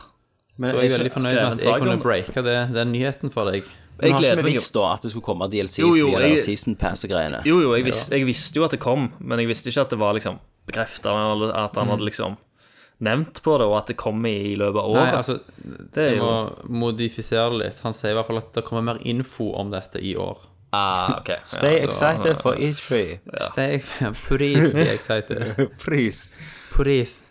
Speaker 2: Men
Speaker 1: Da er jeg
Speaker 2: ikke-
Speaker 1: veldig fornøyd
Speaker 3: skrev
Speaker 1: med
Speaker 3: en
Speaker 1: at
Speaker 3: sag
Speaker 1: jeg kunne
Speaker 3: om-
Speaker 1: breake det, den nyheten for deg.
Speaker 2: Men
Speaker 3: Jeg
Speaker 2: har
Speaker 3: gleder
Speaker 2: ikke vi
Speaker 3: meg jo.
Speaker 2: visst da at det skulle komme DLC
Speaker 3: Jo, jo,
Speaker 2: via jeg...
Speaker 3: jeg-
Speaker 2: Season Pass og greiene?
Speaker 3: Jo, jo, jeg, vis, jeg visste jo at det kom, men jeg visste ikke at det var liksom bekrefta, eller at
Speaker 2: Mm.
Speaker 3: han hadde liksom nevnt på det, og at det kom i løpet av
Speaker 1: Nei,
Speaker 3: året.
Speaker 1: altså,
Speaker 3: det er
Speaker 1: jeg
Speaker 3: jo
Speaker 1: må modifisere det litt. Han sier i hvert fall at det kommer mer info om dette i år.
Speaker 3: ah, ok. Ja,
Speaker 2: Stay
Speaker 3: så-
Speaker 2: excited for E E3.
Speaker 1: Stay, please be excited.
Speaker 2: Please.
Speaker 1: Please.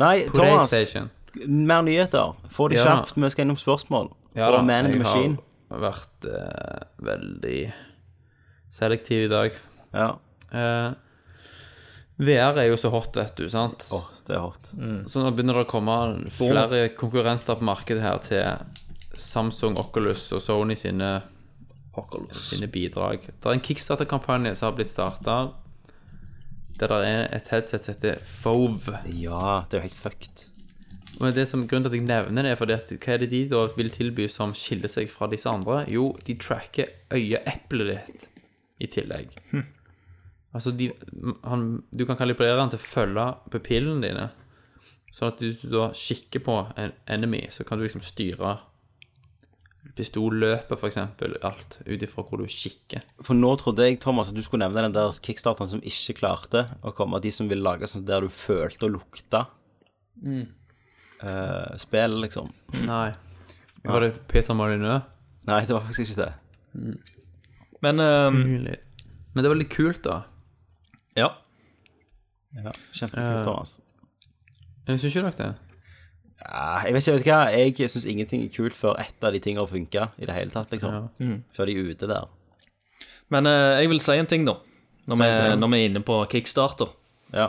Speaker 2: Nei, Thomas.
Speaker 1: PlayStation.
Speaker 2: Mer nyheter. Få de
Speaker 1: Ja.
Speaker 2: kjapt. Vi skal innom spørsmål.
Speaker 1: Ja da,
Speaker 2: og Man in the
Speaker 1: jeg
Speaker 2: Machine.
Speaker 1: har vært eh, veldig selektiv i dag.
Speaker 2: Ja.
Speaker 1: Eh, VR er jo så hot, vet du, sant?
Speaker 2: Åh, det er hot.
Speaker 1: Så nå begynner det å komme flere konkurrenter på markedet her til Samsung, Oculus og Sony sine, sine bidrag. Det er en Kickstarter-kampanje som har blitt starta, der det er et headset som heter Fove.
Speaker 2: Ja, det er jo helt fucked.
Speaker 1: Men det som grunnen til at jeg nevner det, er fordi at hva er det de da vil tilby som skiller seg fra disse andre? Jo, de tracker øyeeplet ditt i tillegg. Altså, de, han, du kan kalibrere den til å følge pupillene dine. Sånn at hvis du da kikker på en enemy, så kan du liksom styre pistolløpet, for eksempel, alt, ut ifra hvor du kikker.
Speaker 2: For nå trodde jeg, Thomas, at du skulle nevne den der kickstarteren som ikke klarte å komme. De som ville lage sånn der du følte og lukta
Speaker 1: Mm.
Speaker 2: eh, spill, liksom.
Speaker 1: Nei. Var det Peter Marineux?
Speaker 2: Nei, det var faktisk ikke det.
Speaker 3: Men ehm,
Speaker 1: Men det var litt kult, da.
Speaker 3: ja.
Speaker 1: Eh.
Speaker 2: Kjempekult, Thomas.
Speaker 1: Syns ikke dere det?
Speaker 2: Ja, Ah, jeg vet ikke, vet du hva. Jeg syns ingenting er kult før ett av de tingene funker i det hele tatt, liksom. Før de er ute der.
Speaker 3: Men eh, jeg vil si en ting, da. Når, vi, når vi er inne på kickstarter.
Speaker 2: Ja.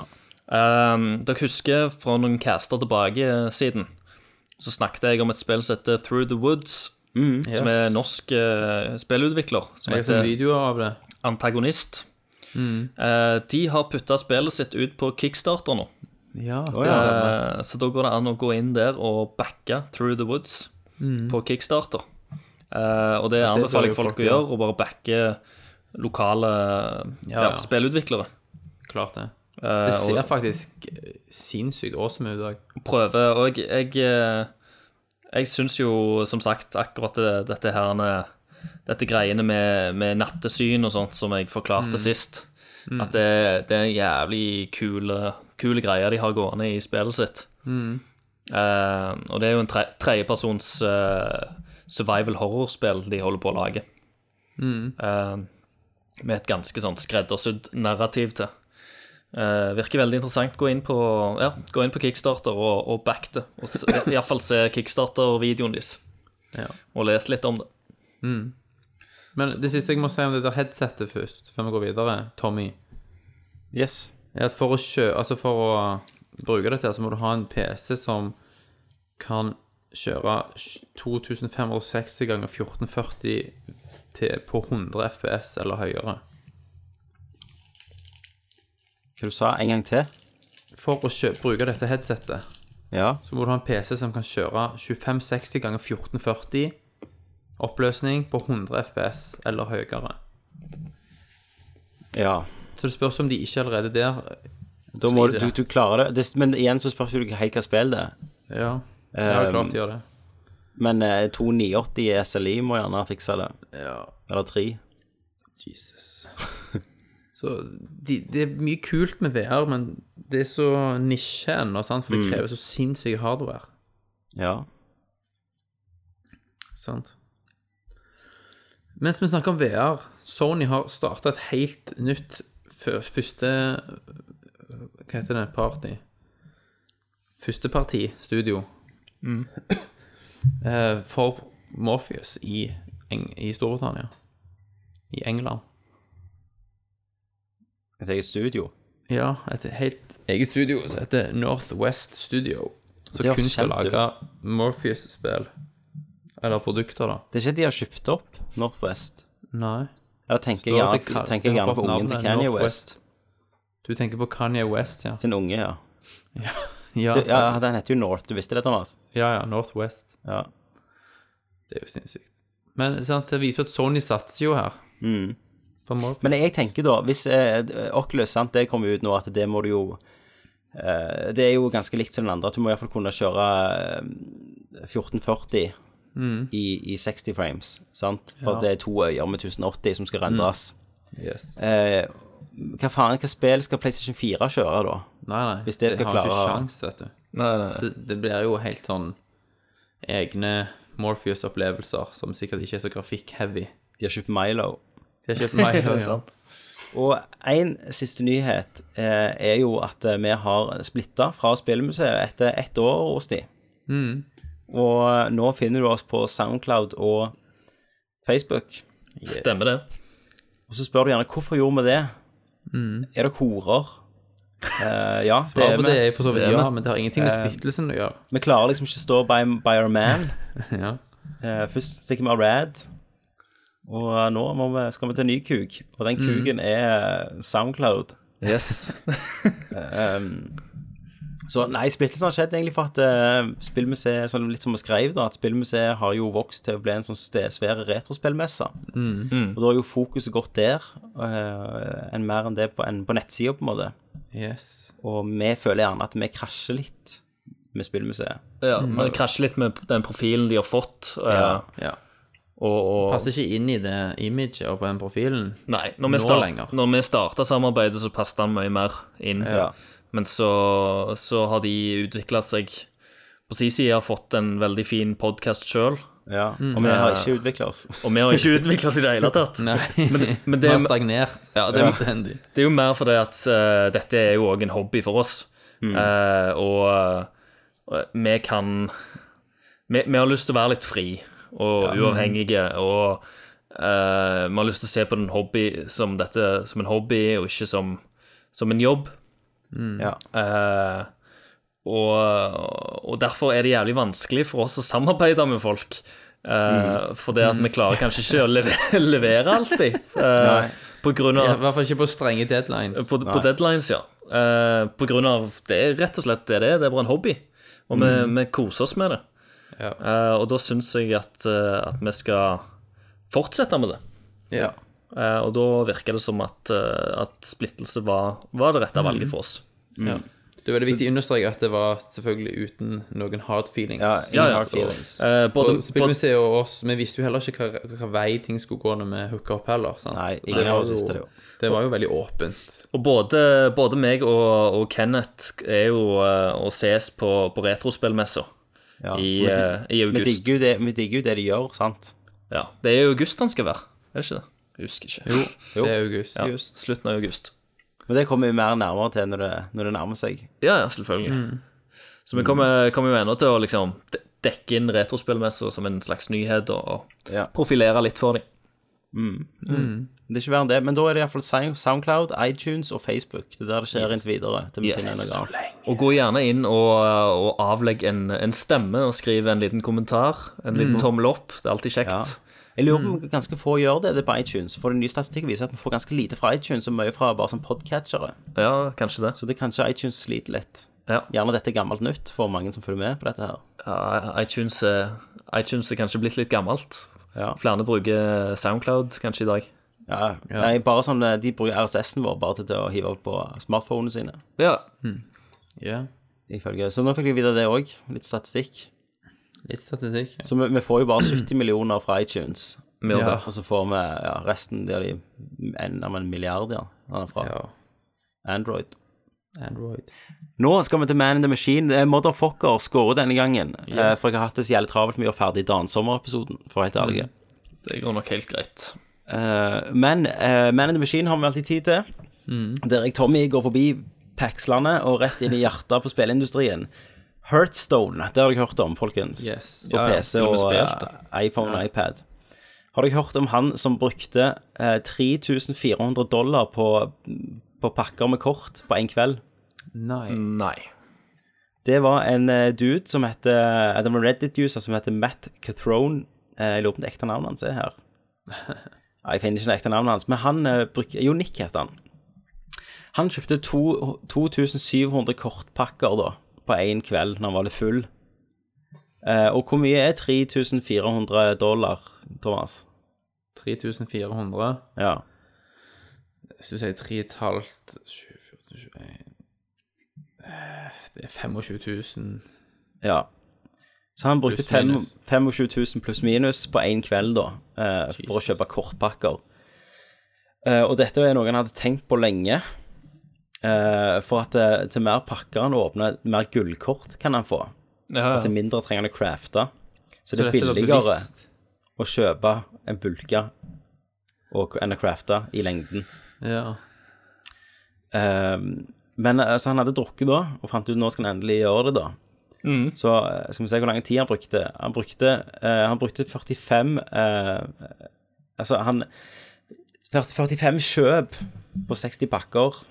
Speaker 3: Ehm, dere husker fra noen caster tilbake eh, siden, så snakket jeg om et spill som heter Through the Woods. Som er norsk eh, spillutvikler. Som
Speaker 1: Jeg har sett
Speaker 3: heter
Speaker 1: videoer av det.
Speaker 3: Antagonist. Eh, de har putta spillet sitt ut på kickstarter nå.
Speaker 1: Ja, det
Speaker 2: ja.
Speaker 1: stemmer.
Speaker 3: Eh, Så da går det an å gå inn der og backe Through the Woods på Kickstarter. Eh, og det anbefaler
Speaker 1: bør
Speaker 3: jeg folk
Speaker 1: jo folk
Speaker 3: å gjøre, og bare backe lokale ja,
Speaker 1: ja.
Speaker 3: spillutviklere.
Speaker 1: Klart det.
Speaker 3: Eh,
Speaker 1: Det ser
Speaker 3: og
Speaker 1: faktisk eh, sinnssykt awesome ut i dag.
Speaker 3: prøve. Og jeg, jeg, eh, jeg syns jo som sagt akkurat det, dette her med- Dette greiene med, med nattesyn og sånt som jeg forklarte sist, at det, det er en jævlig kule, kule greier de har gående i spillet sitt. Eh, og det er jo en tre- tredjepersons eh, survival horror-spill de holder på å lage. Eh, med et ganske sånn skreddersydd narrativ til. Eh, virker veldig interessant. Gå inn på, ja, gå inn på Kickstarter og, og back det. Og s- i hvert fall se Kickstarter-videoen deres,
Speaker 1: Ja.
Speaker 3: og les litt om det.
Speaker 1: Men det siste jeg må si om det der headsetet først, før vi går videre, Tommy,
Speaker 2: Yes.
Speaker 1: er at for å, kjø altså for å bruke dette, her, så må du ha en PC som kan kjøre 2560 ganger 1440 til, på 100 FPS eller høyere.
Speaker 2: Hva du sa en gang til?
Speaker 1: For å kjø bruke dette headsetet,
Speaker 2: Ja.
Speaker 1: så må du ha en PC som kan kjøre 2560 ganger 1440 oppløsning på 100 FPS eller høyere.
Speaker 2: ja.
Speaker 1: Så det spørs om de ikke allerede der
Speaker 2: Da må du,
Speaker 1: Sliter.
Speaker 2: du, du klare det. det. Men igjen så spørs jo du ikke helt hva spill det er.
Speaker 1: Ja, ja klart de gjør det.
Speaker 2: Men eh, 2980 i SLI må gjerne fikse det.
Speaker 1: Ja,
Speaker 2: Eller 3.
Speaker 1: Jesus. så de, det er mye kult med VR, men det er så nisje ennå, sant? for det krever så sinnssyk hardware.
Speaker 2: Ja.
Speaker 1: Sant? Mens vi snakker om VR, Sony har starta et helt nytt fø- første Hva heter det? Party? Første parti, studio, Mm. Eh, for Morpheus i, Eng i Storbritannia. I England.
Speaker 2: Et eget studio.
Speaker 1: Ja, et helt eget studio som heter Northwest Studio.
Speaker 2: Det
Speaker 1: Som
Speaker 2: høres
Speaker 1: kun skal
Speaker 2: kjent ut.
Speaker 1: lage Morpheus-spill. Eller produkter, da.
Speaker 2: Det er ikke de har kjøpt opp Northwest.
Speaker 1: Nei.
Speaker 2: Eller tenker
Speaker 1: Står
Speaker 2: jeg
Speaker 1: at det
Speaker 2: gjerne,
Speaker 1: kal-
Speaker 2: tenker jeg
Speaker 1: det har
Speaker 2: gjerne på
Speaker 1: fått
Speaker 2: ungen til
Speaker 1: navnet
Speaker 2: Kanye West.
Speaker 1: Northwest. Du tenker på Kanye West, ja.
Speaker 2: Sin unge, ja.
Speaker 1: Ja,
Speaker 2: Du, ja, den heter jo North. Du visste det, Thomas?
Speaker 1: ja, ja Northwest.
Speaker 2: Ja.
Speaker 1: Det er jo sinnssykt. Men sant, det viser jo at Sony satser jo her. På Morpheus.
Speaker 2: Mm. Men jeg tenker da, hvis eh, Oculus, sant, det kommer ut nå, at det må du jo eh, Det er jo ganske likt som den andre, at du må iallfall kunne kjøre eh, 1440 i, i 60 frames, sant? For det er to øyer med 1080 som skal rendres.
Speaker 1: Yes.
Speaker 2: Eh, hva faen, hva spill skal PlayStation 4 kjøre da?
Speaker 1: Nei, nei.
Speaker 2: hvis det skal
Speaker 1: har jo
Speaker 2: klare-
Speaker 1: ikke sjans, vet du.
Speaker 3: Nei, nei,
Speaker 1: Så det blir jo helt sånn egne Morpheus-opplevelser, som sikkert ikke er så grafikk-heavy.
Speaker 2: De har kjøpt Milo.
Speaker 1: De har kjøpt meg, ja.
Speaker 2: Og en siste nyhet eh, er jo at eh, vi har splitta fra spillmuseet etter ett år hos de.
Speaker 1: Mm.
Speaker 2: Og eh, nå finner du oss på Soundcloud og Facebook.
Speaker 3: Stemmer det.
Speaker 2: Og så spør du gjerne hvorfor gjorde vi det? Er dere horer? Eh, ja, det
Speaker 1: Svaret
Speaker 2: er
Speaker 1: Mm. på det
Speaker 2: vi.
Speaker 1: er for så vidt
Speaker 3: Det er
Speaker 1: ja,
Speaker 3: vi.
Speaker 1: men det har ingenting med Eh, splittelsen å gjøre.
Speaker 2: Vi klarer liksom ikke å stå by, by our man.
Speaker 1: Ja.
Speaker 2: Eh, først stikker vi av Rad. Og eh, nå må vi, skal vi til en ny kuk, og
Speaker 1: Mm.
Speaker 2: den kuken er eh, Soundcloud.
Speaker 3: Yes.
Speaker 2: Så nei, splittelsen har skjedd egentlig for at eh, spillmuseet, sånn litt som vi skrev da, at spillmuseet har jo vokst til å bli en sånn ste- svær retrospillmesse. Og da har jo fokuset gått der, eh, enn mer enn det på, enn på nettsida, på en måte.
Speaker 1: Yes.
Speaker 2: Og vi føler gjerne at vi krasjer litt med spillmuseet.
Speaker 3: Ja, men krasjer litt med den profilen de har fått. eh,
Speaker 1: Ja.
Speaker 3: og, og,
Speaker 1: Passer ikke inn i det imaget og på den profilen.
Speaker 3: Nei, når vi,
Speaker 1: Nå
Speaker 3: start,
Speaker 1: lenger.
Speaker 3: når vi starta samarbeidet, så passet han mye mer inn.
Speaker 2: Ja.
Speaker 3: Men så, så har de utvikla seg på sin side, har fått en veldig fin podkast sjøl.
Speaker 2: Mm. Ja. Og vi har ikke utvikla oss.
Speaker 3: Og vi har ikke utvikla oss i det hele tatt.
Speaker 1: Nei,
Speaker 3: men det-
Speaker 1: det har stagnert. Ja,
Speaker 3: det er-
Speaker 1: bestendig.
Speaker 3: Det er jo mer fordi at eh, dette er jo òg en hobby for oss. Eh, og eh, vi kan vi, vi har lyst til å være litt fri og uavhengige. Og eh, vi har lyst til å se på den hobby som dette som en hobby, og ikke som, som en jobb.
Speaker 2: Ja.
Speaker 3: Eh, og, og derfor er det jævlig vanskelig for oss å samarbeide med folk. Eh, Fordi at vi klarer kanskje ikke å levere, levere alltid. eh, på grunn av
Speaker 1: Ja, I
Speaker 3: at
Speaker 1: hvert fall ikke på strenge deadlines.
Speaker 3: på, på deadlines, ja. Eh, på grunn av Det er rett og slett det det er. Det er bare en hobby. Og vi, vi koser oss med det.
Speaker 1: Ja.
Speaker 3: Eh, og da syns jeg at, eh, at vi skal fortsette med det.
Speaker 1: Ja.
Speaker 3: Eh, og da virker det som at, eh, at splittelse var, var det rette valget for oss.
Speaker 1: Ja. Det er veldig viktig å understreke at det var selvfølgelig uten noen hard feelings.
Speaker 2: Ja,
Speaker 3: Ja,
Speaker 2: ja,
Speaker 3: ja.
Speaker 2: Hard feelings.
Speaker 3: Eh, både,
Speaker 1: Og Spillmuseet og oss, vi visste jo heller ikke hva, hva vei ting skulle gå når vi hooka opp heller. sant?
Speaker 2: Nei,
Speaker 1: Så
Speaker 2: ingen
Speaker 1: det
Speaker 2: av
Speaker 1: var
Speaker 2: oss visste det jo.
Speaker 1: Det var jo veldig åpent.
Speaker 3: Og både, både meg og, og Kenneth er jo eh, å ses på, på retrospillmessa
Speaker 2: Ja.
Speaker 3: i,
Speaker 2: Vi-
Speaker 3: eh, i
Speaker 2: Vi
Speaker 3: august.
Speaker 2: digger jo det- vi digger jo det de gjør, sant?
Speaker 3: Ja, det er i august han skal være, er det ikke det? Jeg husker ikke. Jo,
Speaker 1: Det er august.
Speaker 3: Slutten av august.
Speaker 2: Men det kommer vi mer nærmere til når det, når det nærmer seg.
Speaker 3: Ja, ja, selvfølgelig. Så vi kommer, kommer jo ennå til å liksom de- dekke inn retrospillmessa som en slags nyhet og, og
Speaker 2: Ja.
Speaker 3: profilere litt for dem.
Speaker 2: Det er ikke verre enn det, men da er det iallfall Soundcloud, iTunes og Facebook. Det er der det skjer inntil videre. Til vi
Speaker 3: Yes.
Speaker 2: finner noe annet.
Speaker 3: Og gå gjerne inn og, og avlegg en, en stemme og skriv en liten kommentar. En liten tommel opp. Det er alltid kjekt.
Speaker 2: Ja. Jeg lurer på om ganske få gjør det, det er på iTunes. For den nye statistikken viser at vi får ganske lite fra iTunes og mye fra bare som podcatchere.
Speaker 3: Ja, kanskje det.
Speaker 2: Så det er kanskje iTunes sliter litt.
Speaker 3: Ja.
Speaker 2: Gjerne dette er gammelt nytt for mange som følger med på dette her.
Speaker 3: Ja, iTunes, er, iTunes er kanskje blitt litt gammelt.
Speaker 2: Ja.
Speaker 3: Flere bruker SoundCloud kanskje i dag.
Speaker 2: Ja. Nei, bare sånn eh, De bruker RSS-en vår bare til å hive opp på smartphonene sine.
Speaker 3: Ja.
Speaker 1: Ja.
Speaker 2: Ifølge. Så nå fikk jeg vite det òg. Litt statistikk.
Speaker 1: Litt statistikk.
Speaker 2: Så vi, vi får jo bare 70 millioner fra iTunes.
Speaker 3: Med
Speaker 1: Ja.
Speaker 3: ja.
Speaker 2: Og så får vi ja, resten der de en, om en milliard, ja. han er Fra
Speaker 1: Ja.
Speaker 2: Android.
Speaker 1: Android.
Speaker 2: Nå skal vi til Man in the Machine. Det er Motherfucker skårer denne gangen. Eh, For jeg har hatt det så jævlig travelt med å gjøre ferdig Dansommer-episoden, for å være helt ærlig.
Speaker 3: Det går nok helt greit.
Speaker 2: Eh, men eh, Man in the Machine har vi alltid tid til.
Speaker 3: Mm.
Speaker 2: Der jeg, Tommy, går forbi Paxlandet og rett inn i hjertet på spilleindustrien. Heartstone, det har jeg hørt om, folkens.
Speaker 1: Yes.
Speaker 2: På
Speaker 3: Ja, ja,
Speaker 2: PC
Speaker 3: til og med
Speaker 2: og
Speaker 3: spilt det.
Speaker 2: eh, iPhone og iPad. Har dere hørt om han som brukte eh, 3400 dollar på, på pakker med kort på én kveld?
Speaker 1: Nei.
Speaker 3: Nei.
Speaker 2: Det var en eh, dude som heter eh, Det var en Reddit-user som heter Matt Cathrone. Eh, jeg lurer på om det ekte navnet hans er her. Nei, jeg finner ikke det ekte navnet hans, men han eh, bruker Jo, Nick heter han. Han kjøpte to- 2700 kortpakker da, på én kveld når han var litt full. Eh, og hvor mye er 3400 dollar, Thomas?
Speaker 1: 3400.
Speaker 2: Ja.
Speaker 1: Hvis du sier 3,5 7, 14, 21 Eh, Det er 25 000.
Speaker 2: ja. Så han brukte
Speaker 1: Pluss
Speaker 2: fem-
Speaker 1: minus.
Speaker 2: 25 000 pluss minus på én kveld, da, eh, for å
Speaker 1: Jesus.
Speaker 2: kjøpe kortpakker. Eh, og dette er noe han hadde tenkt på lenge. Eh, for at eh, til mer pakker han åpner, mer gullkort kan han få.
Speaker 3: Ja,
Speaker 2: Til
Speaker 3: ja.
Speaker 2: mindre trenger han å crafte. Så,
Speaker 1: Så
Speaker 2: det er
Speaker 1: dette var
Speaker 2: billigere
Speaker 1: bevisst.
Speaker 2: å kjøpe en bulke og- enn å crafte i lengden.
Speaker 1: Ja.
Speaker 2: Ehm, men eh, så han hadde drukket da, og fant ut nå skal han endelig gjøre det, da. Så eh, skal vi se hvor lang tid han brukte. Han brukte, eh, han brukte 45 eh, Altså, han 45 kjøp på 60 pakker.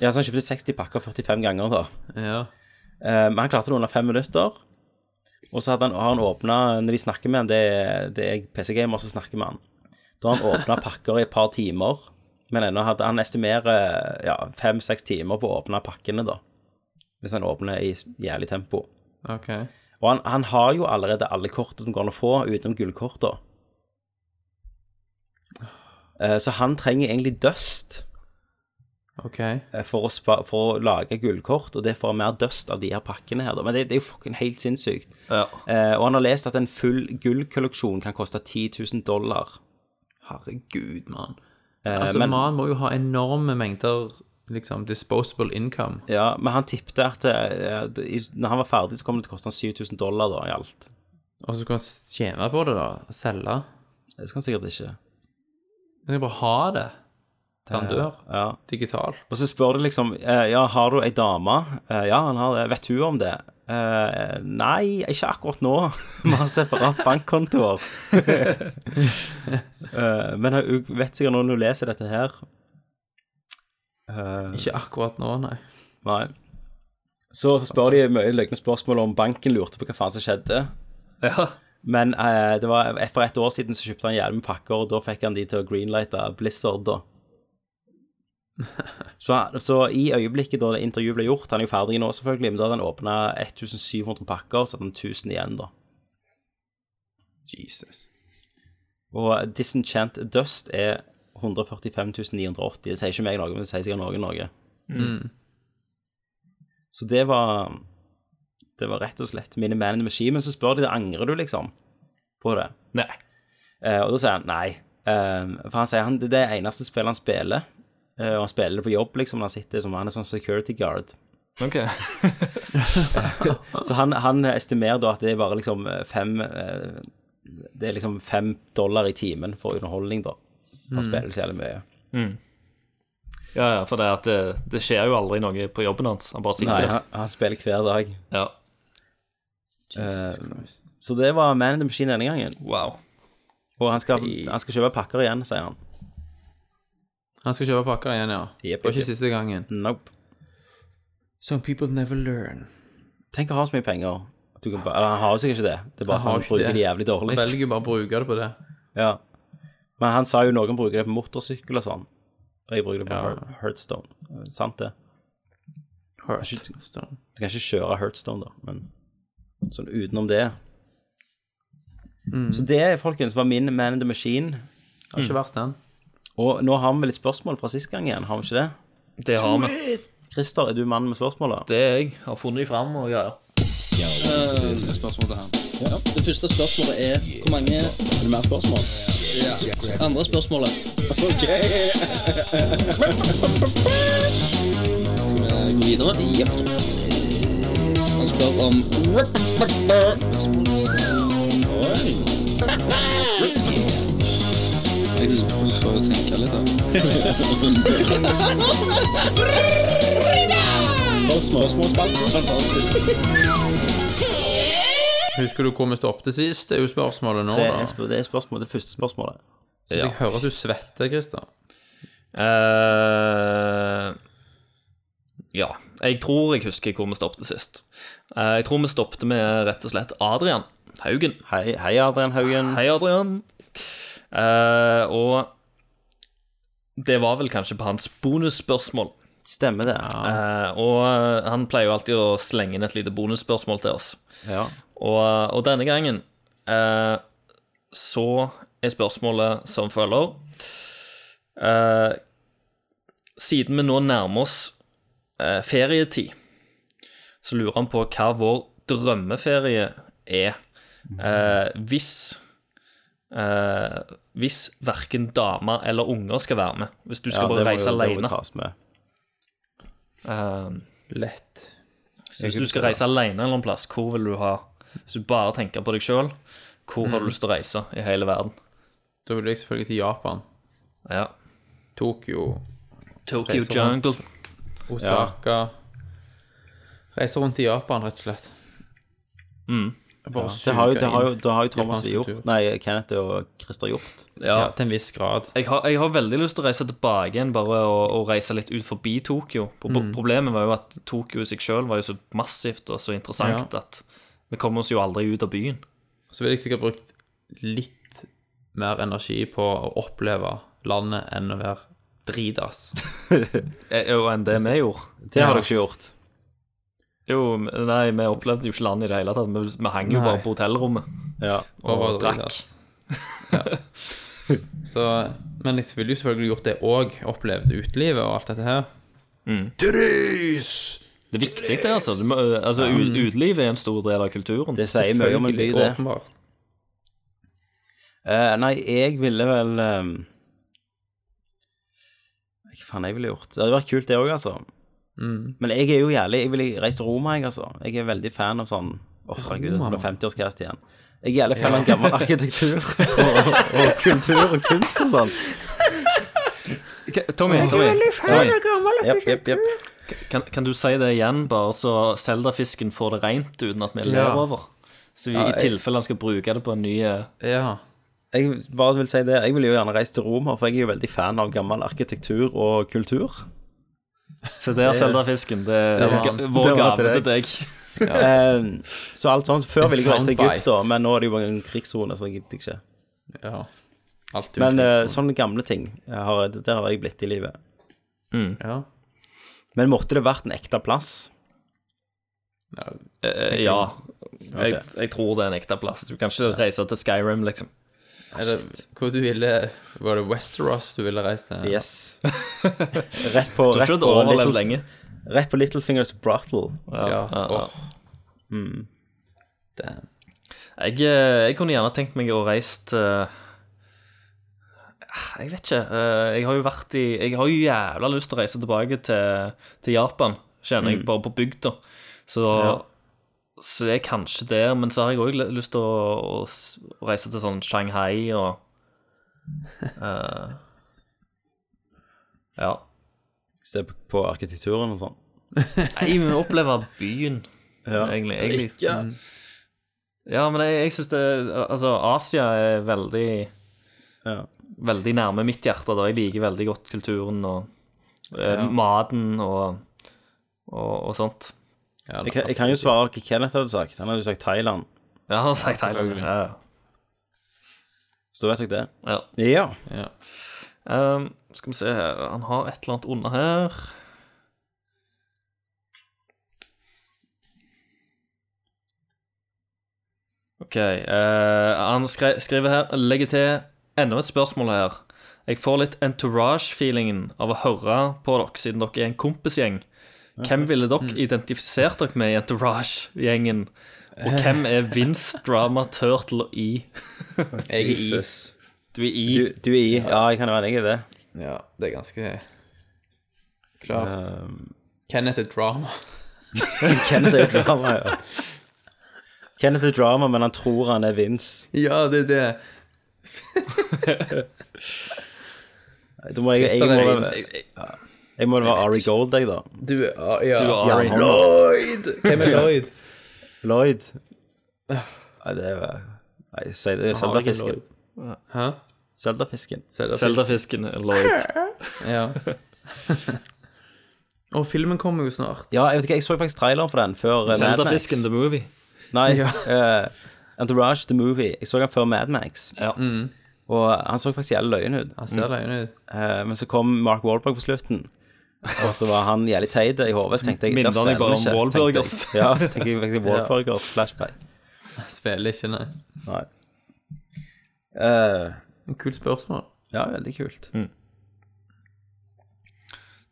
Speaker 2: Ja, så han kjøpte 60 pakker 45 ganger, da.
Speaker 1: ja.
Speaker 2: Eh, Men han klarte det under fem minutter. Og så hadde han, har han åpna Når de snakker med han, det, er- det er PC-gamer som snakker med han. Da har han åpna pakker i et par timer, men ennå hadde han estimerer ja, fem-seks timer på å åpne pakkene, da. Hvis han åpner i jævlig tempo.
Speaker 1: OK.
Speaker 2: Og han, han har jo allerede alle kortene som går an å få, utenom gullkortene. Eh, Så han trenger egentlig dust
Speaker 1: OK.
Speaker 2: eh, for å, spa, for å lage gullkort, og det får han mer dust av de her pakkene her, da. Men det, det er jo fucking helt sinnssykt.
Speaker 3: ja.
Speaker 2: Eh, og han har lest at en full gullkolleksjon kan koste 10 000 dollar.
Speaker 1: Herregud, mann.
Speaker 2: Eh,
Speaker 1: Altså,
Speaker 2: men,
Speaker 1: man må jo ha enorme mengder liksom disposable income.
Speaker 2: ja, men han tippte at eh, det- i- når han var ferdig, så kom det til å koste han 7000 dollar da, i alt.
Speaker 1: Og så skal man tjene på det, da. Selge.
Speaker 2: Det skal han sikkert ikke.
Speaker 1: Man skal bare ha det til han dør,
Speaker 2: Ja.
Speaker 1: digitalt.
Speaker 2: Og så spør du liksom eh, Ja, har du ei dame? Eh, ja, han har det. Vet hun om det? Eh, nei, ikke akkurat nå. Vi har separat bankkontoer. Eh, men hun vet sikkert når hun leser dette her. Eh,
Speaker 1: Ikke akkurat nå, nei.
Speaker 2: Nei. Så spør de mye løgne spørsmål om banken lurte på hva faen som skjedde.
Speaker 3: ja.
Speaker 2: Men eh, det var for et år siden så kjøpte han jævlig med pakker, og da fikk han de til å greenlighte Blizzard, da. Så, så i øyeblikket da det intervjuet ble gjort, han er jo ferdig nå selvfølgelig, men da hadde han åpna 1700 pakker, så hadde han 1000 igjen, da.
Speaker 1: Jesus.
Speaker 2: Og Disenchant Dust er 145 980. Det sier ikke meg noe, men det sier sikkert noen noe. Så det var Det var rett og slett mine man in the machine. Men så spør de det, angrer du liksom på det?
Speaker 3: Nei.
Speaker 2: Eh, og da sier han nei. Eh, for han sier han, det er det eneste spillet han spiller. Eh, og han spiller det på jobb, liksom. når Han sitter som han er sånn security guard.
Speaker 3: Ok.
Speaker 2: Så han, han estimerer da at det er bare liksom eh, fem eh, Det er liksom fem dollar i timen for underholdning, da. Han
Speaker 1: Mm.
Speaker 2: spiller så jævlig mye.
Speaker 3: Ja, ja, for det, at det, det skjer jo aldri noe på jobben hans. Han bare
Speaker 2: Nei,
Speaker 3: sikter.
Speaker 2: han, han spiller hver dag.
Speaker 3: Ja.
Speaker 1: Jesus Christ.
Speaker 2: Så det var Man in the Machine denne gangen.
Speaker 3: Wow.
Speaker 2: Og han skal, han skal kjøpe pakker igjen, sier han.
Speaker 1: Han skal kjøpe pakker igjen, ja.
Speaker 2: Jepp,
Speaker 1: Det var
Speaker 2: jepp.
Speaker 1: ikke siste gangen.
Speaker 2: Nope.
Speaker 1: Some people never learn.
Speaker 2: Tenk å ha så mye penger. Du kan bare, eller, han har jo sikkert ikke det. Det er bare at
Speaker 1: Han har
Speaker 2: han
Speaker 1: ikke
Speaker 2: bruker
Speaker 1: det.
Speaker 2: det jævlig dårlig.
Speaker 1: Velger bare å bruke det på det.
Speaker 2: Ja. Men han sa jo noen bruker det på motorsykkel og sånn. Og jeg bruker det på
Speaker 1: Ja.
Speaker 2: Heart- Heartstone. Eh, Sant det.
Speaker 1: Hearthstone.
Speaker 2: Du kan ikke kjøre Heartstone, da, men sånn utenom det. Så det, folkens, var min Man in the Machine.
Speaker 1: Mm. Det er ikke verst, den.
Speaker 2: Og nå har vi litt spørsmål fra sist gang igjen, har vi ikke det?
Speaker 3: Det har vi.
Speaker 2: Christer, er du mannen med spørsmålet?
Speaker 3: Det er jeg. Har funnet de fram og greier.
Speaker 4: Det første spørsmålet er hvor mange Er det mer spørsmål? Andre spørsmålet. Ok. Skal vi gå videre? Jepp. Han spør om Oi. Jeg får jo tenke litt, da. Spørsmålsspalten. Fantastisk.
Speaker 1: Husker du hvor vi stoppet sist? Det er jo spørsmålet nå,
Speaker 2: Det
Speaker 1: da.
Speaker 2: er, spør det, er spørsmål, det første spørsmålet.
Speaker 1: Jeg hører at du svetter, Christer.
Speaker 3: eh ja. Jeg tror jeg husker hvor vi stoppet sist. Eh, jeg tror vi stoppet med rett og slett Adrian Haugen.
Speaker 2: Hei, hei Adrian Haugen.
Speaker 3: Hei, Adrian. Eh, og det var vel kanskje på hans bonusspørsmål.
Speaker 2: Stemmer det.
Speaker 3: Eh, og eh, han pleier jo alltid å slenge inn et lite bonusspørsmål til oss.
Speaker 2: Ja.
Speaker 3: Og, og denne gangen eh, så er spørsmålet som følger eh, Siden vi nå nærmer oss eh, ferietid, så lurer han på hva vår drømmeferie er. Eh, hvis eh, Hvis verken damer eller unger skal være med. Hvis du skal
Speaker 2: Ja, det
Speaker 3: bare
Speaker 2: må
Speaker 3: reise
Speaker 2: jo- det må jo
Speaker 3: alene.
Speaker 2: tas med.
Speaker 3: Eh,
Speaker 1: Lett.
Speaker 3: Så hvis du skal reise alene en eller annen plass, hvor vil du ha Hvis du bare tenker på deg sjøl, hvor har du lyst til å reise i hele verden?
Speaker 1: Da vil jeg selvfølgelig til Japan.
Speaker 3: Ja.
Speaker 1: Tokyo,
Speaker 3: Tokyo
Speaker 1: Reise rundt.
Speaker 3: Jungle.
Speaker 1: Osaka Reise rundt i Japan, rett og slett. Bare
Speaker 2: Mm. Det har jo,
Speaker 1: suge
Speaker 2: det har jo,
Speaker 1: inn.
Speaker 2: det har jo Thomas
Speaker 1: Japansk
Speaker 2: gjort.
Speaker 1: kultur.
Speaker 2: Nei, Kenneth og Christer gjort.
Speaker 3: Ja.
Speaker 1: Ja, til en viss grad.
Speaker 3: Jeg, har, jeg har veldig lyst til å reise tilbake igjen, bare å- å reise litt ut forbi Tokyo. Pro- Problemet var jo at Tokyo i seg sjøl var jo så massivt og så interessant at vi kom oss jo aldri ut av byen.
Speaker 1: Så ville jeg sikkert brukt litt mer energi på å oppleve landet enn å være dritass.
Speaker 3: Eh, Jo, enn det vi gjorde.
Speaker 2: Det har dere ikke gjort.
Speaker 3: Jo, nei, vi opplevde jo ikke landet i det hele tatt. Vi, vi hang jo
Speaker 1: Nei.
Speaker 3: bare på hotellrommet.
Speaker 2: Ja.
Speaker 1: Og
Speaker 3: Og
Speaker 1: var
Speaker 3: drakk.
Speaker 1: dritass. Ja. Så, men jeg ville jo selvfølgelig gjort det òg. Opplevd utelivet og alt dette her.
Speaker 3: Det er viktig, det, altså. Du må, altså u- Utelivet er en stor del av kulturen.
Speaker 2: Det sier mye om en by,
Speaker 1: Selvfølgelig,
Speaker 2: det.
Speaker 1: Åpenbart.
Speaker 2: Eh, nei, jeg ville vel ehm, Hva faen jeg ville gjort? Det hadde vært kult, det òg, altså. Men jeg er jo jævlig Jeg ville reist til Roma, jeg, altså. Jeg er veldig fan av sånn Åh, herregud, det
Speaker 1: Roma,
Speaker 2: blir
Speaker 1: mann.
Speaker 2: 50-årscast igjen. Jeg er jævlig fan av gammel arkitektur og, og kultur og kunst og sånn.
Speaker 3: Tommy, Tommy, Tommy
Speaker 2: Jepp, jepp, jepp.
Speaker 3: kan, kan du si det igjen, bare så Zelda-fisken får det rent uten at vi ler
Speaker 1: Ja.
Speaker 3: over? Så vi, i tilfelle han skal bruke det på en ny eh,
Speaker 1: Ja.
Speaker 2: Jeg bare vil si det, jeg ville jo gjerne reist til Roma, for jeg er jo veldig fan av gammel arkitektur og kultur.
Speaker 3: Se der, Zelda-fisken. Det er
Speaker 1: var
Speaker 3: ga-
Speaker 1: han.
Speaker 3: vår
Speaker 2: Det var til
Speaker 3: gave til deg.
Speaker 2: Eh, så alt sånn, Før ville jeg reist til
Speaker 1: Soundbite.
Speaker 2: Egypt, da, men nå er det jo bare en krigssone, så jeg gidder ikke.
Speaker 1: ja. Alt sånn.
Speaker 2: Men eh,
Speaker 1: utelivet.
Speaker 2: sånne gamle ting eh, har, jeg- Der har jeg blitt i livet.
Speaker 1: ja.
Speaker 2: Men måtte det vært en ekte plass?
Speaker 3: Eh, ja. Jeg, jeg tror det er en ekte plass. Du kan ikke reise til Skyrim, liksom.
Speaker 1: Er det, hvor du ville Var det Westeros du ville reist til?
Speaker 2: Yes. rett på,
Speaker 3: Du har
Speaker 2: rett på
Speaker 3: ikke
Speaker 2: sånn
Speaker 3: overlevd
Speaker 2: Little,
Speaker 3: lenge.
Speaker 2: Rett på Littlefingers Brattle.
Speaker 1: Ja. ja.
Speaker 3: ja.
Speaker 1: Åh.
Speaker 2: Mm.
Speaker 1: Damn.
Speaker 3: Jeg, eh, jeg kunne gjerne tenkt meg å reise til Jeg vet ikke. eh, Jeg har jo vært i Jeg har jo jævla lyst til å reise tilbake til, til Japan, kjenner jeg, bare på bygda. Så, så det er kanskje der. Men så har jeg òg lyst til å, å, s- å reise til sånn Shanghai og eh, Ja.
Speaker 2: Se på- på arkitekturen og sånn.
Speaker 3: Nei, vi må oppleve byen,
Speaker 2: Ja.
Speaker 3: egentlig. egentlig.
Speaker 1: Drikke.
Speaker 3: Ja, men jeg, jeg syns det Altså, Asia er veldig
Speaker 2: Ja.
Speaker 3: Veldig nærme mitt hjerte. da Jeg liker veldig godt kulturen og eh, maten og, og, og sånt.
Speaker 1: Ja,
Speaker 2: Jeg, kan- jeg kan jo svare hva Kenneth hadde sagt. Han hadde jo sagt Thailand.
Speaker 3: Ja, han har sagt Thailand.
Speaker 1: selvfølgelig.
Speaker 3: Ja,
Speaker 2: Så da vet dere
Speaker 3: ja.
Speaker 2: det. Ja.
Speaker 1: Ja.
Speaker 3: ja. Um, skal vi se her Han har et eller annet under her. OK. eh, han skre, skriver her Legger til enda et spørsmål her. Jeg får litt entourage-feelingen av å høre på dere, siden dere er en kompisgjeng. Hvem ville dere identifisert dere med i entourage-gjengen? Og hvem er Vince Drama Turtle i?
Speaker 1: Jeg er i.
Speaker 2: Jesus.
Speaker 3: Du er i.
Speaker 2: Du, du er i. Ja, jeg kan være enig i det.
Speaker 1: Ja, det er ganske klart.
Speaker 2: Ehm.
Speaker 1: Kenneth er drama.
Speaker 2: Kenneth er jo drama, ja. Kenneth er drama, men han tror han er Vince.
Speaker 1: Ja, det er det.
Speaker 2: Da må jeg, jeg,
Speaker 1: Christian er
Speaker 2: må,
Speaker 1: Vince.
Speaker 2: jeg, jeg må være Ari Gold, jeg, da.
Speaker 1: Du er ja.
Speaker 3: Du er
Speaker 2: Ja,
Speaker 3: Ari.
Speaker 2: han-
Speaker 1: Lloyd! Hvem er Lloyd?
Speaker 2: Lloyd. Nei, det er Nei, si det. Zelda-fisken.
Speaker 1: Hæ?
Speaker 2: Zelda-fisken.
Speaker 3: Zelda-fisken Lloyd.
Speaker 1: Ja. Og filmen kommer jo snart.
Speaker 2: Ja, jeg vet ikke, jeg så faktisk traileren for den før eh, Mad Max.
Speaker 3: Zelda-fisken The Movie.
Speaker 2: Nei, eh, Entourage The Movie. Jeg så den før Mad Max,
Speaker 3: Ja.
Speaker 2: og han så faktisk jævlig løyen ut.
Speaker 1: Han ser løgn ut.
Speaker 2: Eh, men så kom Mark Wahlberg på slutten, og så var han jævlig teit i hodet. Så tenkte jeg
Speaker 3: Minner
Speaker 2: der
Speaker 3: han deg
Speaker 2: spiller
Speaker 3: bare om
Speaker 2: ikke, tenkte jeg.
Speaker 3: Wahlburgers?
Speaker 2: Ja, så tenker jeg faktisk Wahlburgers flashback.
Speaker 1: Han Spiller ikke, nei.
Speaker 2: Nei. Eh,
Speaker 1: Kult spørsmål.
Speaker 2: ja, veldig kult.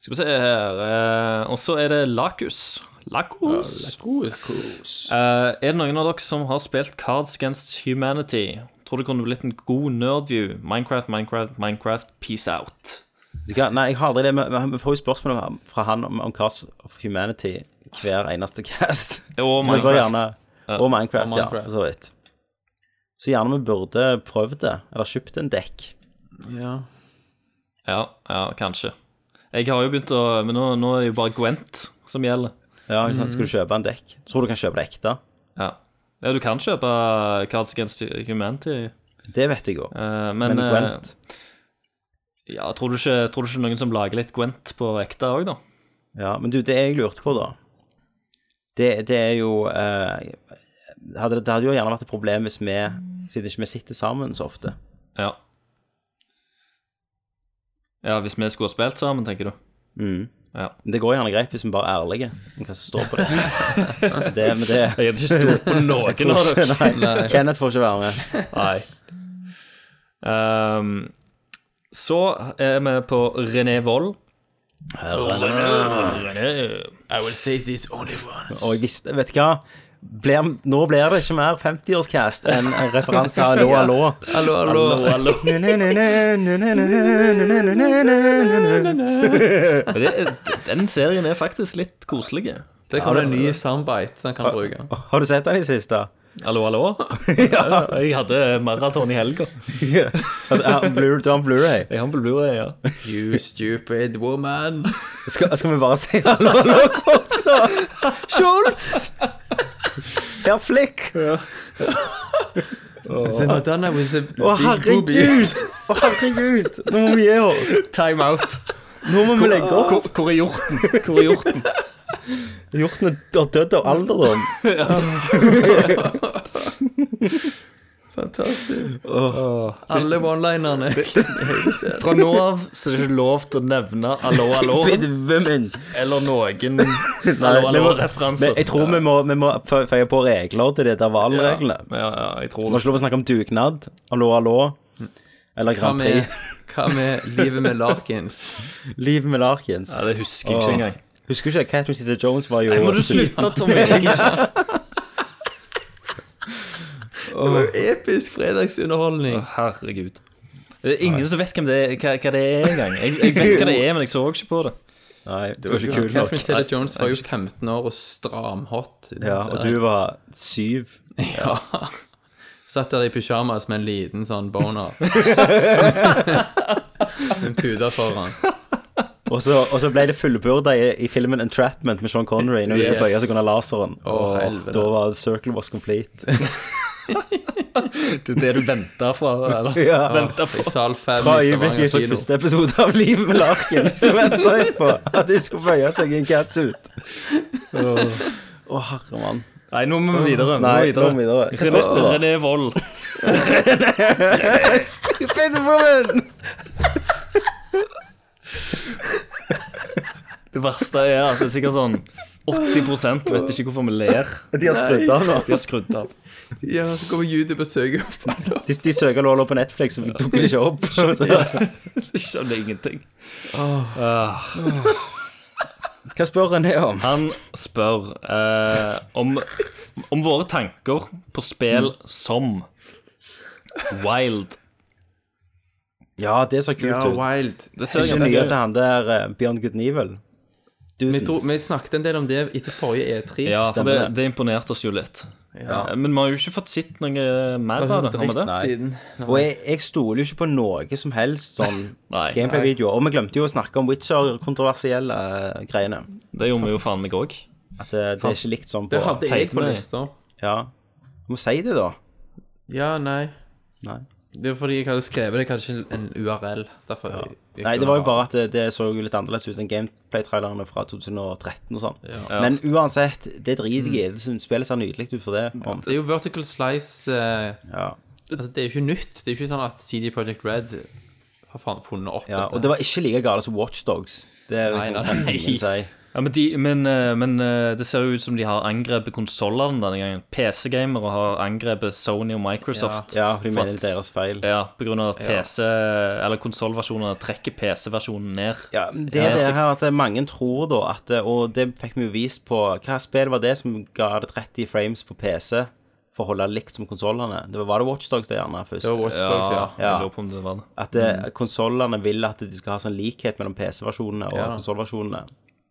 Speaker 3: Skal vi se her eh, Og så er det Lakus. Lakus.
Speaker 1: Lakos.
Speaker 3: Eh, er det noen av dere som har spilt Cards Against Humanity? Tror det kunne blitt en god nerdview. Minecraft, Minecraft, Minecraft, peace out.
Speaker 2: Du kan, nei, jeg har aldri det. men- men Vi får jo spørsmål om- fra han om, om Cars of Humanity hver eneste cast.
Speaker 3: Og
Speaker 2: Så vi bør
Speaker 3: Minecraft.
Speaker 2: gjerne- og Minecraft,
Speaker 1: og
Speaker 2: ja,
Speaker 1: Minecraft.
Speaker 2: for så vidt. Så gjerne vi burde prøvd det, eller kjøpt en dekk.
Speaker 1: Ja.
Speaker 3: Ja, ja, kanskje. Jeg har jo begynt å Men nå, nå er det jo bare Gwent som gjelder.
Speaker 2: Ja, ikke sant? Skal du kjøpe en dekk? Tror du kan kjøpe det ekte?
Speaker 3: Ja. ja, du kan kjøpe Cards Against Humanity,
Speaker 2: Det vet jeg òg.
Speaker 3: eh, men,
Speaker 2: Men
Speaker 3: eh,
Speaker 2: Gwent
Speaker 3: Ja, tror du, ikke, tror du ikke noen som lager litt Gwent på ekte òg, da?
Speaker 2: Ja, men du, det jeg lurte på, da Det, det er jo eh, hadde, det- Det hadde jo gjerne vært et problem hvis vi Siden ikke vi sitter sammen så ofte.
Speaker 3: Ja. ja, hvis vi skulle ha spilt sammen, tenker du?
Speaker 2: Men det går gjerne greit hvis vi bare er ærlige om hva som står på det. det men det
Speaker 3: Jeg hadde ikke stolt på noen av dere.
Speaker 2: Nei, Kenneth får ikke være med.
Speaker 3: Nei. Ehm, så er vi på René Wold. René.
Speaker 1: I will say this only once.
Speaker 2: Og jeg visste, vet du hva Blir- Nå blir det ikke mer 50-årscast enn en referanse til Hallo, hallo.
Speaker 1: Hallo, hallo.
Speaker 3: Hallo. Men det- Den serien er faktisk litt koselig.
Speaker 1: Det kommer en ny soundbite som han kan bruke.
Speaker 2: Har du sett den i siste?
Speaker 3: Hallo, hallo. Ja, jeg hadde maraton i helga.
Speaker 2: Ja, Blu- Du har en Blu-ray.
Speaker 3: Jeg har en Blu-ray, ja.
Speaker 1: You stupid woman.
Speaker 2: Skal, skal vi bare si hallo, hallo, kors, da? Schultz! Herr Flick!
Speaker 1: So not done that with a
Speaker 2: Å,
Speaker 1: big boobie.
Speaker 2: herregud! Å, herregud! Nå må vi gi oss.
Speaker 3: Time out.
Speaker 2: Nå må vi legge opp.
Speaker 3: Hvor, hvor er hjorten? Hvor er hjorten?
Speaker 2: Hjorten har dødd av alderdom.
Speaker 1: Fantastisk. Alle one-linerne.
Speaker 3: Fra nå av så er det ikke lov til å nevne Allo, allo
Speaker 2: women.
Speaker 3: eller noen Allo,
Speaker 2: Men
Speaker 3: allo-referanser.
Speaker 2: jeg tror vi må, vi må fe- feie på regler til de der valreglene.
Speaker 3: Ja, ja, jeg tror
Speaker 2: Vi har
Speaker 3: det.
Speaker 2: ikke lov å snakke om dugnad, hallo, hallo, eller
Speaker 1: Hva
Speaker 2: Grand
Speaker 1: med,
Speaker 2: Prix.
Speaker 1: hva med livet med Larkins?
Speaker 2: Livet med Larkins.
Speaker 3: Ja, det husker jeg ikke engang.
Speaker 2: Husker du ikke at Catherine Zeta Jones var jo
Speaker 3: Nei, må du slutte, Tommy? Jeg er ikke-
Speaker 1: Det var jo episk fredagsunderholdning.
Speaker 3: Å, Herregud. Det er ingen som vet hvem det er, hva, hva det er engang. Jeg, jeg vet hva det er, men jeg så ikke på det.
Speaker 2: Nei, du var ikke kul nok.
Speaker 1: Catherine Taylor Jones var jo 15 år og stramhot. i den
Speaker 2: Ja, og
Speaker 1: serien.
Speaker 2: du var syv.
Speaker 1: ja. Satt der i pysjamas med en liten sånn boner. en pute foran.
Speaker 2: Og så, og så ble det fullbyrda i, i filmen 'Entrapment' med Sean Connery når hun
Speaker 1: Yes.
Speaker 2: skulle bøye seg under laseren.
Speaker 1: Å,
Speaker 2: og
Speaker 1: helvete.
Speaker 2: da var the circle was complete.
Speaker 3: Det er det du venter fra, eller?
Speaker 2: ja.
Speaker 3: Venter
Speaker 1: I
Speaker 3: på.
Speaker 1: sal 5
Speaker 2: Fra
Speaker 1: i
Speaker 2: øyeblikket jeg
Speaker 1: Stavanger
Speaker 2: så
Speaker 1: kino.
Speaker 2: første episode av Livet med Larken, så venta jeg på at hun skulle bøye seg i en catsuit. Å, Å, herre mann.
Speaker 3: Nei, nå må vi videre.
Speaker 2: Nei, nå må vi videre.
Speaker 3: René, René Vold.
Speaker 2: Stupid woman!
Speaker 3: Det verste er at det er sikkert sånn 80 vet ikke hvorfor vi ler.
Speaker 2: De har skrudd av nå.
Speaker 3: De har skrudd av.
Speaker 1: Ja, så kommer YouTube og søker opp alle.
Speaker 2: De, de søker låla på Netflix, så tok de ikke opp. Så-
Speaker 3: De skjønner ingenting. Ah.
Speaker 2: Hva spør René om?
Speaker 3: Han spør eh, om, om våre tanker på spill
Speaker 2: Mm.
Speaker 3: som Wild.
Speaker 2: Ja, det ser kult
Speaker 1: Ja,
Speaker 2: ut.
Speaker 1: wild.
Speaker 3: Det
Speaker 2: Det er
Speaker 3: ser jeg
Speaker 2: ikke
Speaker 3: ganske
Speaker 2: mye
Speaker 3: gøy
Speaker 2: til han der eh, Bjørn Gudnivel.
Speaker 1: Vi, dro, vi snakket en del om det etter forrige E3.
Speaker 3: Ja, for det,
Speaker 2: Stemmer det.
Speaker 3: det imponerte oss jo litt.
Speaker 1: Ja.
Speaker 3: Eh, Men vi har jo ikke fått sett noe mer av det. Har vi det?
Speaker 2: Nei.
Speaker 1: Siden.
Speaker 2: Og jeg, jeg stoler jo ikke på noe som helst sånn
Speaker 3: Nei.
Speaker 2: gameplay-videoer. Og vi glemte jo å snakke om Witcher-kontroversielle eh, greiene.
Speaker 3: Det gjorde vi jo faen meg òg.
Speaker 2: At det, det er ikke likt sånn på
Speaker 1: Det hadde jeg
Speaker 3: Tenkte
Speaker 1: på
Speaker 3: meg.
Speaker 1: lista.
Speaker 2: Ja. Du må si det, da.
Speaker 1: Ja, nei.
Speaker 2: Nei.
Speaker 1: Det var fordi jeg hadde skrevet det, kanskje en URL. Derfor jeg- jeg
Speaker 2: Nei, det
Speaker 1: kunne
Speaker 2: var jo
Speaker 1: ha-
Speaker 2: bare at det, det så jo litt annerledes ut enn gameplay-trailerne fra 2013 og sånn. Men uansett, det driter jeg i. Det som- Spillet ser nydelig ut for det. Og,
Speaker 1: Mm. Det er jo Vertical Slice eh,
Speaker 2: ja.
Speaker 1: altså, Det er jo ikke nytt. Det er jo ikke sånn at CD Projekt Red har faen funnet opp
Speaker 2: ja. Og det var ikke like galt som Watchdogs. Det
Speaker 1: Nei,
Speaker 2: kan
Speaker 1: nei, nei.
Speaker 2: ingen si.
Speaker 3: Ja, men, de, men, eh, men eh, det ser jo ut som de har angrepet konsollene denne gangen. PC-gamere har angrepet Sony og Microsoft.
Speaker 2: Ja, de
Speaker 3: For
Speaker 2: mener
Speaker 3: at-
Speaker 2: det er deres feil.
Speaker 3: Ja, på grunn av at PC, eller konsollversjonene trekker PC-versjonen ned.
Speaker 2: Ja, det
Speaker 3: Ja,
Speaker 2: er
Speaker 3: så-
Speaker 2: det her at mange tror da at eh, Og det fikk vi jo vist på Hva spill var det som ga det 30 frames på PC for å holde likt som konsollene? Det var, var det Watchdogs det gjerne først?
Speaker 1: Det var Watch Mm. Dogs, ja.
Speaker 2: Ja.
Speaker 3: Jeg lurer på om det var det.
Speaker 2: At eh, konsollene vil at de skal ha sånn likhet mellom PC-versjonene og
Speaker 1: Ja.
Speaker 2: konsollversjonene.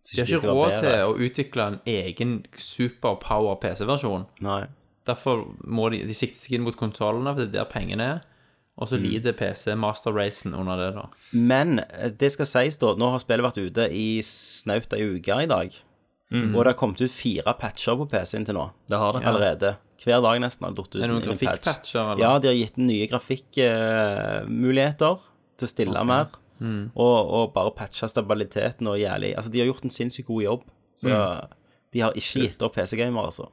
Speaker 2: Så
Speaker 1: De har
Speaker 2: skal
Speaker 1: ikke
Speaker 2: være
Speaker 1: råd
Speaker 2: bedre.
Speaker 1: til å utvikle en egen superpower PC-versjon.
Speaker 2: Nei.
Speaker 1: Derfor må de, de sikte seg inn mot konsollene, for det er der pengene er. Og
Speaker 2: Mm.
Speaker 1: så lider PC Master Racen under det, da.
Speaker 2: Men eh, det skal sies, da, nå har spillet vært ute i snaut ei uke i dag.
Speaker 1: Mm.
Speaker 2: Og det har kommet ut fire patcher på PC-en til nå
Speaker 3: Det har det.
Speaker 2: allerede. Hver dag nesten har det datt ut
Speaker 1: Er det noen
Speaker 2: en patch.
Speaker 1: grafikkpatcher, eller?
Speaker 2: Ja, de har gitt nye grafikkmuligheter til å stille mer.
Speaker 1: Mm.
Speaker 2: Og, og bare patcha stabiliteten og jævlig Altså, de har gjort en sinnssykt god jobb.
Speaker 1: Mm.
Speaker 2: Så de har ikke gitt opp PC-gamer, altså.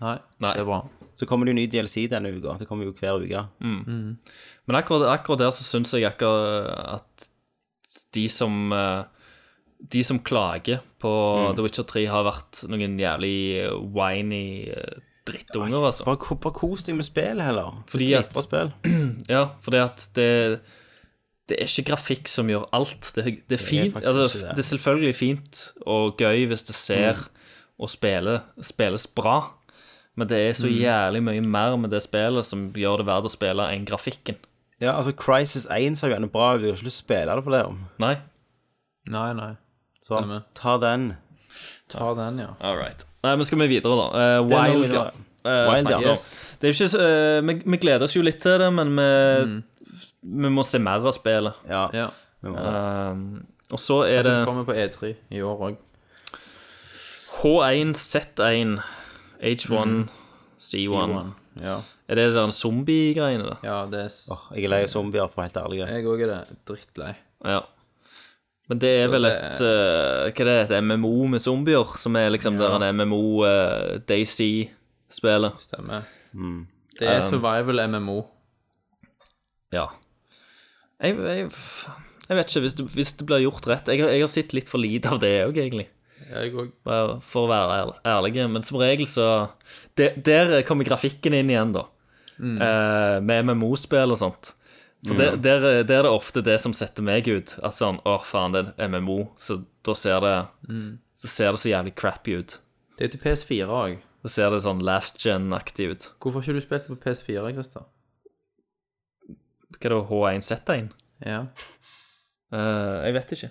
Speaker 1: Nei,
Speaker 3: Nei.
Speaker 1: det er bra.
Speaker 2: Så kommer det jo ny DLC denne uka. Det kommer jo hver uke.
Speaker 1: Mm.
Speaker 3: Men akkurat, akkurat der så syns jeg akkurat at de som eh, De som klager på The Witcher 3, har vært noen jævlig whiny eh, drittunger, altså.
Speaker 2: Bare, ko- bare kos deg med spillet, heller. For
Speaker 3: Fordi
Speaker 2: det er
Speaker 3: at-
Speaker 2: dritbra spill.
Speaker 3: Ja, for det at det det er ikke grafikk som gjør alt. Det, er- det er fint,
Speaker 2: faktisk
Speaker 3: altså,
Speaker 2: ikke
Speaker 3: det.
Speaker 2: det.
Speaker 3: er selvfølgelig fint og gøy hvis det ser og spiller, spilles bra, men det er så jævlig mye mer med det spillet som gjør det verdt å spille enn grafikken.
Speaker 2: Ja, altså, Crisis 1 ser jo gjerne bra ut. Du har ikke lyst til å spille det for det. om.
Speaker 3: Nei?
Speaker 1: Nei, nei.
Speaker 2: Så
Speaker 1: Stemmer.
Speaker 2: ta den.
Speaker 1: Ta den, ja.
Speaker 3: All right. Nei, men skal vi videre, da? Eh,
Speaker 2: er noe
Speaker 3: Wild,
Speaker 2: vi
Speaker 3: ja.
Speaker 2: da-
Speaker 3: Eh,
Speaker 2: Wild,
Speaker 3: snakker
Speaker 2: ja.
Speaker 3: om. Det er jo ikke så, eh, vi, vi gleder oss jo litt til det, men vi,
Speaker 2: Mm.
Speaker 3: vi må se mer av spillet.
Speaker 2: Ja.
Speaker 1: ja.
Speaker 3: Um, og så er det
Speaker 1: Det kommer på E3 i år òg.
Speaker 3: H1, Z1, H1,
Speaker 2: Mm.
Speaker 3: C1.
Speaker 1: Ja.
Speaker 3: Er det den zombie-greiene, da?
Speaker 1: ja, det er s-
Speaker 2: Jeg er lei av zombier, for å være helt ærlig.
Speaker 1: Jeg òg er det. Drittlei.
Speaker 3: Ja. Men det er vel
Speaker 1: det-
Speaker 3: et eh, Hva er det, et MMO med zombier? Som er liksom der en MMO uh, Daisy-spillet.
Speaker 1: Stemmer. Det er survival MMO.
Speaker 3: Ja. Jeg, jeg, jeg vet ikke, hvis det, hvis det blir gjort rett jeg, har- jeg har sett litt for lite av det òg, egentlig.
Speaker 1: Jeg òg.
Speaker 3: Bare For å være ærl- ærlig. Men som regel så de, Der kommer grafikken inn igjen, da. Eh, med MMO-spill og sånt. For der, der, er- der er det ofte det som setter meg ut. At sånn Å, faen, det er et MMO. Så da ser det så ser det så jævlig crappy ut.
Speaker 1: Det er jo til PS4 òg.
Speaker 3: Så ser det sånn last gen-aktig ut.
Speaker 1: Hvorfor har ikke du spilt det på PS4, Christer?
Speaker 3: Hva er det H1Z1?
Speaker 1: Ja.
Speaker 3: Eh, jeg vet ikke.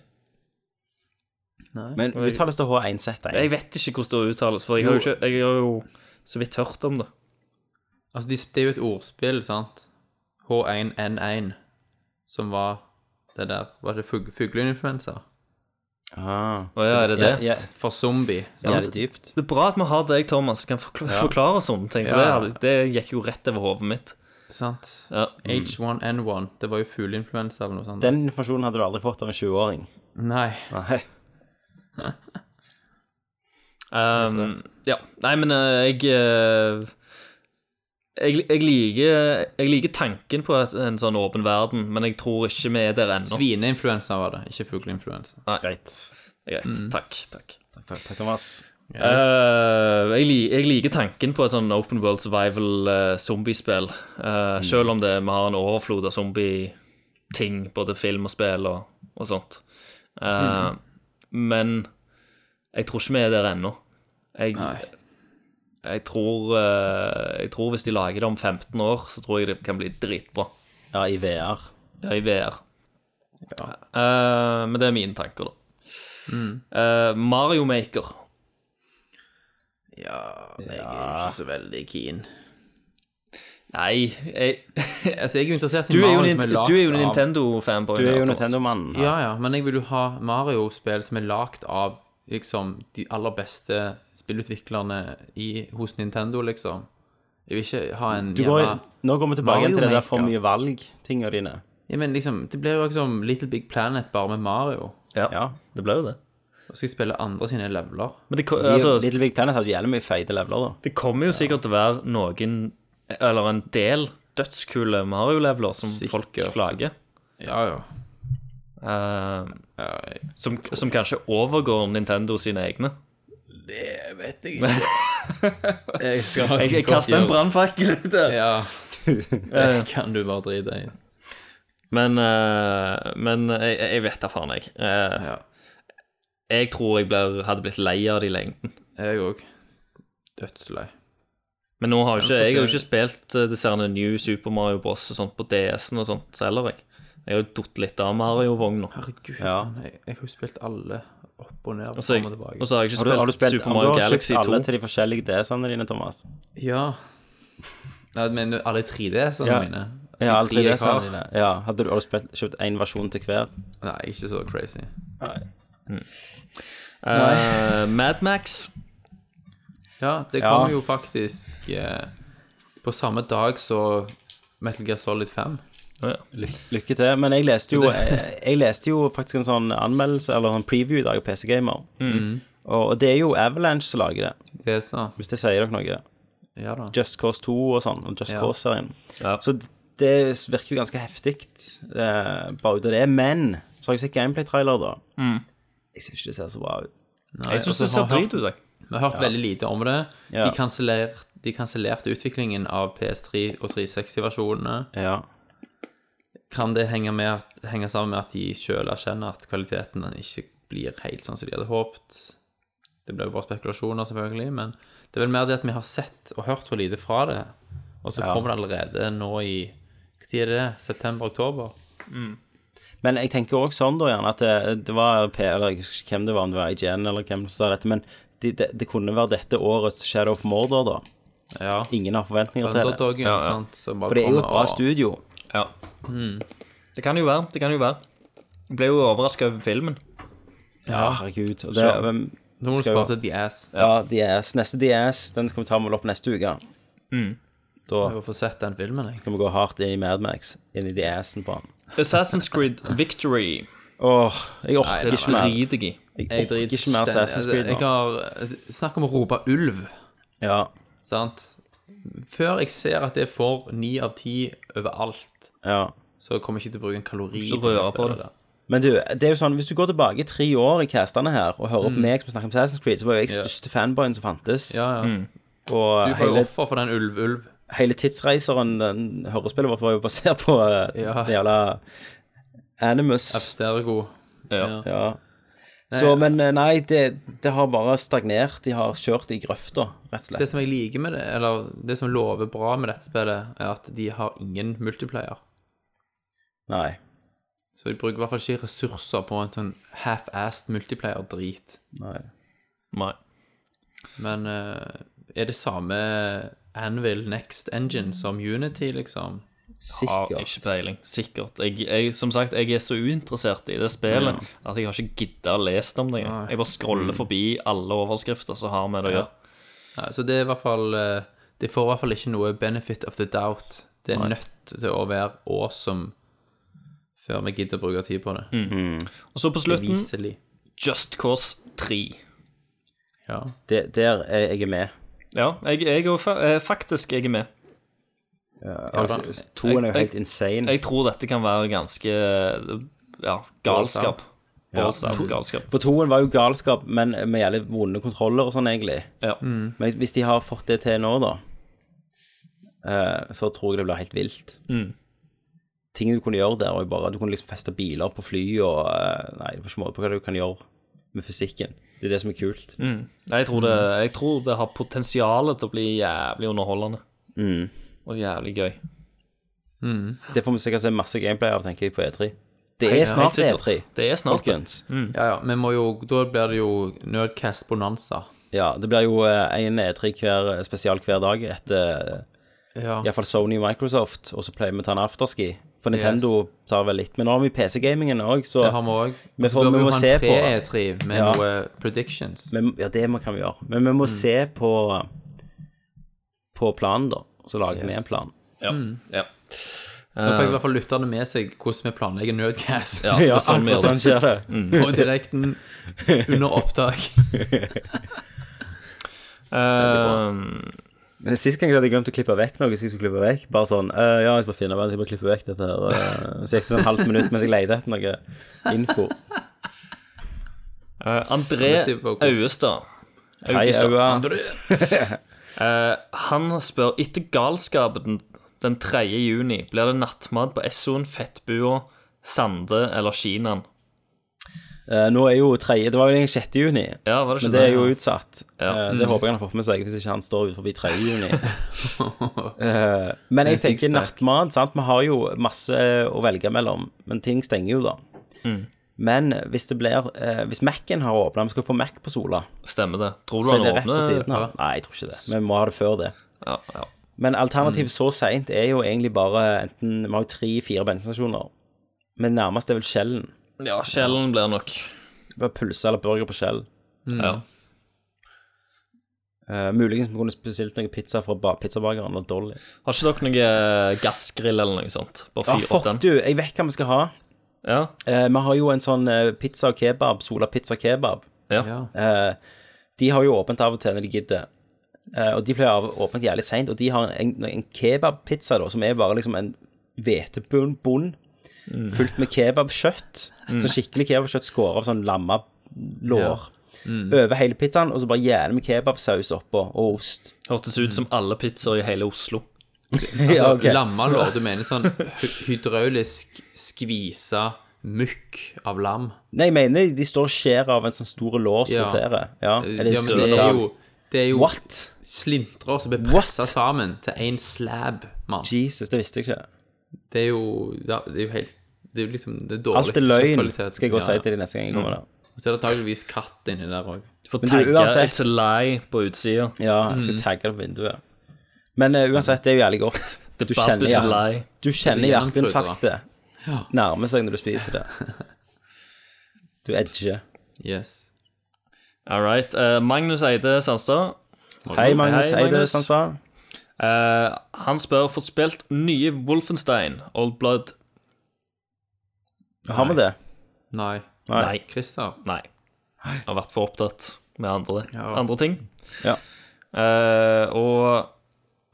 Speaker 2: Men uttales det H1Z1?
Speaker 3: Jeg vet ikke hvordan det uttales, for jeg har jo, ikke, jeg har jo så vidt hørt om det.
Speaker 1: Altså, de, det er jo et ordspill, sant? H1N1, som var det der Var det fug- fugleinfluensa?
Speaker 2: Ah,
Speaker 3: Å ja, er det det?
Speaker 2: ja,
Speaker 1: For zombie.
Speaker 2: ja, det
Speaker 1: Sant?
Speaker 2: er dypt.
Speaker 3: Det er bra at vi har deg, Thomas, som kan forklare, forklare sånne ting. For det,
Speaker 1: Ja.
Speaker 3: hadde- det gikk jo rett over hodet mitt.
Speaker 1: sant?
Speaker 3: Ja.
Speaker 1: H1N1. Det var jo fugleinfluensa eller noe sånt.
Speaker 2: Den informasjonen hadde du aldri fått av en 20-åring.
Speaker 1: Nei.
Speaker 2: Nei.
Speaker 3: Um, ja. Nei, men eh, jeg eh, jeg, jeg, liker, jeg liker tanken på et- en sånn åpen verden, men jeg tror ikke vi er der ennå.
Speaker 1: Svineinfluensa var det, ikke fugleinfluensa.
Speaker 2: Greit.
Speaker 3: Greit. Takk. takk.
Speaker 2: Takk, takk, takk Thomas.
Speaker 3: Eh, jeg, li- jeg liker tanken på et sånn open world survival eh, zombiespill.
Speaker 2: Mm.
Speaker 3: eh, Selv om det, vi har en overflod av zombie-ting, både film og spill og, og sånt. Eh,
Speaker 2: Mm.
Speaker 3: Men jeg tror ikke vi er der ennå. Jeg, jeg, tror, eh, jeg tror hvis de lager det om 15 år, så tror jeg det kan bli dritbra
Speaker 2: Ja, i VR.
Speaker 3: ja, i VR. Eh, men det er mine tanker, da. Eh, Mario Maker.
Speaker 1: Ja, jeg er jo ikke så veldig keen.
Speaker 3: Nei, jeg
Speaker 1: Altså, jeg er jo interessert i
Speaker 3: Du er jo,
Speaker 1: Mario som
Speaker 3: Nint-
Speaker 1: er lagd
Speaker 3: du er jo
Speaker 1: av-
Speaker 3: Nintendo-fanboy.
Speaker 2: Du er jo
Speaker 3: Thomas.
Speaker 2: Nintendo-mannen. her.
Speaker 1: Ja, ja, men jeg vil jo ha Mario-spill som er lagd av liksom de aller beste spillutviklerne i, hos Nintendo, liksom. Jeg vil ikke ha en
Speaker 2: Du går,
Speaker 1: hjemme-
Speaker 2: nå går vi tilbake igjen til det
Speaker 1: Mario
Speaker 2: der for
Speaker 1: Maker.
Speaker 2: mye valg-tinga dine.
Speaker 1: Ja, men liksom, det blir jo liksom Little Big Planet bare med Mario.
Speaker 3: Ja,
Speaker 2: Ja.
Speaker 3: det ble jo det.
Speaker 1: Og skal jeg spille andre sine leveler.
Speaker 3: Men det, ko-
Speaker 2: De,
Speaker 3: altså,
Speaker 2: Little Big Planet hadde jævlig mye feite leveler, da.
Speaker 3: det kommer jo sikkert til å være noen Eller en del dødskule Mario-leveler som folk
Speaker 1: Sikkert.
Speaker 3: klager.
Speaker 1: Ja, ja.
Speaker 3: eh,
Speaker 1: ja jeg,
Speaker 3: som, som kanskje overgår Nintendo sine egne.
Speaker 1: det vet jeg ikke. jeg skal nok
Speaker 3: Jeg, jeg kaster en brannfakkel ut der.
Speaker 1: Ja. Det kan du bare drite i.
Speaker 3: Men, eh, men jeg, jeg vet da faen, jeg. Eh,
Speaker 1: Ja.
Speaker 3: Jeg tror jeg blir, hadde blitt lei av det i lengden.
Speaker 1: Jeg òg. Dødslei.
Speaker 3: Men nå har jo ikke,
Speaker 1: Ja, vi får
Speaker 3: jeg har jo
Speaker 1: se.
Speaker 3: ikke spilt eh, disse herne New Super Mario Bros. og sånt på DS-en og sånt heller, jeg. Jeg har jo datt litt av Mario-vogna.
Speaker 1: Herregud,
Speaker 2: Ja.
Speaker 1: mann, jeg, jeg har jo spilt alle opp og ned.
Speaker 3: Og så har
Speaker 1: fram og
Speaker 3: jeg,
Speaker 1: tilbake.
Speaker 3: og så har jeg
Speaker 2: Har
Speaker 3: ikke
Speaker 2: du,
Speaker 3: spilt,
Speaker 2: har du spilt
Speaker 3: Super Mario
Speaker 2: har du
Speaker 3: Galaxy
Speaker 2: kjøpt
Speaker 3: 2.
Speaker 2: alle til de forskjellige DS-ene dine, Thomas?
Speaker 1: Ja. Nei, men alle 3D-ene
Speaker 2: Ja.
Speaker 1: mine.
Speaker 2: Ja, alle
Speaker 1: tre jeg har.
Speaker 2: 3DS-ene dine. Ja, hadde du, har du spilt, kjøpt én versjon til hver?
Speaker 1: Nei, ikke så crazy.
Speaker 3: Eh, Mad Max.
Speaker 1: Ja, det
Speaker 2: Ja.
Speaker 1: kommer jo faktisk eh, på samme dag så Metal Gear Solid 5.
Speaker 2: Lykke til. Men jeg leste jo, jeg, jeg leste jo faktisk en sånn anmeldelse, eller en preview i dag av PC Gamer. Og, og det er jo Avalanche som lager det,
Speaker 1: Det er så.
Speaker 2: hvis det sier dere noe.
Speaker 1: Ja da.
Speaker 2: Just Cause 2 og sånn, og Just
Speaker 1: Ja.
Speaker 2: Cause-serien.
Speaker 3: Ja.
Speaker 2: Så d- det virker jo ganske heftig, eh, bare ut av det. Men så har jeg sett gameplay-trailer, da. Jeg syns ikke det ser så bra ut.
Speaker 1: Nei,
Speaker 3: Jeg syns
Speaker 1: altså,
Speaker 3: det ser
Speaker 1: har hørt-
Speaker 3: drit ut, jeg.
Speaker 1: Vi har hørt veldig lite om det.
Speaker 2: Ja.
Speaker 1: De, kanseller, de kansellerte utviklingen av PS3 og 360-versjonene.
Speaker 2: Ja.
Speaker 1: Kan det henge, med at, henge sammen med at de sjøl erkjenner at kvaliteten ikke blir helt sånn som de hadde håpet? Det blir jo bare spekulasjoner, selvfølgelig, men det er vel mer det at vi har sett og hørt så lite fra det. Og så kommer det allerede nå i Når er det? September-oktober?
Speaker 2: Men jeg tenker òg sånn, da, gjerne, at det, det var P, eller jeg husker ikke hvem det var, om det var IGN eller hvem som sa dette, men det, det, det kunne være dette årets Shadow of Mordor, da.
Speaker 1: Ja.
Speaker 2: Ingen har forventninger til det.
Speaker 1: Underdogen, ja, sant. som bare
Speaker 2: For det er jo
Speaker 1: kommer
Speaker 2: et bra
Speaker 1: og-
Speaker 2: studio.
Speaker 3: Ja. Det kan jo være. Det kan jo være. Jeg ble jo overraska over filmen.
Speaker 2: Ja, herregud. Og det,
Speaker 1: Så-
Speaker 2: hvem-
Speaker 1: Nå må du
Speaker 2: skal jo-
Speaker 1: spare til The Ass.
Speaker 2: ja, DS. Neste DS, den skal vi ta med opp neste uke.
Speaker 1: Mm.
Speaker 2: Da
Speaker 1: Jeg har fått sett den filmen, jeg.
Speaker 2: skal vi gå hardt inn i Mad Max, inn i DS-en på han.
Speaker 3: Assassin's Creed Victory.
Speaker 2: Åh, jeg orker
Speaker 1: Nei,
Speaker 2: ikke mer.
Speaker 3: Driter jeg i.
Speaker 2: Jeg
Speaker 1: Jeg
Speaker 2: orker
Speaker 1: driter
Speaker 2: ikke mer
Speaker 1: stendig-
Speaker 2: Assassin's Creed
Speaker 1: Jeg
Speaker 2: nå.
Speaker 1: har eh, Snakk om å rope ulv,
Speaker 2: Ja,
Speaker 1: sant? Før jeg ser at jeg får ni av ti overalt,
Speaker 2: ja.
Speaker 1: så kommer jeg ikke til å bruke en kalori
Speaker 3: Ikke røre på det.
Speaker 1: spillet.
Speaker 2: Men du, det er jo sånn, hvis du går tilbake i tre år i castene her, og hører på meg som snakker om Assassin's Creed, så var jo jeg
Speaker 1: Mm. Ja.
Speaker 2: største fanboyen som fantes.
Speaker 1: Ja, ja.
Speaker 3: Mm.
Speaker 1: Du
Speaker 2: Og
Speaker 1: var jo
Speaker 2: hele,
Speaker 1: offer for den ulv-ulv.
Speaker 2: hele tidsreiseren, den hørespillet vårt, var jo basert på uh,
Speaker 1: Ja.
Speaker 2: det jævla Animus.
Speaker 1: Abstergo.
Speaker 3: Ja.
Speaker 2: Ja. Så, men eh, nei, det, det har bare stagnert. De har kjørt i grøfta, rett og
Speaker 1: Det
Speaker 2: slett.
Speaker 1: som jeg liker med det, eller det som lover bra med dette spillet, er at de har ingen multiplayer.
Speaker 2: Nei.
Speaker 1: Så de bruker i hvert fall ikke ressurser på en sånn half-assed multiplayer-drit.
Speaker 2: nei.
Speaker 3: Nei.
Speaker 1: Men eh, er det samme Anvil Next Engine som Unity, liksom?
Speaker 3: Har
Speaker 2: Sikkert.
Speaker 3: ikke peiling. Sikkert. Jeg, jeg, som sagt, jeg er så uinteressert i det spillet at jeg har ikke gidda å lese om det. engang. Jeg bare scroller forbi alle overskrifter som har med det å gjøre.
Speaker 1: Nei, så det er i hvert fall eh, Det får i hvert fall ikke noe benefit of the doubt. Det er nødt til å være awesome før vi gidder å bruke tid på det.
Speaker 3: Og så på slutten
Speaker 1: Beviselig.
Speaker 3: Just Cause 3.
Speaker 1: Ja.
Speaker 2: Det, der er jeg er med.
Speaker 3: Ja, jeg, jeg er fa- eh, faktisk jeg er med.
Speaker 2: Altså, Toen er jo helt insane.
Speaker 3: Jeg tror dette kan være ganske eh, ja, galskap. Bålsatt galskap.
Speaker 2: For toen var jo galskap, men med jævlig vonde kontroller og sånn, egentlig.
Speaker 3: Ja.
Speaker 2: Men hvis de har fått det til nå, da, eh, så tror jeg det blir helt vilt. Ting du kunne gjøre der, og bare, du kunne liksom feste biler på fly og eh, Nei, det var ikke måte på hva du kan gjøre med fysikken. Det er det som er kult.
Speaker 3: Jeg, tror det, jeg tror det har potensial til å bli jævlig underholdende. Og jævlig gøy.
Speaker 2: Det får vi sikkert se masse gameplay av, tenker jeg, på E3. Det er snart
Speaker 3: Helt sikkert.
Speaker 2: E3,
Speaker 3: Det Mm. er snart det.
Speaker 2: folkens.
Speaker 1: ja, ja. Vi må jo Da blir det jo Nerdcast Bonanza.
Speaker 2: Ja, det blir jo én E3 hver, eh, spesial hver dag etter eh,
Speaker 1: Ja.
Speaker 2: Iallfall Sony og Microsoft, og så pleier vi å ta en afterski. For Nintendo tar vel litt. Men nå har vi PC-gamingen òg, så
Speaker 1: Det har vi òg.
Speaker 2: Vi får- vi må se på
Speaker 1: Vi ha en pre-E3 med
Speaker 2: Ja.
Speaker 1: noe eh, predictions.
Speaker 2: men, Ja, det må- kan vi gjøre. Men vi
Speaker 3: Mm.
Speaker 2: må se på På planen, da. Så lager vi
Speaker 1: Yes.
Speaker 2: en plan.
Speaker 3: Ja. ja.
Speaker 1: Nå får jeg i hvert fall lytterne med seg hvordan vi planlegger Nerdcast
Speaker 3: Ja, det er sånn vi
Speaker 2: akkurat
Speaker 3: gjør det.
Speaker 2: sånn skjer det.
Speaker 1: på direkten under opptak.
Speaker 3: Ehm,
Speaker 2: Men Sist gang så hadde jeg glemt å klippe vekk noe. Så jeg skulle klippe vekk Bare sånn «Øh, Ja, jeg skal bare finne ut, jeg bare klipper vekk dette her. øh». Så gikk det sånn halvt minutt mens jeg leide etter noe info.
Speaker 3: eh, André
Speaker 1: Det er typ-
Speaker 3: Auestad.
Speaker 2: Hei,
Speaker 3: Augesand.
Speaker 2: Aua.
Speaker 3: Han spør etter galskapen den 3. juni blir det nattmat på Essoen, Fettbua, Sande eller Kinaen.
Speaker 2: Eh, Nå er jo tredje Det var jo egentlig 6. juni,
Speaker 3: Ja, var det
Speaker 2: men
Speaker 3: ikke
Speaker 2: det er jo utsatt.
Speaker 3: Ja.
Speaker 2: Eh, Det håper jeg han har fått med seg, hvis ikke han står utenfor 3. juni. Eh, Men jeg tenker nattmat, sant. Vi har jo masse å velge mellom, men ting stenger jo, da.
Speaker 3: Mm.
Speaker 2: Men hvis det blir eh, Hvis Mac-en har åpna, vi skal få Mac på Sola,
Speaker 3: Stemmer det. Tror du
Speaker 2: så er
Speaker 3: han
Speaker 2: det rett på siden
Speaker 3: åpner?
Speaker 2: her. Nei, jeg tror ikke det. Vi må ha det før det.
Speaker 3: Ja, ja.
Speaker 2: Men alternativet så seint er jo egentlig bare enten Vi har jo tre-fire bensinstasjoner, men nærmest er vel Skjellen.
Speaker 3: ja Kjellen blir nok.
Speaker 2: Bare pølse eller burger på Skjell. Mm.
Speaker 3: Ja.
Speaker 2: Eh, muligens vi kunne spesielt noe pizza fra ba pizzabakeren eller Dolly.
Speaker 3: Har ikke dere noe eh, gassgrill eller noe sånt? Bare
Speaker 2: Ja,
Speaker 3: fyr
Speaker 2: fuck
Speaker 3: opp den.
Speaker 2: du, jeg vet hva vi skal ha.
Speaker 3: Ja,
Speaker 2: Eh, vi har jo en sånn eh, pizza og kebab, Sola pizza og kebab.
Speaker 3: ja.
Speaker 1: Ja.
Speaker 2: Eh, de har jo åpent av og til når de gidder. Eh, og de pleier å ha åpent jævlig seint. Og de har en, en kebabpizza, da, som er bare liksom en hvetebunn bunn,
Speaker 1: Mm.
Speaker 2: fullt med kebabkjøtt. Så skikkelig kebabkjøtt skåret av sånn lamma lår.
Speaker 1: Mm.
Speaker 2: Over hele pizzaen, og så bare gjerne med kebabsaus oppå, og ost.
Speaker 3: Hørtes ut som alle pizzaer i hele Oslo.
Speaker 2: ja, Altså, ok.
Speaker 1: Lammelår, du mener sånn hy- hydraulisk skvisa mukk av lam?
Speaker 2: Nei, jeg mener de står og skjærer av en sånn stor lår som
Speaker 1: Ja.
Speaker 2: roterer. Ja.
Speaker 1: Ja,
Speaker 2: Eller
Speaker 1: men det er jo, det er jo
Speaker 2: What?
Speaker 1: slintrer som blir
Speaker 2: What?
Speaker 1: pressa sammen til én slab, mann.
Speaker 2: Jesus, det visste jeg ikke.
Speaker 1: Det er jo ja, Det er jo helt Det er jo liksom det
Speaker 2: Alt
Speaker 1: dårligste
Speaker 2: er løgn,
Speaker 1: kjøttkvaliteten.
Speaker 2: skal jeg gå og
Speaker 1: Ja,
Speaker 2: si
Speaker 1: ja.
Speaker 2: til de neste gang jeg kommer der.
Speaker 1: Og Så er det antakeligvis katt inni der òg.
Speaker 3: Du får
Speaker 2: Men du,
Speaker 3: tagge
Speaker 2: uansett-
Speaker 3: 'It's a lie' på utsida.
Speaker 2: Ja, jeg
Speaker 3: Mm.
Speaker 2: skal tagge det på vinduet. Men eh, uansett, det er jo jævlig godt.
Speaker 3: The
Speaker 2: Du
Speaker 3: bab
Speaker 2: kjenner,
Speaker 3: is Altså, a
Speaker 2: hjert-
Speaker 3: lie.
Speaker 2: du kjenner
Speaker 1: Det er så gjennomfrød,
Speaker 2: hjerteinfarktet nærme seg når du spiser det. Du edger.
Speaker 1: Yes.
Speaker 3: All right. Eh, Magnus Eide Sandstad.
Speaker 2: Hei, Magnus
Speaker 3: Hei,
Speaker 2: Eide
Speaker 3: Magnus.
Speaker 2: Sandstad.
Speaker 3: Eh, han spør fått spilt nye Wolfenstein, Old Blood.
Speaker 2: Har vi det?
Speaker 1: Nei.
Speaker 2: Nei.
Speaker 3: Nei.
Speaker 1: Christer.
Speaker 3: Nei. Jeg har vært for opptatt med andre,
Speaker 1: Ja.
Speaker 3: andre ting.
Speaker 2: Ja.
Speaker 3: Eh, og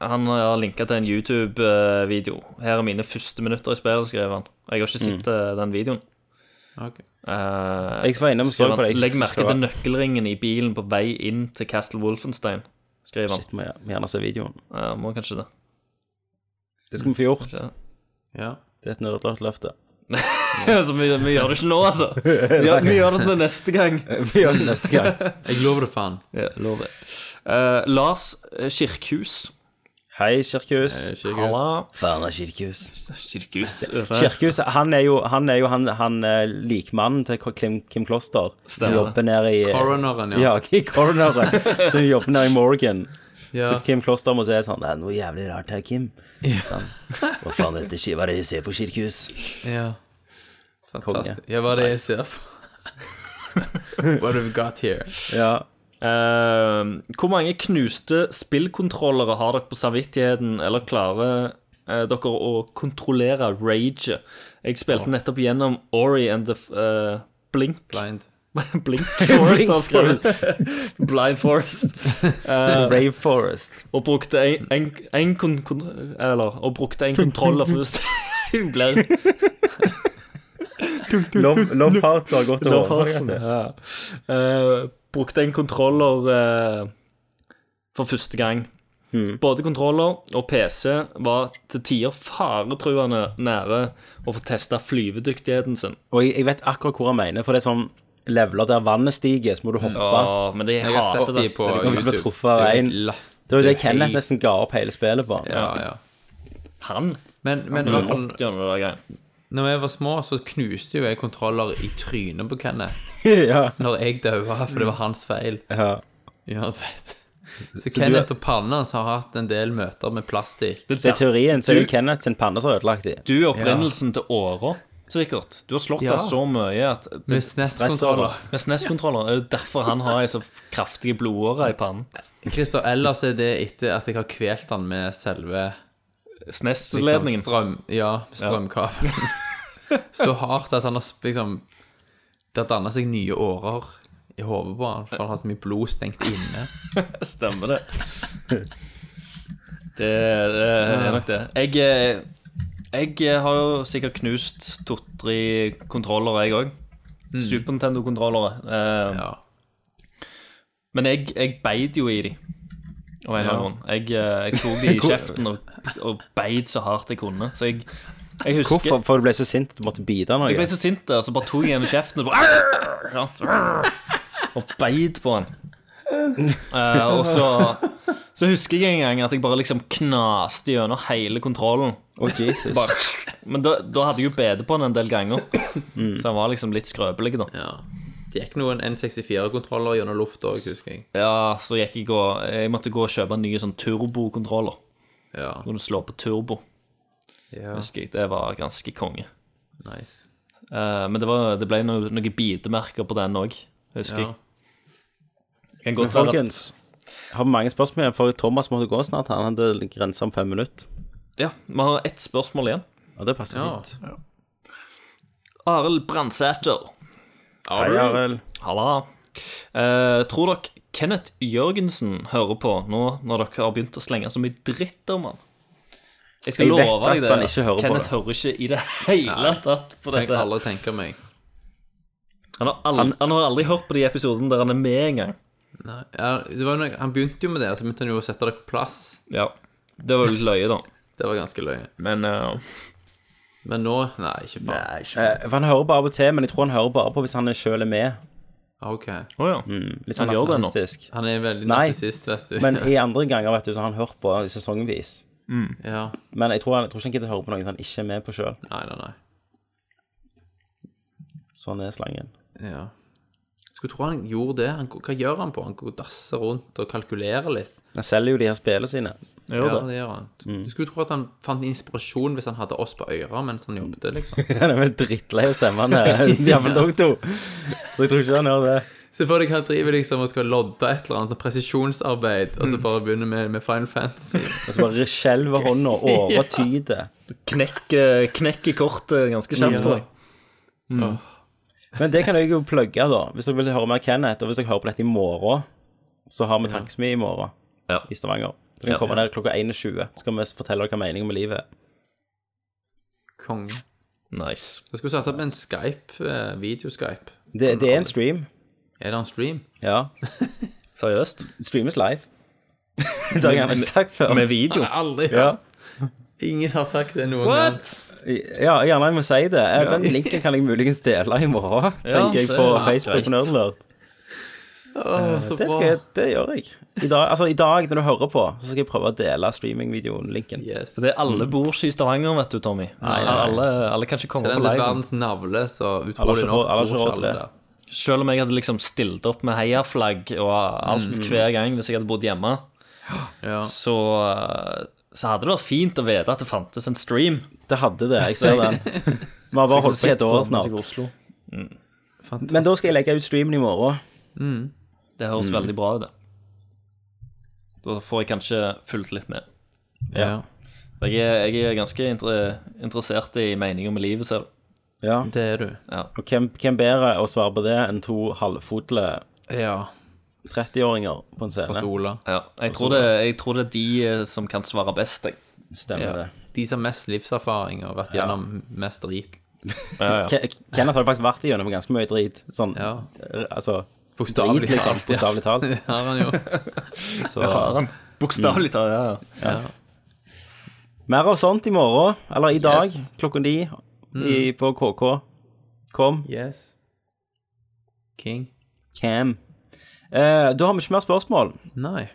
Speaker 3: han har linka til en YouTube-video. 'Her er mine første minutter i spillet', skrev han. Jeg har ikke sett eh, den videoen.
Speaker 1: Ok.
Speaker 3: Eh,
Speaker 2: Mm. Jeg var innom og så
Speaker 3: skrev han,
Speaker 2: på det, jeg
Speaker 3: Legg
Speaker 2: synes
Speaker 3: merke
Speaker 2: det var-
Speaker 3: til nøkkelringen i bilen på vei inn til Castle Wolfenstein, skriver han.
Speaker 2: Shit, må jeg må gjerne se videoen.
Speaker 3: Eh, må kanskje det.
Speaker 2: Det skal vi få gjort.
Speaker 3: Ja.
Speaker 1: Ja.
Speaker 2: Det er et nerdløft løfte.
Speaker 3: Så Altså, vi, vi gjør det ikke nå, altså. Vi gjør, vi gjør det til neste gang.
Speaker 2: Vi gjør det neste gang.
Speaker 1: Jeg lover det, faen.
Speaker 3: Ja, lover. Eh, Lars eh, Kirkhus.
Speaker 2: Hei, Kirkhus.
Speaker 1: Kirkhus.
Speaker 2: Fana Kirkhus.
Speaker 3: Kirkhus.
Speaker 2: Kirkhus han er jo han, er jo han, han eh, likmannen til Kim, Kim Kloster, som
Speaker 3: Stemmer.
Speaker 2: jobber nede i eh,
Speaker 1: Coroneren, ja.
Speaker 2: Ja, i Coroneren, som jobber nede i Morgan.
Speaker 1: Ja.
Speaker 2: Så Kim Kloster må si sånn Det er noe jævlig rart her, Kim. Sånn. Hva faen er dette, ki- hva er det de ser på Kirkhus?
Speaker 1: Ja. Fantastisk. Ja, hva er det jeg ser på? What have we got here?
Speaker 2: Ja.
Speaker 3: Eh, hvor mange knuste spillkontrollere har dere på samvittigheten, eller klarer eh, dere å kontrollere rage? Jeg spilte nettopp gjennom Ori and the eh, Blink.
Speaker 1: Blind.
Speaker 3: Blink Forest har skrevet. Blind Forest. Eh,
Speaker 2: Rave Forest.
Speaker 3: Og brukte en, en, en kon, kon, Eller, og brukte en kontroller først. Hun blir
Speaker 2: Love, love Hearts har gått over.
Speaker 3: Ja. Eh, brukte en kontroller eh, for første gang. Både kontroller og PC var til tider faretruende nære å få testa flyvedyktigheten sin.
Speaker 2: Og jeg, jeg vet akkurat hvor han mener, for det er sånn leveler der vannet stiger, så må du hoppe.
Speaker 3: Åh, men det
Speaker 1: Jeg har sett
Speaker 3: hater
Speaker 1: de
Speaker 3: det.
Speaker 1: på
Speaker 2: er noen som har
Speaker 1: YouTube.
Speaker 2: truffet av
Speaker 1: Det er jo
Speaker 2: en.
Speaker 1: helt latt-
Speaker 2: Det var jo det
Speaker 1: er
Speaker 2: Kenneth
Speaker 1: helt-
Speaker 2: nesten ga opp hele spillet på.
Speaker 1: Ja, ja.
Speaker 3: Han
Speaker 1: Men, men i hvert fall
Speaker 3: gjennom det der greien.
Speaker 1: Når jeg var små, så knuste jo jeg kontroller i trynet på Kenneth
Speaker 2: ja.
Speaker 1: når jeg daua, for det var hans feil
Speaker 2: ja.
Speaker 1: uansett. Mm. Så Kenneth og pannen hans har hatt en del møter med plastikk.
Speaker 2: Så i teorien så er det
Speaker 3: Du-
Speaker 2: Kenneth sin panne som har ødelagt de.
Speaker 3: Du er opprinnelsen til åra, sikkert. Du har slått
Speaker 1: Ja.
Speaker 3: deg så mye at
Speaker 1: Med
Speaker 3: det,
Speaker 1: SNES-kontroller.
Speaker 3: Med SNES-kontroller. Det er derfor han har ei så kraftige blodårer i pannen.
Speaker 1: Christer, ellers er det etter at jeg har kvelt han med selve liksom,
Speaker 3: SNES-ledningen.
Speaker 1: strøm, ja, strømkabelen. så hardt at han har sp- liksom Det har danna seg nye årer i hodet på han, for han har så mye blod stengt inne.
Speaker 3: Stemmer det. det. Det er nok det. Jeg, eh, jeg har jo sikkert knust to-tre kontrollere, jeg òg.
Speaker 1: Mm.
Speaker 3: Super Nintendo-kontrollere. Eh,
Speaker 1: Ja.
Speaker 3: Men jeg, jeg beit jo i de. Av en eller annen grunn. Jeg, eh, jeg tok de i kjeften og, og beit så hardt jeg kunne. Så jeg, jeg husker
Speaker 2: Hvorfor? For du ble så sint at du måtte bite noe?
Speaker 3: Jeg ble så sint, der, så bare tok jeg igjen i kjeften og bare «Arr!» Ja, «Arr!» Og beit på han. Eh, og så Så husker jeg en gang at jeg bare liksom knaste gjennom hele kontrollen.
Speaker 2: Å, Jesus.
Speaker 3: Bare, men da, da hadde jeg jo bedt på han en del ganger, så han var liksom litt skrøpelig, da.
Speaker 1: ja. Det gikk noen N64-kontroller gjennom lufta òg, husker jeg.
Speaker 3: Ja, så gikk jeg og Jeg måtte gå og kjøpe nye sånn turbokontroller.
Speaker 1: Ja.
Speaker 3: Så Kunne slå på turbo,
Speaker 1: ja.
Speaker 3: husker jeg. Det var ganske konge.
Speaker 1: Nice.
Speaker 3: Eh, men det, var, det ble no, noen bitemerker på den òg, husker
Speaker 1: Ja.
Speaker 3: jeg. Kan
Speaker 2: Men
Speaker 3: godt være at
Speaker 2: folkens, har vi mange spørsmål igjen, for Thomas måtte gå snart. Han hadde grensa om fem minutter.
Speaker 3: Ja, vi har ett spørsmål igjen.
Speaker 2: Og det passer
Speaker 1: Ja.
Speaker 2: fint.
Speaker 3: Arild Brandsæter.
Speaker 2: Hei, Arild.
Speaker 3: Halla. Eh, tror dere Kenneth Jørgensen hører på nå når dere har begynt å slenge så mye dritt om han? Jeg skal
Speaker 2: Jeg vet
Speaker 3: love deg
Speaker 2: at
Speaker 3: det.
Speaker 2: han ikke hører på
Speaker 3: Kenneth
Speaker 2: det.
Speaker 3: hører ikke i det hele tatt på
Speaker 1: Jeg
Speaker 3: dette.
Speaker 1: kan
Speaker 3: her.
Speaker 1: aldri tenke meg.
Speaker 3: Han har aldri, han, har aldri hørt på de episodene der han er med engang.
Speaker 1: Nei. Ja, det var jo noe, han begynte jo med det, så begynte han jo å sette dere på plass.
Speaker 3: Ja. Det var jo litt løye, da.
Speaker 1: Det var ganske løye.
Speaker 3: Men eh,
Speaker 1: Men nå Nei, ikke faen.
Speaker 2: Eh, for han hører bare av og til, men jeg tror han hører bare på hvis han sjøl er med.
Speaker 1: Ok.
Speaker 3: Å ja.
Speaker 2: Litt sånn
Speaker 3: Han gjør det nå.
Speaker 2: narsissistisk.
Speaker 1: Han er veldig
Speaker 2: Nei.
Speaker 1: narsissist, vet du.
Speaker 2: Men i andre ganger vet du, så har han hørt på sesongvis.
Speaker 1: Ja.
Speaker 2: Men jeg tror, han, jeg tror ikke han gidder høre på noe han ikke er med på sjøl.
Speaker 1: Nei, nei, nei.
Speaker 2: Sånn er slangen.
Speaker 1: Ja. Skulle tro han gjorde det. Han, hva gjør han på? Han går og dasser rundt og kalkulerer litt.
Speaker 2: Han selger jo de her spillene sine.
Speaker 3: Jeg
Speaker 1: Ja,
Speaker 3: gjør det.
Speaker 1: det gjør han. Du skulle tro at han fant inspirasjon hvis han hadde oss på øra mens han jobbet, liksom.
Speaker 2: Han er vel drittlei av stemmene, jævla dere to. Så jeg tror ikke han hører det.
Speaker 1: Se for deg han driver liksom og skal lodde et eller annet sånn presisjonsarbeid, og så bare begynner med, med Final Fantasy.
Speaker 2: Og så bare skjelver hånda over tydet.
Speaker 3: Knekker knekker kortet ganske kjapt, tror jeg.
Speaker 2: Men det kan jeg jo plugge, da. Hvis dere vil høre mer Kenneth, og hvis dere hører på dette i morgen, så har vi Tanksmi i morgen
Speaker 3: Ja.
Speaker 2: i Stavanger. Så kan vi komme ned klokka 21, så skal vi fortelle dere hva meningen med livet er.
Speaker 1: Konge.
Speaker 3: Nice.
Speaker 1: Så skulle vi satt opp en Skype, eh, videoskype.
Speaker 2: Det, det er en stream.
Speaker 1: Er det en stream?
Speaker 2: Ja.
Speaker 3: Seriøst?
Speaker 2: Streames live. Det har jeg gjerne sagt før.
Speaker 3: Med video?
Speaker 1: Aldri
Speaker 2: Ja.
Speaker 1: Ingen har sagt det noen gang.
Speaker 3: What?
Speaker 2: Ja, gjerne jeg må si det. Eh, Den linken kan jeg muligens dele i morgen, tenker jeg,
Speaker 3: det
Speaker 2: på
Speaker 3: er
Speaker 2: Facebook på Nerdlert.
Speaker 1: Åh, så
Speaker 2: Det, skal jeg, det gjør jeg. I dag, altså, I dag, når du hører på, så skal jeg prøve å dele streamingvideoen, linken.
Speaker 1: Yes.
Speaker 3: Det er alle bor ikke i Stavanger, vet du, Tommy. alle, alle kan ikke komme
Speaker 1: Den
Speaker 3: på
Speaker 1: er
Speaker 3: live.
Speaker 1: verdens navle, så
Speaker 2: Alle har
Speaker 1: utrolig
Speaker 2: ikke
Speaker 1: nok
Speaker 2: råd- alle har ikke
Speaker 1: bor
Speaker 2: råd
Speaker 1: ikke
Speaker 2: til
Speaker 1: alle
Speaker 2: det.
Speaker 1: der.
Speaker 3: Selv om jeg hadde liksom stilt opp med heiaflagg og alt hver gang hvis jeg hadde bodd hjemme,
Speaker 1: Mm. Ja.
Speaker 3: så, så hadde det vært fint å vite at det fantes en stream.
Speaker 2: Det hadde det, jeg ser den. Vi har bare holdt på i et år snart. Men da skal jeg legge ut streamen i morgen.
Speaker 3: Det høres veldig bra ut. det. Da får jeg kanskje fulgt litt med.
Speaker 1: Ja.
Speaker 3: Jeg er, jeg er ganske inter interessert i meninger med livet selv.
Speaker 2: Ja.
Speaker 1: Det er du.
Speaker 2: Og hvem, hvem bedre å svare på det enn to halvfotle
Speaker 1: Ja.
Speaker 2: 30-åringer på en
Speaker 1: Og
Speaker 2: scene?
Speaker 1: Sola.
Speaker 3: Ja, jeg, tror det, jeg tror det er de eh, som kan svare best, jeg.
Speaker 2: Stemmer det.
Speaker 1: De som har mest livserfaring og har vært gjennom mest drit.
Speaker 2: Ke- Kenneth har faktisk vært igjennom ganske mye drit. Sånn
Speaker 1: Ja.
Speaker 2: eh, altså
Speaker 1: Bokstavelig
Speaker 2: Drit, liksom,
Speaker 1: talt.
Speaker 2: bokstavelig talt.
Speaker 1: Det har han jo.
Speaker 2: så,
Speaker 3: Bokstavelig talt, ja. ja.
Speaker 2: Mer av sånt i morgen, eller i dag,
Speaker 1: Yes.
Speaker 2: klokken ni i, på KK. Kom.
Speaker 1: Yes. King.
Speaker 2: Cam. Eh, da har vi ikke mer spørsmål.
Speaker 1: Nei.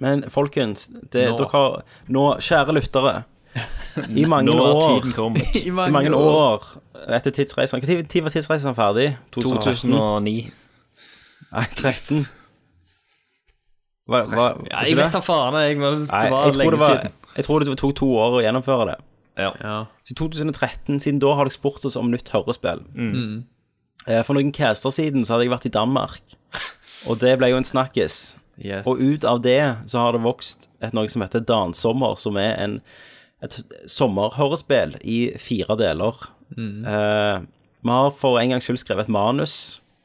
Speaker 2: Men folkens, det,
Speaker 1: Nå.
Speaker 2: dere har nå, kjære lyttere I mange
Speaker 3: Nå er
Speaker 2: år
Speaker 3: tiden kommet.
Speaker 1: I
Speaker 2: I mange år etter tidsreisen Når tid var tidsreisen ferdig? 2000?
Speaker 3: 2009.
Speaker 2: Nei, 13 hva, hva,
Speaker 3: Ja, jeg vet da faen, jeg. Men det
Speaker 2: Nei,
Speaker 3: var
Speaker 2: jeg tror
Speaker 3: lenge
Speaker 2: det var
Speaker 3: siden.
Speaker 2: Jeg tror det tok to år å gjennomføre det
Speaker 3: Ja.
Speaker 1: Ja.
Speaker 2: Så 2013, siden da har dere spurt oss om nytt hørespill
Speaker 3: Mm.
Speaker 2: Eh, For noen caster siden så hadde jeg vært i Danmark Og det ble jo en snakkes
Speaker 1: Yes.
Speaker 2: Og ut av det så har det vokst et noe som heter Dansommer, som er en, et sommerhørespill i fire deler. Eh, vi har for en gangs skyld skrevet et manus,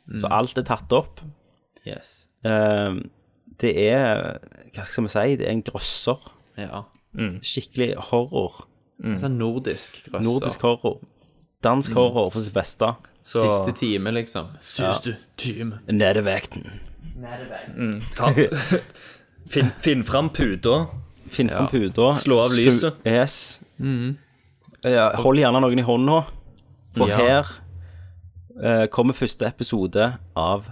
Speaker 2: så alt er tatt opp.
Speaker 1: Yes.
Speaker 2: Eh, det er, hva skal vi si, det er en grøsser.
Speaker 1: Ja.
Speaker 2: Skikkelig horror.
Speaker 1: Sånn nordisk grøsser.
Speaker 2: Mm. Nordisk horror. Dansk horror på sitt beste.
Speaker 3: Så
Speaker 1: Siste time, liksom.
Speaker 2: Ned i vekten.
Speaker 3: ta, finn, finn fram puta.
Speaker 2: Finn fram puta.
Speaker 3: Slå av
Speaker 2: skru-
Speaker 3: lyset. Mm.
Speaker 2: Yes. Ja, hold gjerne noen i hånda, for
Speaker 1: Ja.
Speaker 2: her eh, kommer første episode av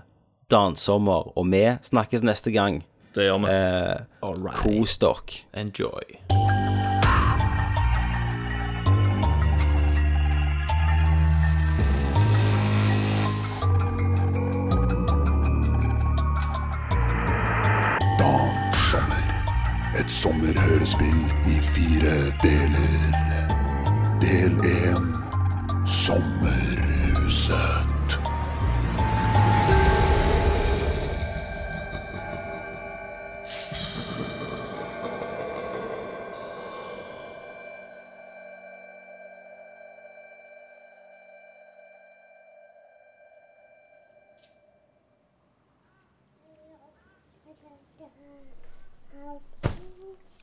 Speaker 2: Dansommer, og vi snakkes neste gang.
Speaker 3: Det gjør vi.
Speaker 2: Kos dere.
Speaker 1: Enjoy.
Speaker 5: Dan Sommer. Et sommerhørespill i fire deler. Del 1 Sommerhuset.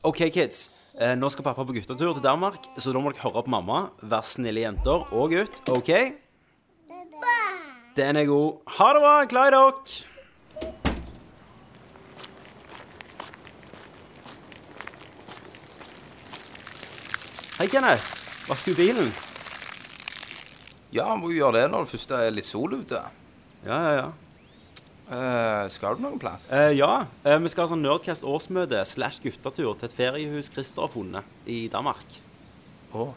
Speaker 2: OK, kids. Eh, nå skal pappa på guttetur til Danmark, så da må dere høre på mamma. Vær snille jenter og gutt, OK? Den er god. Ha det bra. Glad i dere. Hei, Kenneth. Vasker du bilen?
Speaker 6: Ja, må jo gjøre det når det først er litt sol ute.
Speaker 2: Ja, ja, ja.
Speaker 6: Eh, skal du noen plass?
Speaker 2: Eh, ja, eh, vi skal ha sånn Nerdcast-årsmøte slash guttetur til et feriehus Christer har funnet i Danmark.
Speaker 6: Å.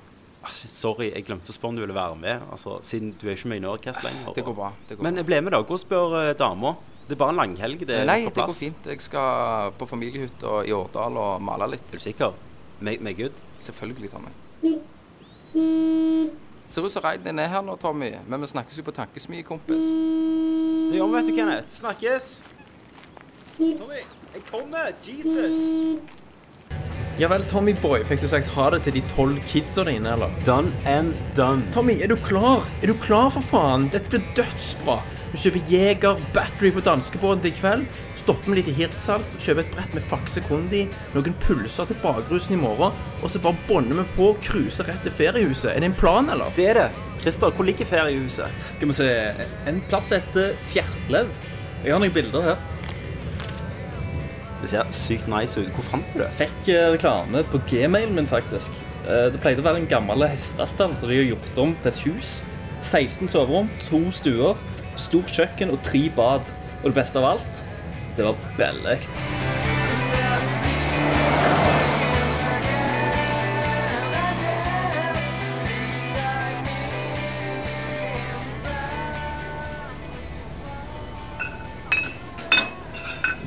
Speaker 2: Ah, shit, sorry, jeg glemte å spørre om du ville være med, altså, siden du er ikke med i Nerdcast lenger.
Speaker 6: Det går bra. det går
Speaker 2: Men
Speaker 6: bra.
Speaker 2: jeg ble med, da. Gå og spør eh, dama. Det er bare en langhelg. Det er
Speaker 6: Nei,
Speaker 2: på
Speaker 6: det går
Speaker 2: plass.
Speaker 6: fint. Jeg skal på familiehytta i Årdal og male litt.
Speaker 2: Er du sikker? Me- me good?
Speaker 6: Selvfølgelig, Tommy. Ser ut som Reiden din er her nå, Tommy. Men vi snakkes jo på tankesmi, kompis.
Speaker 2: Det gjør vi, vet du, Kenneth. Snakkes. Tommy, jeg kommer. Jesus.
Speaker 7: Ja vel, Tommy Boy, fikk du sagt ha det til de tolv kidsa dine, eller?
Speaker 8: Done and done.
Speaker 7: Tommy, er du klar? Er du klar for faen? Dette blir dødsbra. Vi kjøper Jeger Battery på danskebåten til i kveld. Stopper med litt i Hirtshals, kjøper et brett med Faxe Kondi, noen pulser til bakrusen i morgen, og så bare bånder vi på og cruiser rett til feriehuset. Er det en plan, eller?
Speaker 2: Det er det. Christer, hvor ligger feriehuset?
Speaker 9: Skal vi se En plass heter Fjertlev. Jeg har noen bilder her.
Speaker 2: Det ser sykt nice ut. Hvor fant du det?
Speaker 9: Fikk eh, reklame på gmailen min, faktisk.
Speaker 3: Eh, Det pleide å være en gammel hestestall som de har gjort om til et hus. 16 soverom, to stuer, stort kjøkken og tre bad. Og det beste av alt, det var billig.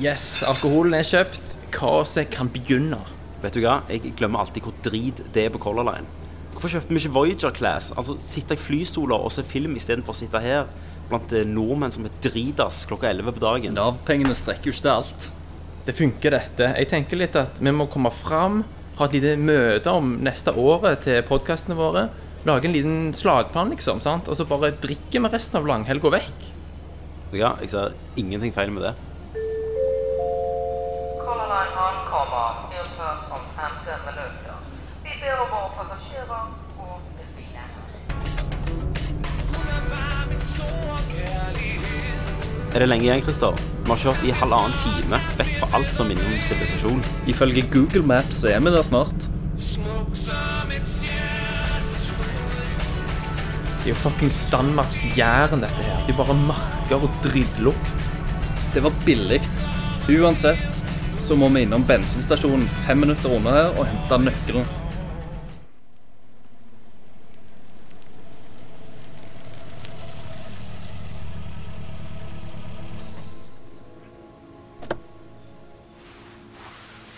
Speaker 1: Yes, alkoholen er kjøpt. Kaoset kan begynne.
Speaker 2: Vet du hva, jeg glemmer alltid hvor drit det er på Color Line. Hvorfor kjøpte vi ikke Voyager Class? Altså, Sitte i flystoler og se film istedenfor å sitte her blant eh, nordmenn som er dritas klokka 11 på dagen.
Speaker 3: Nav-pengene strekker jo ikke til alt.
Speaker 1: Det funker, dette. Jeg tenker litt at vi må komme fram, ha et lite møte om neste året til podkastene våre. Lage en liten slagplan, liksom, sant? og så bare drikke med resten av langhelga vekk.
Speaker 2: Vet du hva, jeg ser ingenting feil med det.
Speaker 8: Color line ankommer tilført om 15 minutter. Vi ber om våre passasjerer å befile.
Speaker 2: Er det lenge igjen, Christer? Vi har kjørt i halvannen time vekk fra alt som minner om sivilisasjon.
Speaker 3: Ifølge Google Maps så er vi der snart.
Speaker 1: Det er jo fuckings Danmarks Jæren, dette her. Det er jo bare marker og drittlukt.
Speaker 3: Det var billig. Uansett så må vi innom bensinstasjonen fem minutter unna her og hente nøkkelen.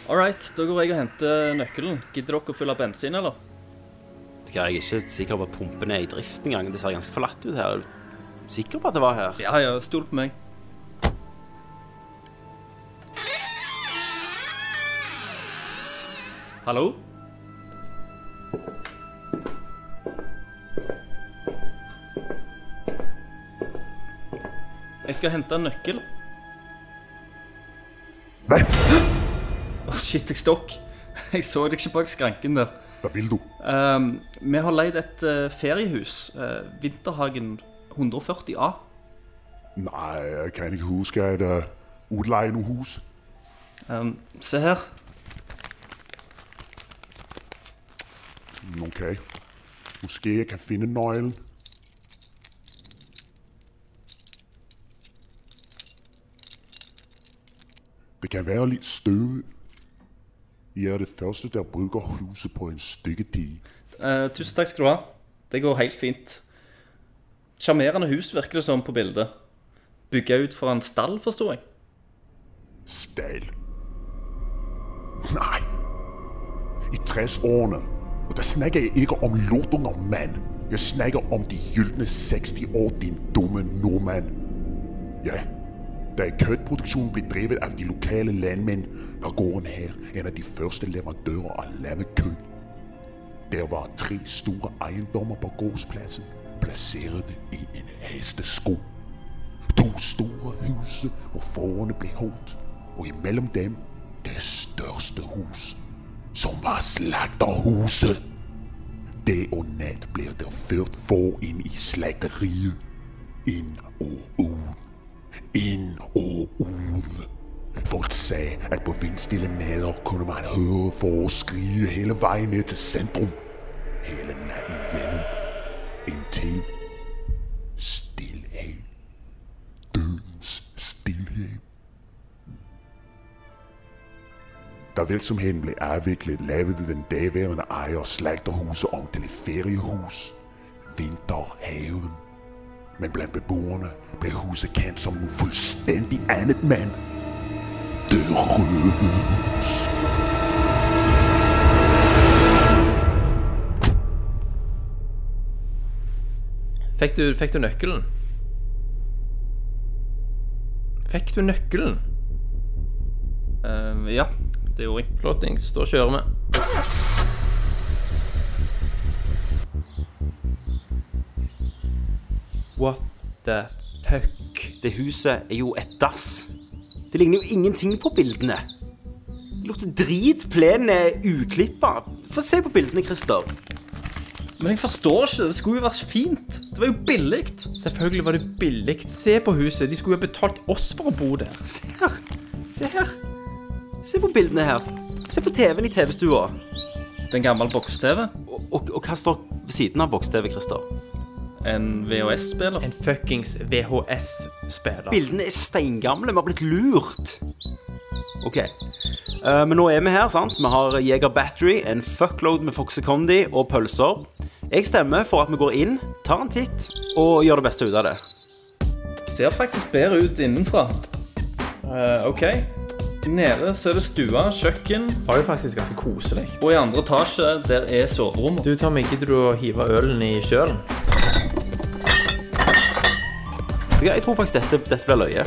Speaker 3: All right, da går jeg og henter nøkkelen. Gidder dere å fylle bensin, eller?
Speaker 2: Vet du hva, Jeg er ikke sikker på at pumpen er i drift engang. Det ser ganske forlatt ut her. Er du sikker på at det var her?
Speaker 3: Ja, ja, stol på meg. Hallo? Jeg skal hente en nøkkel.
Speaker 5: Nei,
Speaker 3: Å, shit, jeg stokk. Jeg så deg ikke bak skranken der.
Speaker 5: hva vil du?
Speaker 3: Ehm, vi har leid et eh, feriehus. eh, Vinterhagen 140A.
Speaker 5: Nei, jeg kan ikke huske at uh, utleie noe hus.
Speaker 3: Ehm, se her.
Speaker 5: Mm, Ok. Måske jeg kan finne nøglen. Det kan være litt støv. Jeg er det første der bruker huset på en stykke tid.
Speaker 3: Eh, tusen takk skal du ha. Det går helt fint. Sjarmerende hus virker det som på bildet. Bygga ut fra en stall, forsto jeg.
Speaker 5: Stall. Nej. I 60 årene, og der snakker jeg ikke om lortunger, mand. Jeg snakker om de gyldne 60 år, din dumme nordmand. Ja, da kødproduktionen blev drevet af de lokale landmænd, var gården her en af de første leverandører af lammekød. Der var tre store ejendommer på gårdspladsen, placeret i en hestesko. To store huse, hvor fårene blev holdt, og imellem dem det største hus, som var slagterhuset. Dag og nat blev der ført får ind i slagteriet. Ind og ud. Ind og ud. Folk sagde, at på vindstille nader kunne man høre for at skrige hele vejen ned til centrum. Hele natten igennem. Indtil stillhed dødens stilhed. Da virksomheden blev afviklet, lavede den daværende ejer slagterhuset om til et feriehus, Vinterhaven. Men blandt beboerne blev huset kendt som nu fuldstændig andet mand. Det røde hus.
Speaker 1: Fikk du, fikk du nøkkelen? Fikk du nøkkelen?
Speaker 3: Ehm, ja, det gjorde jeg.
Speaker 1: Flottings, da kjører vi. What the fuck?
Speaker 2: Det huset er jo et dass. Det ligner jo ingenting på bildene. Det lukter drit. Plenen er uklippa. Få se på bildene, Christer.
Speaker 3: Men jeg forstår ikke. Det skulle jo vært fint. Det var jo billig.
Speaker 1: Selvfølgelig var det billig. Se på huset. De skulle jo ha betalt oss for å bo der.
Speaker 2: Se her. Se her. Se på bildene her. Se på TV-en i TV-stua.
Speaker 10: Det er en gammel boks-TV.
Speaker 2: Og, og, og hva står ved siden av boks-TV, Christer?
Speaker 10: En VHS-spiller.
Speaker 11: En fuckings VHS-spiller.
Speaker 2: Bildene er steingamle. Vi har blitt lurt. OK. Eh, men nå er vi her, sant? Vi har Jeger Battery, en fuckload med Foxy Condi og pølser. Jeg stemmer for at vi går inn, tar en titt og gjør det beste ut av det.
Speaker 3: Ser faktisk bedre ut innenfra. Eh, OK. Nede så er det stua, kjøkken,
Speaker 11: Var det faktisk ganske koselig.
Speaker 3: og i andre etasje der er soverommet.
Speaker 1: Du, Tommy, gidder du å hive ølen i kjølen?
Speaker 2: Ok, Jeg tror faktisk dette, dette blir løye.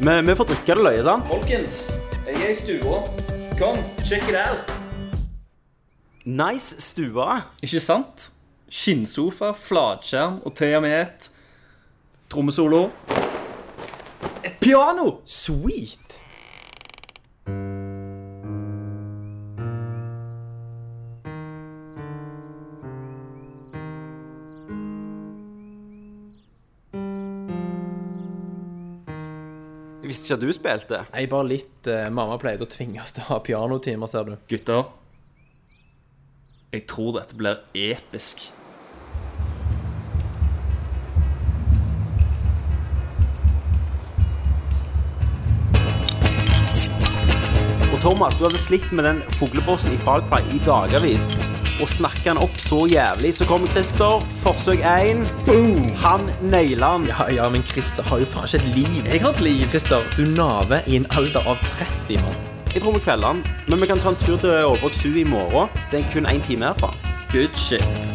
Speaker 2: Vi, vi får drikke det løye, sant?
Speaker 3: Folkens, jeg er i stua. Kom, check it out.
Speaker 2: Nice stue.
Speaker 3: Ikke sant? Skinnsofa, flatskjerm og til og med et trommesolo. Et piano!
Speaker 11: Sweet.
Speaker 2: Jeg visste ikke at du spilte.
Speaker 1: Nei, bare litt. eh, mamma pleide å tvinge oss til å ha pianotimer, ser du.
Speaker 10: Gutter, jeg tror dette blir episk.
Speaker 2: Og Thomas, du hadde slitt med den fuglebossen i Fagpie i dagavis. Og snakka han opp så jævlig. Så kommer Christer. Forsøk én. Han naila han.
Speaker 1: Ja, ja, men Christer har jo faen ikke et liv. Jeg har et liv. Christer, du naver i en alder av 30, mann.
Speaker 2: Jeg tror vi kvelder han. Men vi kan ta en tur til Overvåk 7 i morgen. Det er kun én time herfra.
Speaker 3: Good shit.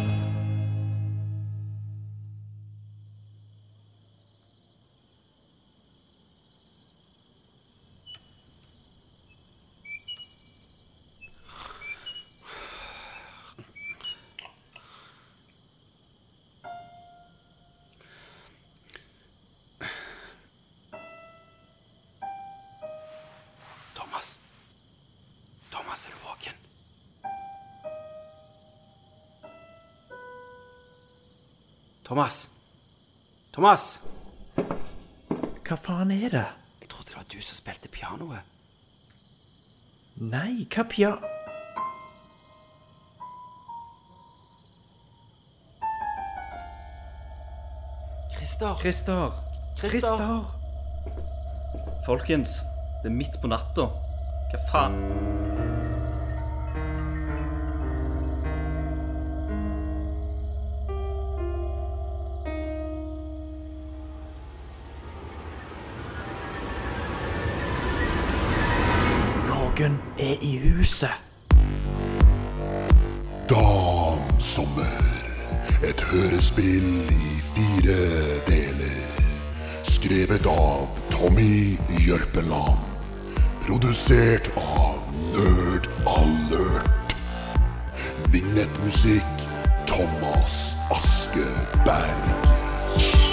Speaker 2: Thomas. Thomas, er du våken? Thomas. Thomas.
Speaker 1: Hva faen er det?
Speaker 2: Jeg trodde det var du som spilte pianoet.
Speaker 1: Nei, hva pia...
Speaker 2: Christer.
Speaker 1: Christer. Christer.
Speaker 10: Folkens, det er midt på natta. Hva faen?
Speaker 1: Noen er i huset.
Speaker 5: Dan Sommer. Et hørespill i fire deler. Skrevet av Tommy Jørpeland. Produsert av Nerd Alert. Vignettmusikk Thomas Askeberg.